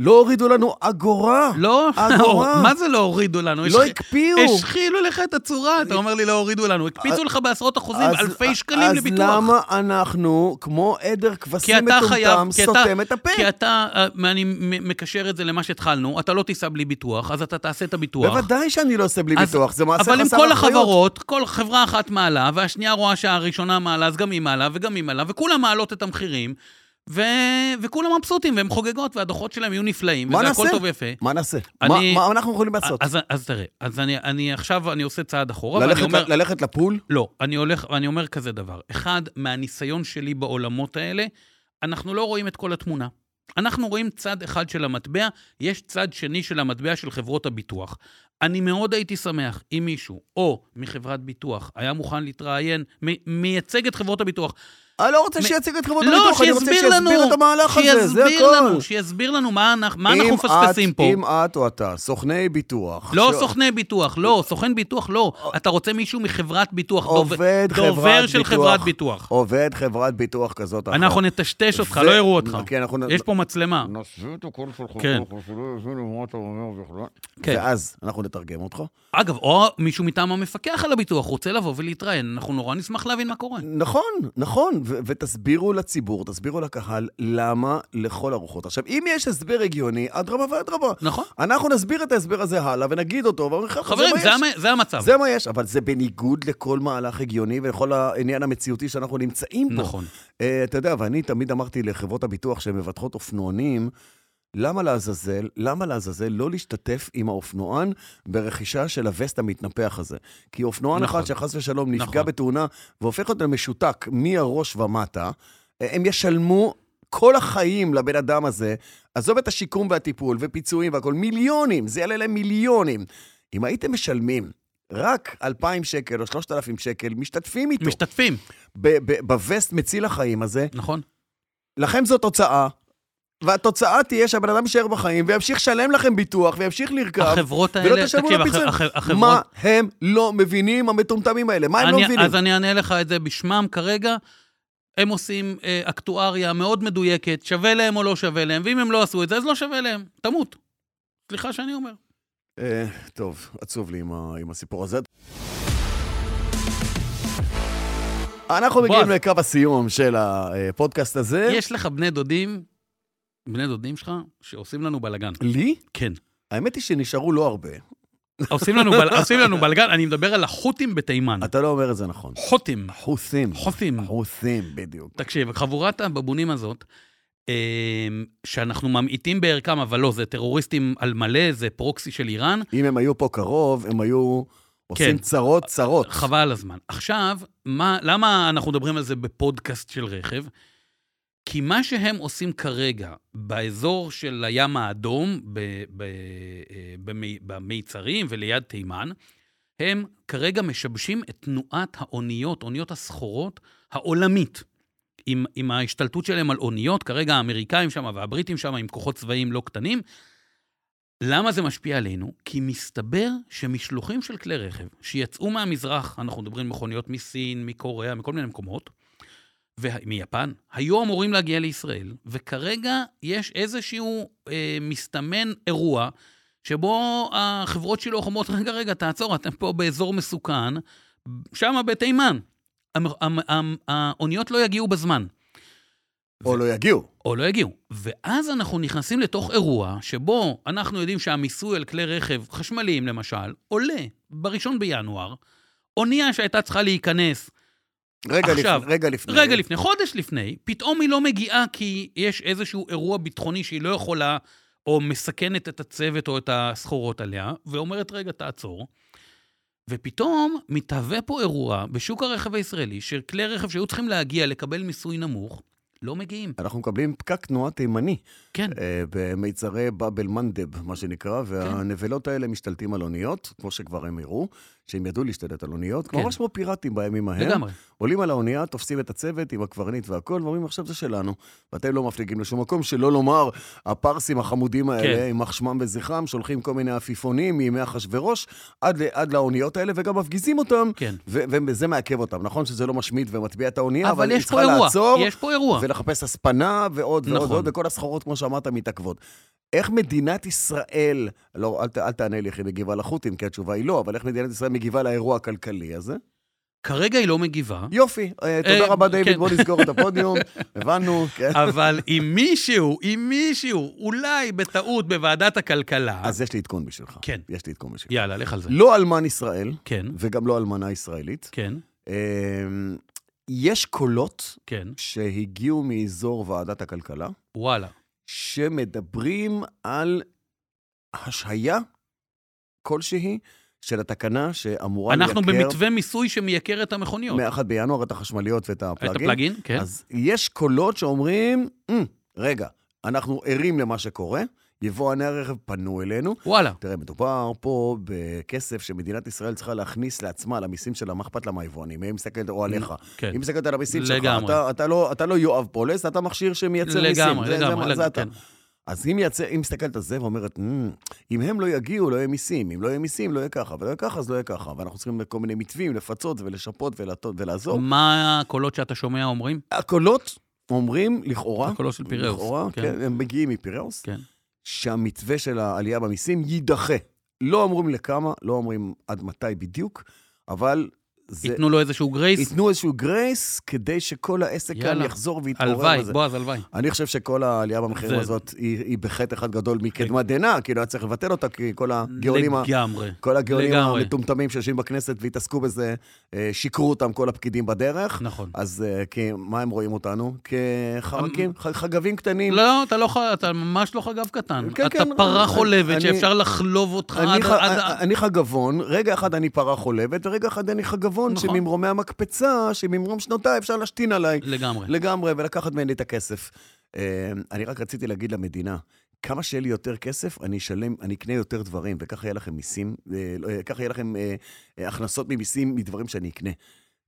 [SPEAKER 3] לא הורידו לנו אגורה.
[SPEAKER 2] לא,
[SPEAKER 3] אגורה.
[SPEAKER 2] מה זה לא הורידו לנו?
[SPEAKER 3] אה, לא
[SPEAKER 2] השח-
[SPEAKER 3] הקפיאו.
[SPEAKER 2] השחילו לך את הצורה, אתה אומר לי לא הורידו לנו. הקפיצו לך בעשרות אחוזים,
[SPEAKER 3] אז-
[SPEAKER 2] אלפי שקלים
[SPEAKER 3] אז
[SPEAKER 2] לביטוח.
[SPEAKER 3] למה אנחנו, כמו עדר
[SPEAKER 2] כי
[SPEAKER 3] כבשים
[SPEAKER 2] אתה
[SPEAKER 3] מטומטם,
[SPEAKER 2] חייב, כי אתה-
[SPEAKER 3] סותם את הפה?
[SPEAKER 2] כי אתה, אה, אני מ- מקשר את זה למה שהתחלנו, אתה לא תיסע בלי ביטוח, אז אתה תעשה את הביטוח.
[SPEAKER 3] בוודאי שאני לא עושה בלי
[SPEAKER 2] אז-
[SPEAKER 3] ביטוח, זה מעשה חסר
[SPEAKER 2] אבל עם
[SPEAKER 3] אחריות.
[SPEAKER 2] כל החברות, כל חברה אחת מעלה, והשנייה רואה שהראשונה מעלה, אז גם היא מעלה וגם היא מעלה, וכולם מעלות את המחירים, ו... וכולם מבסוטים, והם חוגגות, והדוחות שלהם יהיו נפלאים,
[SPEAKER 3] מה
[SPEAKER 2] וזה הכל
[SPEAKER 3] נעשה?
[SPEAKER 2] טוב ויפה.
[SPEAKER 3] מה נעשה?
[SPEAKER 2] אני-
[SPEAKER 3] מה מה אנחנו יכולים לעשות?
[SPEAKER 2] אז, אז תראה, אז אני, אני עכשיו, אני עושה צעד אחורה, ואני
[SPEAKER 3] ללכת
[SPEAKER 2] אומר...
[SPEAKER 3] ל- ללכת לפול?
[SPEAKER 2] לא, אני הולך, אני אומר כזה דבר. אחד, מהניסיון שלי בעולמות האלה, אנחנו לא רואים את כל התמונה. אנחנו רואים צד אחד של המטבע, יש צד שני של המטבע של חברות הביטוח. אני מאוד הייתי שמח אם מישהו, או מחברת ביטוח, היה מוכן להתראיין, מ- מייצג את חברות הביטוח.
[SPEAKER 3] אני לא רוצה
[SPEAKER 2] מ-
[SPEAKER 3] שיציג את חברות
[SPEAKER 2] לא,
[SPEAKER 3] הביטוח, אני רוצה
[SPEAKER 2] שיסביר לנו,
[SPEAKER 3] שיסביר את המהלך הזה, זה
[SPEAKER 2] שיסביר לנו,
[SPEAKER 3] הכל.
[SPEAKER 2] שיסביר לנו מה אנחנו מה
[SPEAKER 3] אם
[SPEAKER 2] אנחנו
[SPEAKER 3] את-
[SPEAKER 2] מפספסים פה.
[SPEAKER 3] אם את או אתה, סוכני ביטוח.
[SPEAKER 2] לא
[SPEAKER 3] ש-
[SPEAKER 2] סוכני ביטוח, לא, סוכן ביטוח, לא. אתה רוצה מישהו מחברת ביטוח, דוב-
[SPEAKER 3] עובד חברת ביטוח.
[SPEAKER 2] דובר של חברת ביטוח.
[SPEAKER 3] עובד חברת ביטוח כזאת או
[SPEAKER 2] אנחנו
[SPEAKER 3] אחרת.
[SPEAKER 2] נטשטש אותך,
[SPEAKER 3] זה-
[SPEAKER 2] לא יראו אותך.
[SPEAKER 3] כן, אנחנו נ-
[SPEAKER 2] יש פה מצלמה.
[SPEAKER 4] נעשו את הכל שלך,
[SPEAKER 2] כן.
[SPEAKER 4] שלא
[SPEAKER 3] לא
[SPEAKER 4] יבינו מה אתה אומר בכלל.
[SPEAKER 2] כן.
[SPEAKER 3] ואז אנחנו נתרגם אותך.
[SPEAKER 2] אגב, או מישהו מטעם המפקח על הביטוח רוצה לבוא ולהתראיין, אנחנו נורא נשמח להבין מה קורה.
[SPEAKER 3] נכון, נכון, ו- ותסבירו לציבור, תסבירו לקהל, למה לכל הרוחות. עכשיו, אם יש הסבר הגיוני, אדרבה ואדרבה.
[SPEAKER 2] נכון.
[SPEAKER 3] אנחנו נסביר את ההסבר הזה הלאה ונגיד אותו, ואומרים לך,
[SPEAKER 2] חברים,
[SPEAKER 3] מה
[SPEAKER 2] זה
[SPEAKER 3] יש.
[SPEAKER 2] המ- זה המצב.
[SPEAKER 3] זה מה יש, אבל זה בניגוד לכל מהלך הגיוני ולכל העניין המציאותי שאנחנו נמצאים בו.
[SPEAKER 2] נכון.
[SPEAKER 3] אה, אתה יודע, ואני תמיד אמרתי לחברות הביטוח שהן מבטחות אופנוענים, למה לעזאזל, למה לעזאזל לא להשתתף עם האופנוען ברכישה של הווסט המתנפח הזה? כי אופנוען
[SPEAKER 2] נכון.
[SPEAKER 3] אחד שחס ושלום נפגע
[SPEAKER 2] נכון.
[SPEAKER 3] בתאונה והופך אותו למשותק מהראש ומטה, אה, הם ישלמו כל החיים לבן אדם הזה, עזוב את השיקום והטיפול ופיצויים והכול, מיליונים, זה יעלה להם מיליונים. אם הייתם משלמים רק 2,000 שקל או 3,000 שקל, משתתפים איתו.
[SPEAKER 2] משתתפים,
[SPEAKER 3] ב- ב- בווסט מציל החיים הזה,
[SPEAKER 2] נכון.
[SPEAKER 3] לכם זו תוצאה. והתוצאה תהיה שהבן אדם יישאר בחיים וימשיך לשלם לכם ביטוח וימשיך לרכב.
[SPEAKER 2] החברות האלה,
[SPEAKER 3] ולא תשלמו
[SPEAKER 2] תקשיב,
[SPEAKER 3] לו פיצויים.
[SPEAKER 2] הח- הח- החברות-
[SPEAKER 3] מה הם לא מבינים, המטומטמים האלה? מה הם לא
[SPEAKER 2] אני-
[SPEAKER 3] מבינים?
[SPEAKER 2] אז אני אענה לך את זה בשמם כרגע. הם עושים אה, אקטואריה מאוד מדויקת, שווה להם או לא שווה להם, ואם הם לא עשו את זה, אז לא שווה להם. תמות. סליחה שאני אומר.
[SPEAKER 3] אה, טוב, עצוב לי עם ה- עם הסיפור הזה. אנחנו
[SPEAKER 2] בועז.
[SPEAKER 3] מגיעים לקו הסיום של הפודקאסט הזה.
[SPEAKER 2] יש לך בני דודים, בני דודים שלך, שעושים לנו בלאגן.
[SPEAKER 3] לי?
[SPEAKER 2] כן.
[SPEAKER 3] האמת היא שנשארו לא הרבה.
[SPEAKER 2] עושים לנו, בל... עושים לנו בלגן, אני מדבר על החות'ים בתימן.
[SPEAKER 3] אתה לא אומר את זה נכון.
[SPEAKER 2] חות'ים,
[SPEAKER 3] חוסים.
[SPEAKER 2] חות'ים.
[SPEAKER 3] חוסים, בדיוק.
[SPEAKER 2] תקשיב, חבורת הבבונים הזאת, אמ, שאנחנו ממעיטים בערכם, אבל לא, זה טרוריסטים על מלא, זה פרוקסי של איראן,
[SPEAKER 3] אם הם היו פה קרוב, הם היו עושים
[SPEAKER 2] כן.
[SPEAKER 3] צרות צרות.
[SPEAKER 2] חבל על הזמן. עכשיו, מה, למה אנחנו מדברים על זה בפודקאסט של רכב? כי מה שהם עושים כרגע באזור של הים האדום, ב, ב, אה, במי, במיצרים וליד תימן, הם כרגע משבשים את תנועת האוניות, אוניות הסחורות העולמית. עם, עם ההשתלטות שלהם על אוניות, כרגע האמריקאים שם והבריטים שם עם כוחות צבאיים לא קטנים. למה זה משפיע עלינו? כי מסתבר שמשלוחים של כלי רכב שיצאו מהמזרח, אנחנו מדברים מכוניות מסין, מקוריאה, מכל מיני מקומות, ומיפן, היו אמורים להגיע לישראל, וכרגע יש איזשהו אה, מסתמן אירוע שבו החברות שלו אומרות, רגע, רגע, תעצור, אתם פה באזור מסוכן, שם בתימן. המ- המ- המ- האוניות לא יגיעו בזמן,
[SPEAKER 3] או לא יגיעו.
[SPEAKER 2] או לא יגיעו. ואז אנחנו נכנסים לתוך אירוע שבו אנחנו יודעים שהמיסוי על כלי רכב חשמליים, למשל, עולה בראשון בינואר. אונייה שהייתה צריכה להיכנס
[SPEAKER 3] רגע
[SPEAKER 2] עכשיו,
[SPEAKER 3] לפני. רגע לפני.
[SPEAKER 2] רגע לפני, חודש לפני, פתאום היא לא מגיעה כי יש איזשהו אירוע ביטחוני שהיא לא יכולה, או מסכנת את הצוות או את הסחורות עליה, ואומרת, רגע, תעצור. ופתאום מתהווה פה אירוע בשוק הרכב הישראלי, שכלי רכב שהיו צריכים להגיע לקבל מיסוי נמוך, לא מגיעים.
[SPEAKER 3] אנחנו מקבלים פקק תנועה תימני
[SPEAKER 2] כן,
[SPEAKER 3] אה, במיצרי באבל מנדב, מה שנקרא, והנבלות האלה משתלטים על אוניות, כמו שכבר הם הראו, שהם ידעו להשתלט על אוניות,
[SPEAKER 2] כן.
[SPEAKER 3] ממש כמו פיראטים בימים ההם.
[SPEAKER 2] לגמרי.
[SPEAKER 3] עולים על האונייה, תופסים את הצוות עם הקברניט והכול, ואומרים, עכשיו זה שלנו, ואתם לא מפליגים לשום מקום, שלא לומר, הפרסים החמודים האלה,
[SPEAKER 2] כן.
[SPEAKER 3] כן. יימח שמם וזכרם, שולחים כל מיני עפיפונים מימי אחשוורוש עד, ל- עד לאוניות האלה, וגם מפגיזים אותם,
[SPEAKER 2] כן.
[SPEAKER 3] ו- וזה מעכב אותם. נכון שזה לא משמיד ומטביע את האונייה, כן, אבל,
[SPEAKER 2] אבל
[SPEAKER 3] היא
[SPEAKER 2] יש פה
[SPEAKER 3] צריכה
[SPEAKER 2] אירוע,
[SPEAKER 3] לעצור, לא-
[SPEAKER 2] יש פה אירוע.
[SPEAKER 3] ולחפש הספנה ועוד ועוד
[SPEAKER 2] נכון.
[SPEAKER 3] ועוד, וכל הסחורות, כמו שאמרת, מתעכבות. איך מדינת ישראל, לא, אל, ת- אל תענה לי איך היא מגיבה לחות'ים, כי התשובה היא לא, אבל איך מדינת ישראל מגיבה לאירוע הכלכלי הזה?
[SPEAKER 2] כרגע היא לא מגיבה,
[SPEAKER 3] יופי, אה,
[SPEAKER 2] אה,
[SPEAKER 3] תודה רבה דיוויד,
[SPEAKER 2] כן.
[SPEAKER 3] בוא נסגור את הפודיום, הבנו, כן.
[SPEAKER 2] אבל אם מישהו, אם מישהו, אולי בטעות בוועדת הכלכלה,
[SPEAKER 3] אז יש לי עדכון בשבילך.
[SPEAKER 2] כן.
[SPEAKER 3] יש לי עדכון בשבילך.
[SPEAKER 2] יאללה, לך על זה.
[SPEAKER 3] לא אלמן ישראל,
[SPEAKER 2] כן,
[SPEAKER 3] וגם לא אלמנה ישראלית.
[SPEAKER 2] כן,
[SPEAKER 3] אה, יש קולות
[SPEAKER 2] כן,
[SPEAKER 3] שהגיעו מאזור ועדת הכלכלה,
[SPEAKER 2] וואלה.
[SPEAKER 3] שמדברים על השהיה כלשהי של התקנה שאמורה לייקר...
[SPEAKER 2] אנחנו במתווה מיסוי שמייקר את המכוניות.
[SPEAKER 3] מ-1 בינואר את החשמליות ואת
[SPEAKER 2] את
[SPEAKER 3] הפלאגים.
[SPEAKER 2] הפלאגין, כן.
[SPEAKER 3] אז יש קולות שאומרים, "מ, רגע, אנחנו ערים למה שקורה, יבואני הרכב פנו אלינו.
[SPEAKER 2] וואלה.
[SPEAKER 3] תראה, מדובר פה בכסף שמדינת ישראל צריכה להכניס לעצמה, למיסים שלה, מה אכפת לה מהיבואנים? היא מסתכלת, או עליך.
[SPEAKER 2] כן.
[SPEAKER 3] היא מסתכלת על המיסים שלך.
[SPEAKER 2] לגמרי.
[SPEAKER 3] אתה, אתה, לא, אתה לא יואב פולס, אתה מכשיר שמייצר מיסים.
[SPEAKER 2] לגמרי,
[SPEAKER 3] זה- זה מה-
[SPEAKER 2] לגמרי,
[SPEAKER 3] זה
[SPEAKER 2] לגמרי,
[SPEAKER 3] אתה.
[SPEAKER 2] כן.
[SPEAKER 3] אז היא, מייצר, היא מסתכלת על זה ואומרת, "מ, אם הם לא יגיעו, לא יהיה מיסים, אם לא יהיה מיסים, לא יהיה ככה, ולא יהיה ככה, אז לא יהיה ככה. ואנחנו צריכים כל מיני מתווים, לפצות ולשפות ולעטות
[SPEAKER 2] אמ,
[SPEAKER 3] ולעזור.
[SPEAKER 2] מה הקולות שאתה שומע אומרים?
[SPEAKER 3] הקולות אומרים, לכאורה,
[SPEAKER 2] הקולות של פיראוס.
[SPEAKER 3] לכאורה,
[SPEAKER 2] כן.
[SPEAKER 3] כן. כן, הם מגיעים מפיראוס,
[SPEAKER 2] כן.
[SPEAKER 3] שהמתווה של העלייה במיסים יידחה. לא אומרים לכמה, לא אומרים עד מתי בדיוק, אבל זה...
[SPEAKER 2] ייתנו לו איזשהו גרייס?
[SPEAKER 3] ייתנו איזשהו גרייס כדי שכל העסק כאן
[SPEAKER 2] יאללה.
[SPEAKER 3] יחזור ויתעורר.
[SPEAKER 2] הלוואי,
[SPEAKER 3] וזה.
[SPEAKER 2] בועז, הלוואי.
[SPEAKER 3] אני חושב שכל העלייה במחירים
[SPEAKER 2] זה-
[SPEAKER 3] הזאת היא, היא בחטא אחד גדול מקדמת דנא, כאילו היה צריך לבטל אותה, כי כל הגאונים, ה...
[SPEAKER 2] לגמרי.
[SPEAKER 3] כל הגאונים
[SPEAKER 2] לגמרי.
[SPEAKER 3] המטומטמים שיושבים בכנסת והתעסקו בזה, אה, שיקרו אותם כל הפקידים בדרך.
[SPEAKER 2] נכון.
[SPEAKER 3] אז אה, כי- מה הם רואים אותנו? כחרקים, ח- חגבים קטנים.
[SPEAKER 2] אמ- לא, אתה לא ח- אתה ממש לא חגב קטן.
[SPEAKER 3] כן,
[SPEAKER 2] אתה
[SPEAKER 3] כן,
[SPEAKER 2] פרה
[SPEAKER 3] אני-
[SPEAKER 2] חולבת
[SPEAKER 3] אני-
[SPEAKER 2] שאפשר לחלוב אותך עד...
[SPEAKER 3] אני, ח... אה,
[SPEAKER 2] עד- עד-
[SPEAKER 3] אני חגבון, רגע אחד אני פרה חולבת, ורגע אחד אני חגבון,
[SPEAKER 2] נכון.
[SPEAKER 3] שממרומי המקפצה, שממרום שנותיי אפשר להשתין עליי.
[SPEAKER 2] לגמרי.
[SPEAKER 3] לגמרי, ולקחת ממני את הכסף. אה, אני רק רציתי להגיד למדינה, כמה שיהיה לי יותר כסף, אני אשלם, אני אקנה יותר דברים, וככה יהיה לכם מיסים, אה, לא, אה, ככה יהיה לכם אה, אה, הכנסות ממיסים מדברים שאני אקנה.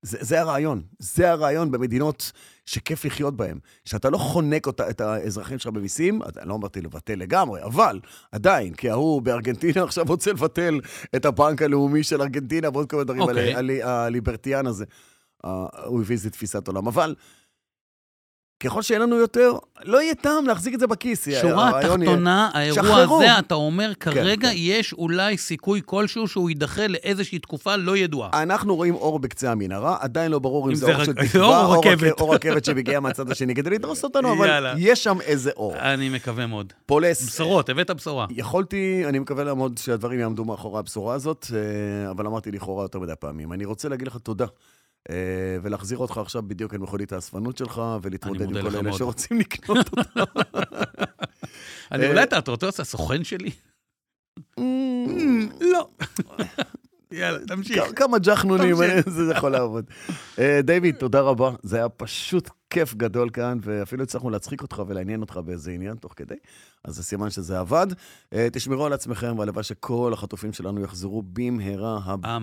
[SPEAKER 3] זה, זה הרעיון, זה הרעיון במדינות שכיף לחיות בהן. שאתה לא חונק אותה, את האזרחים שלך במיסים, אתה- אני לא אמרתי לבטל לגמרי, אבל עדיין, כי ההוא בארגנטינה עכשיו רוצה לבטל את הבנק הלאומי של ארגנטינה ועוד כל מיני דברים,
[SPEAKER 2] אוקיי.
[SPEAKER 3] okay. הליברטיאן הזה. אה, הוא הביא איזה תפיסת עולם. אבל ככל שיהיה לנו יותר, לא יהיה טעם להחזיק את זה בכיס.
[SPEAKER 2] שורה
[SPEAKER 3] הרעיון יהיה-
[SPEAKER 2] התחתונה, האירוע
[SPEAKER 3] שחררו.
[SPEAKER 2] הזה, אתה אומר, כרגע
[SPEAKER 3] כן.
[SPEAKER 2] יש אולי סיכוי כלשהו שהוא יידחה לאיזושהי תקופה לא ידועה.
[SPEAKER 3] אנחנו רואים אור בקצה המנהרה, עדיין לא ברור אם
[SPEAKER 2] אם
[SPEAKER 3] זה
[SPEAKER 2] זה
[SPEAKER 3] אור
[SPEAKER 2] רק-
[SPEAKER 3] של
[SPEAKER 2] זה
[SPEAKER 3] תקווה,
[SPEAKER 2] אור או
[SPEAKER 3] או רכ-
[SPEAKER 2] רכבת.
[SPEAKER 3] או רכבת שמגיעה מהצד השני כדי לדרוס אותנו,
[SPEAKER 2] יאללה.
[SPEAKER 3] אבל יש שם איזה אור.
[SPEAKER 2] אני מקווה מאוד.
[SPEAKER 3] פולס,
[SPEAKER 2] בשורות, הבאת בשורה.
[SPEAKER 3] אה, יכולתי, אני מקווה לעמוד שהדברים יעמדו מאחורי הבשורה הזאת, אה, אבל אמרתי לכאורה יותר מדי פעמים. אני רוצה להגיד לך תודה. אה, ולהחזיר אותך עכשיו בדיוק אל מכונית האספנות שלך, ולהתמודד
[SPEAKER 2] מודה
[SPEAKER 3] עם
[SPEAKER 2] לך
[SPEAKER 3] כל אלה
[SPEAKER 2] מאוד.
[SPEAKER 3] שרוצים לקנות אותך.
[SPEAKER 2] אני אולי אתה אתה רוצה להיות הסוכן שלי?
[SPEAKER 3] Mm.
[SPEAKER 2] לא. יאללה, תמשיך.
[SPEAKER 3] כמה ג'חנונים,
[SPEAKER 2] תמשיך.
[SPEAKER 3] זה יכול לעבוד. אה, דיוויד, תודה רבה. זה היה פשוט כיף גדול כאן, ואפילו הצלחנו להצחיק אותך ולעניין אותך באיזה עניין תוך כדי, אז זה סימן שזה עבד. אה, תשמרו על עצמכם, והלוואי שכל החטופים שלנו יחזרו במהרה הביתה.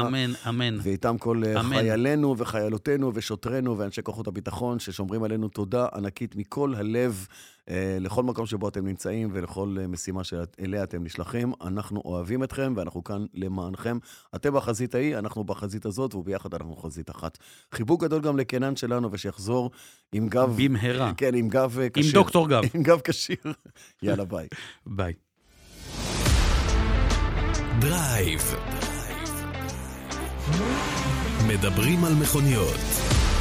[SPEAKER 2] אמן, אמן, אמן.
[SPEAKER 3] ואיתם כל אה,
[SPEAKER 2] אמן.
[SPEAKER 3] חיילינו וחיילותינו ושוטרינו ואנשי כוחות הביטחון ששומרים עלינו תודה ענקית מכל הלב אה, לכל מקום שבו אתם נמצאים ולכל אה, משימה שאליה אתם נשלחים. אנחנו אוהבים אתכם ואנחנו כאן למענכם. אתם בחזית ההיא, אנחנו בחזית הזאת, וביחד אנחנו חזית אחת. חיבוק גדול גם לקנן שלנו ושיחזור עם גב...
[SPEAKER 2] במהרה.
[SPEAKER 3] כן, עם גב אה,
[SPEAKER 2] עם
[SPEAKER 3] כשיר.
[SPEAKER 2] דוקטור גב.
[SPEAKER 3] עם גב כשיר. יאללה, ביי.
[SPEAKER 2] ביי.
[SPEAKER 1] דרייב. מדברים על מכוניות.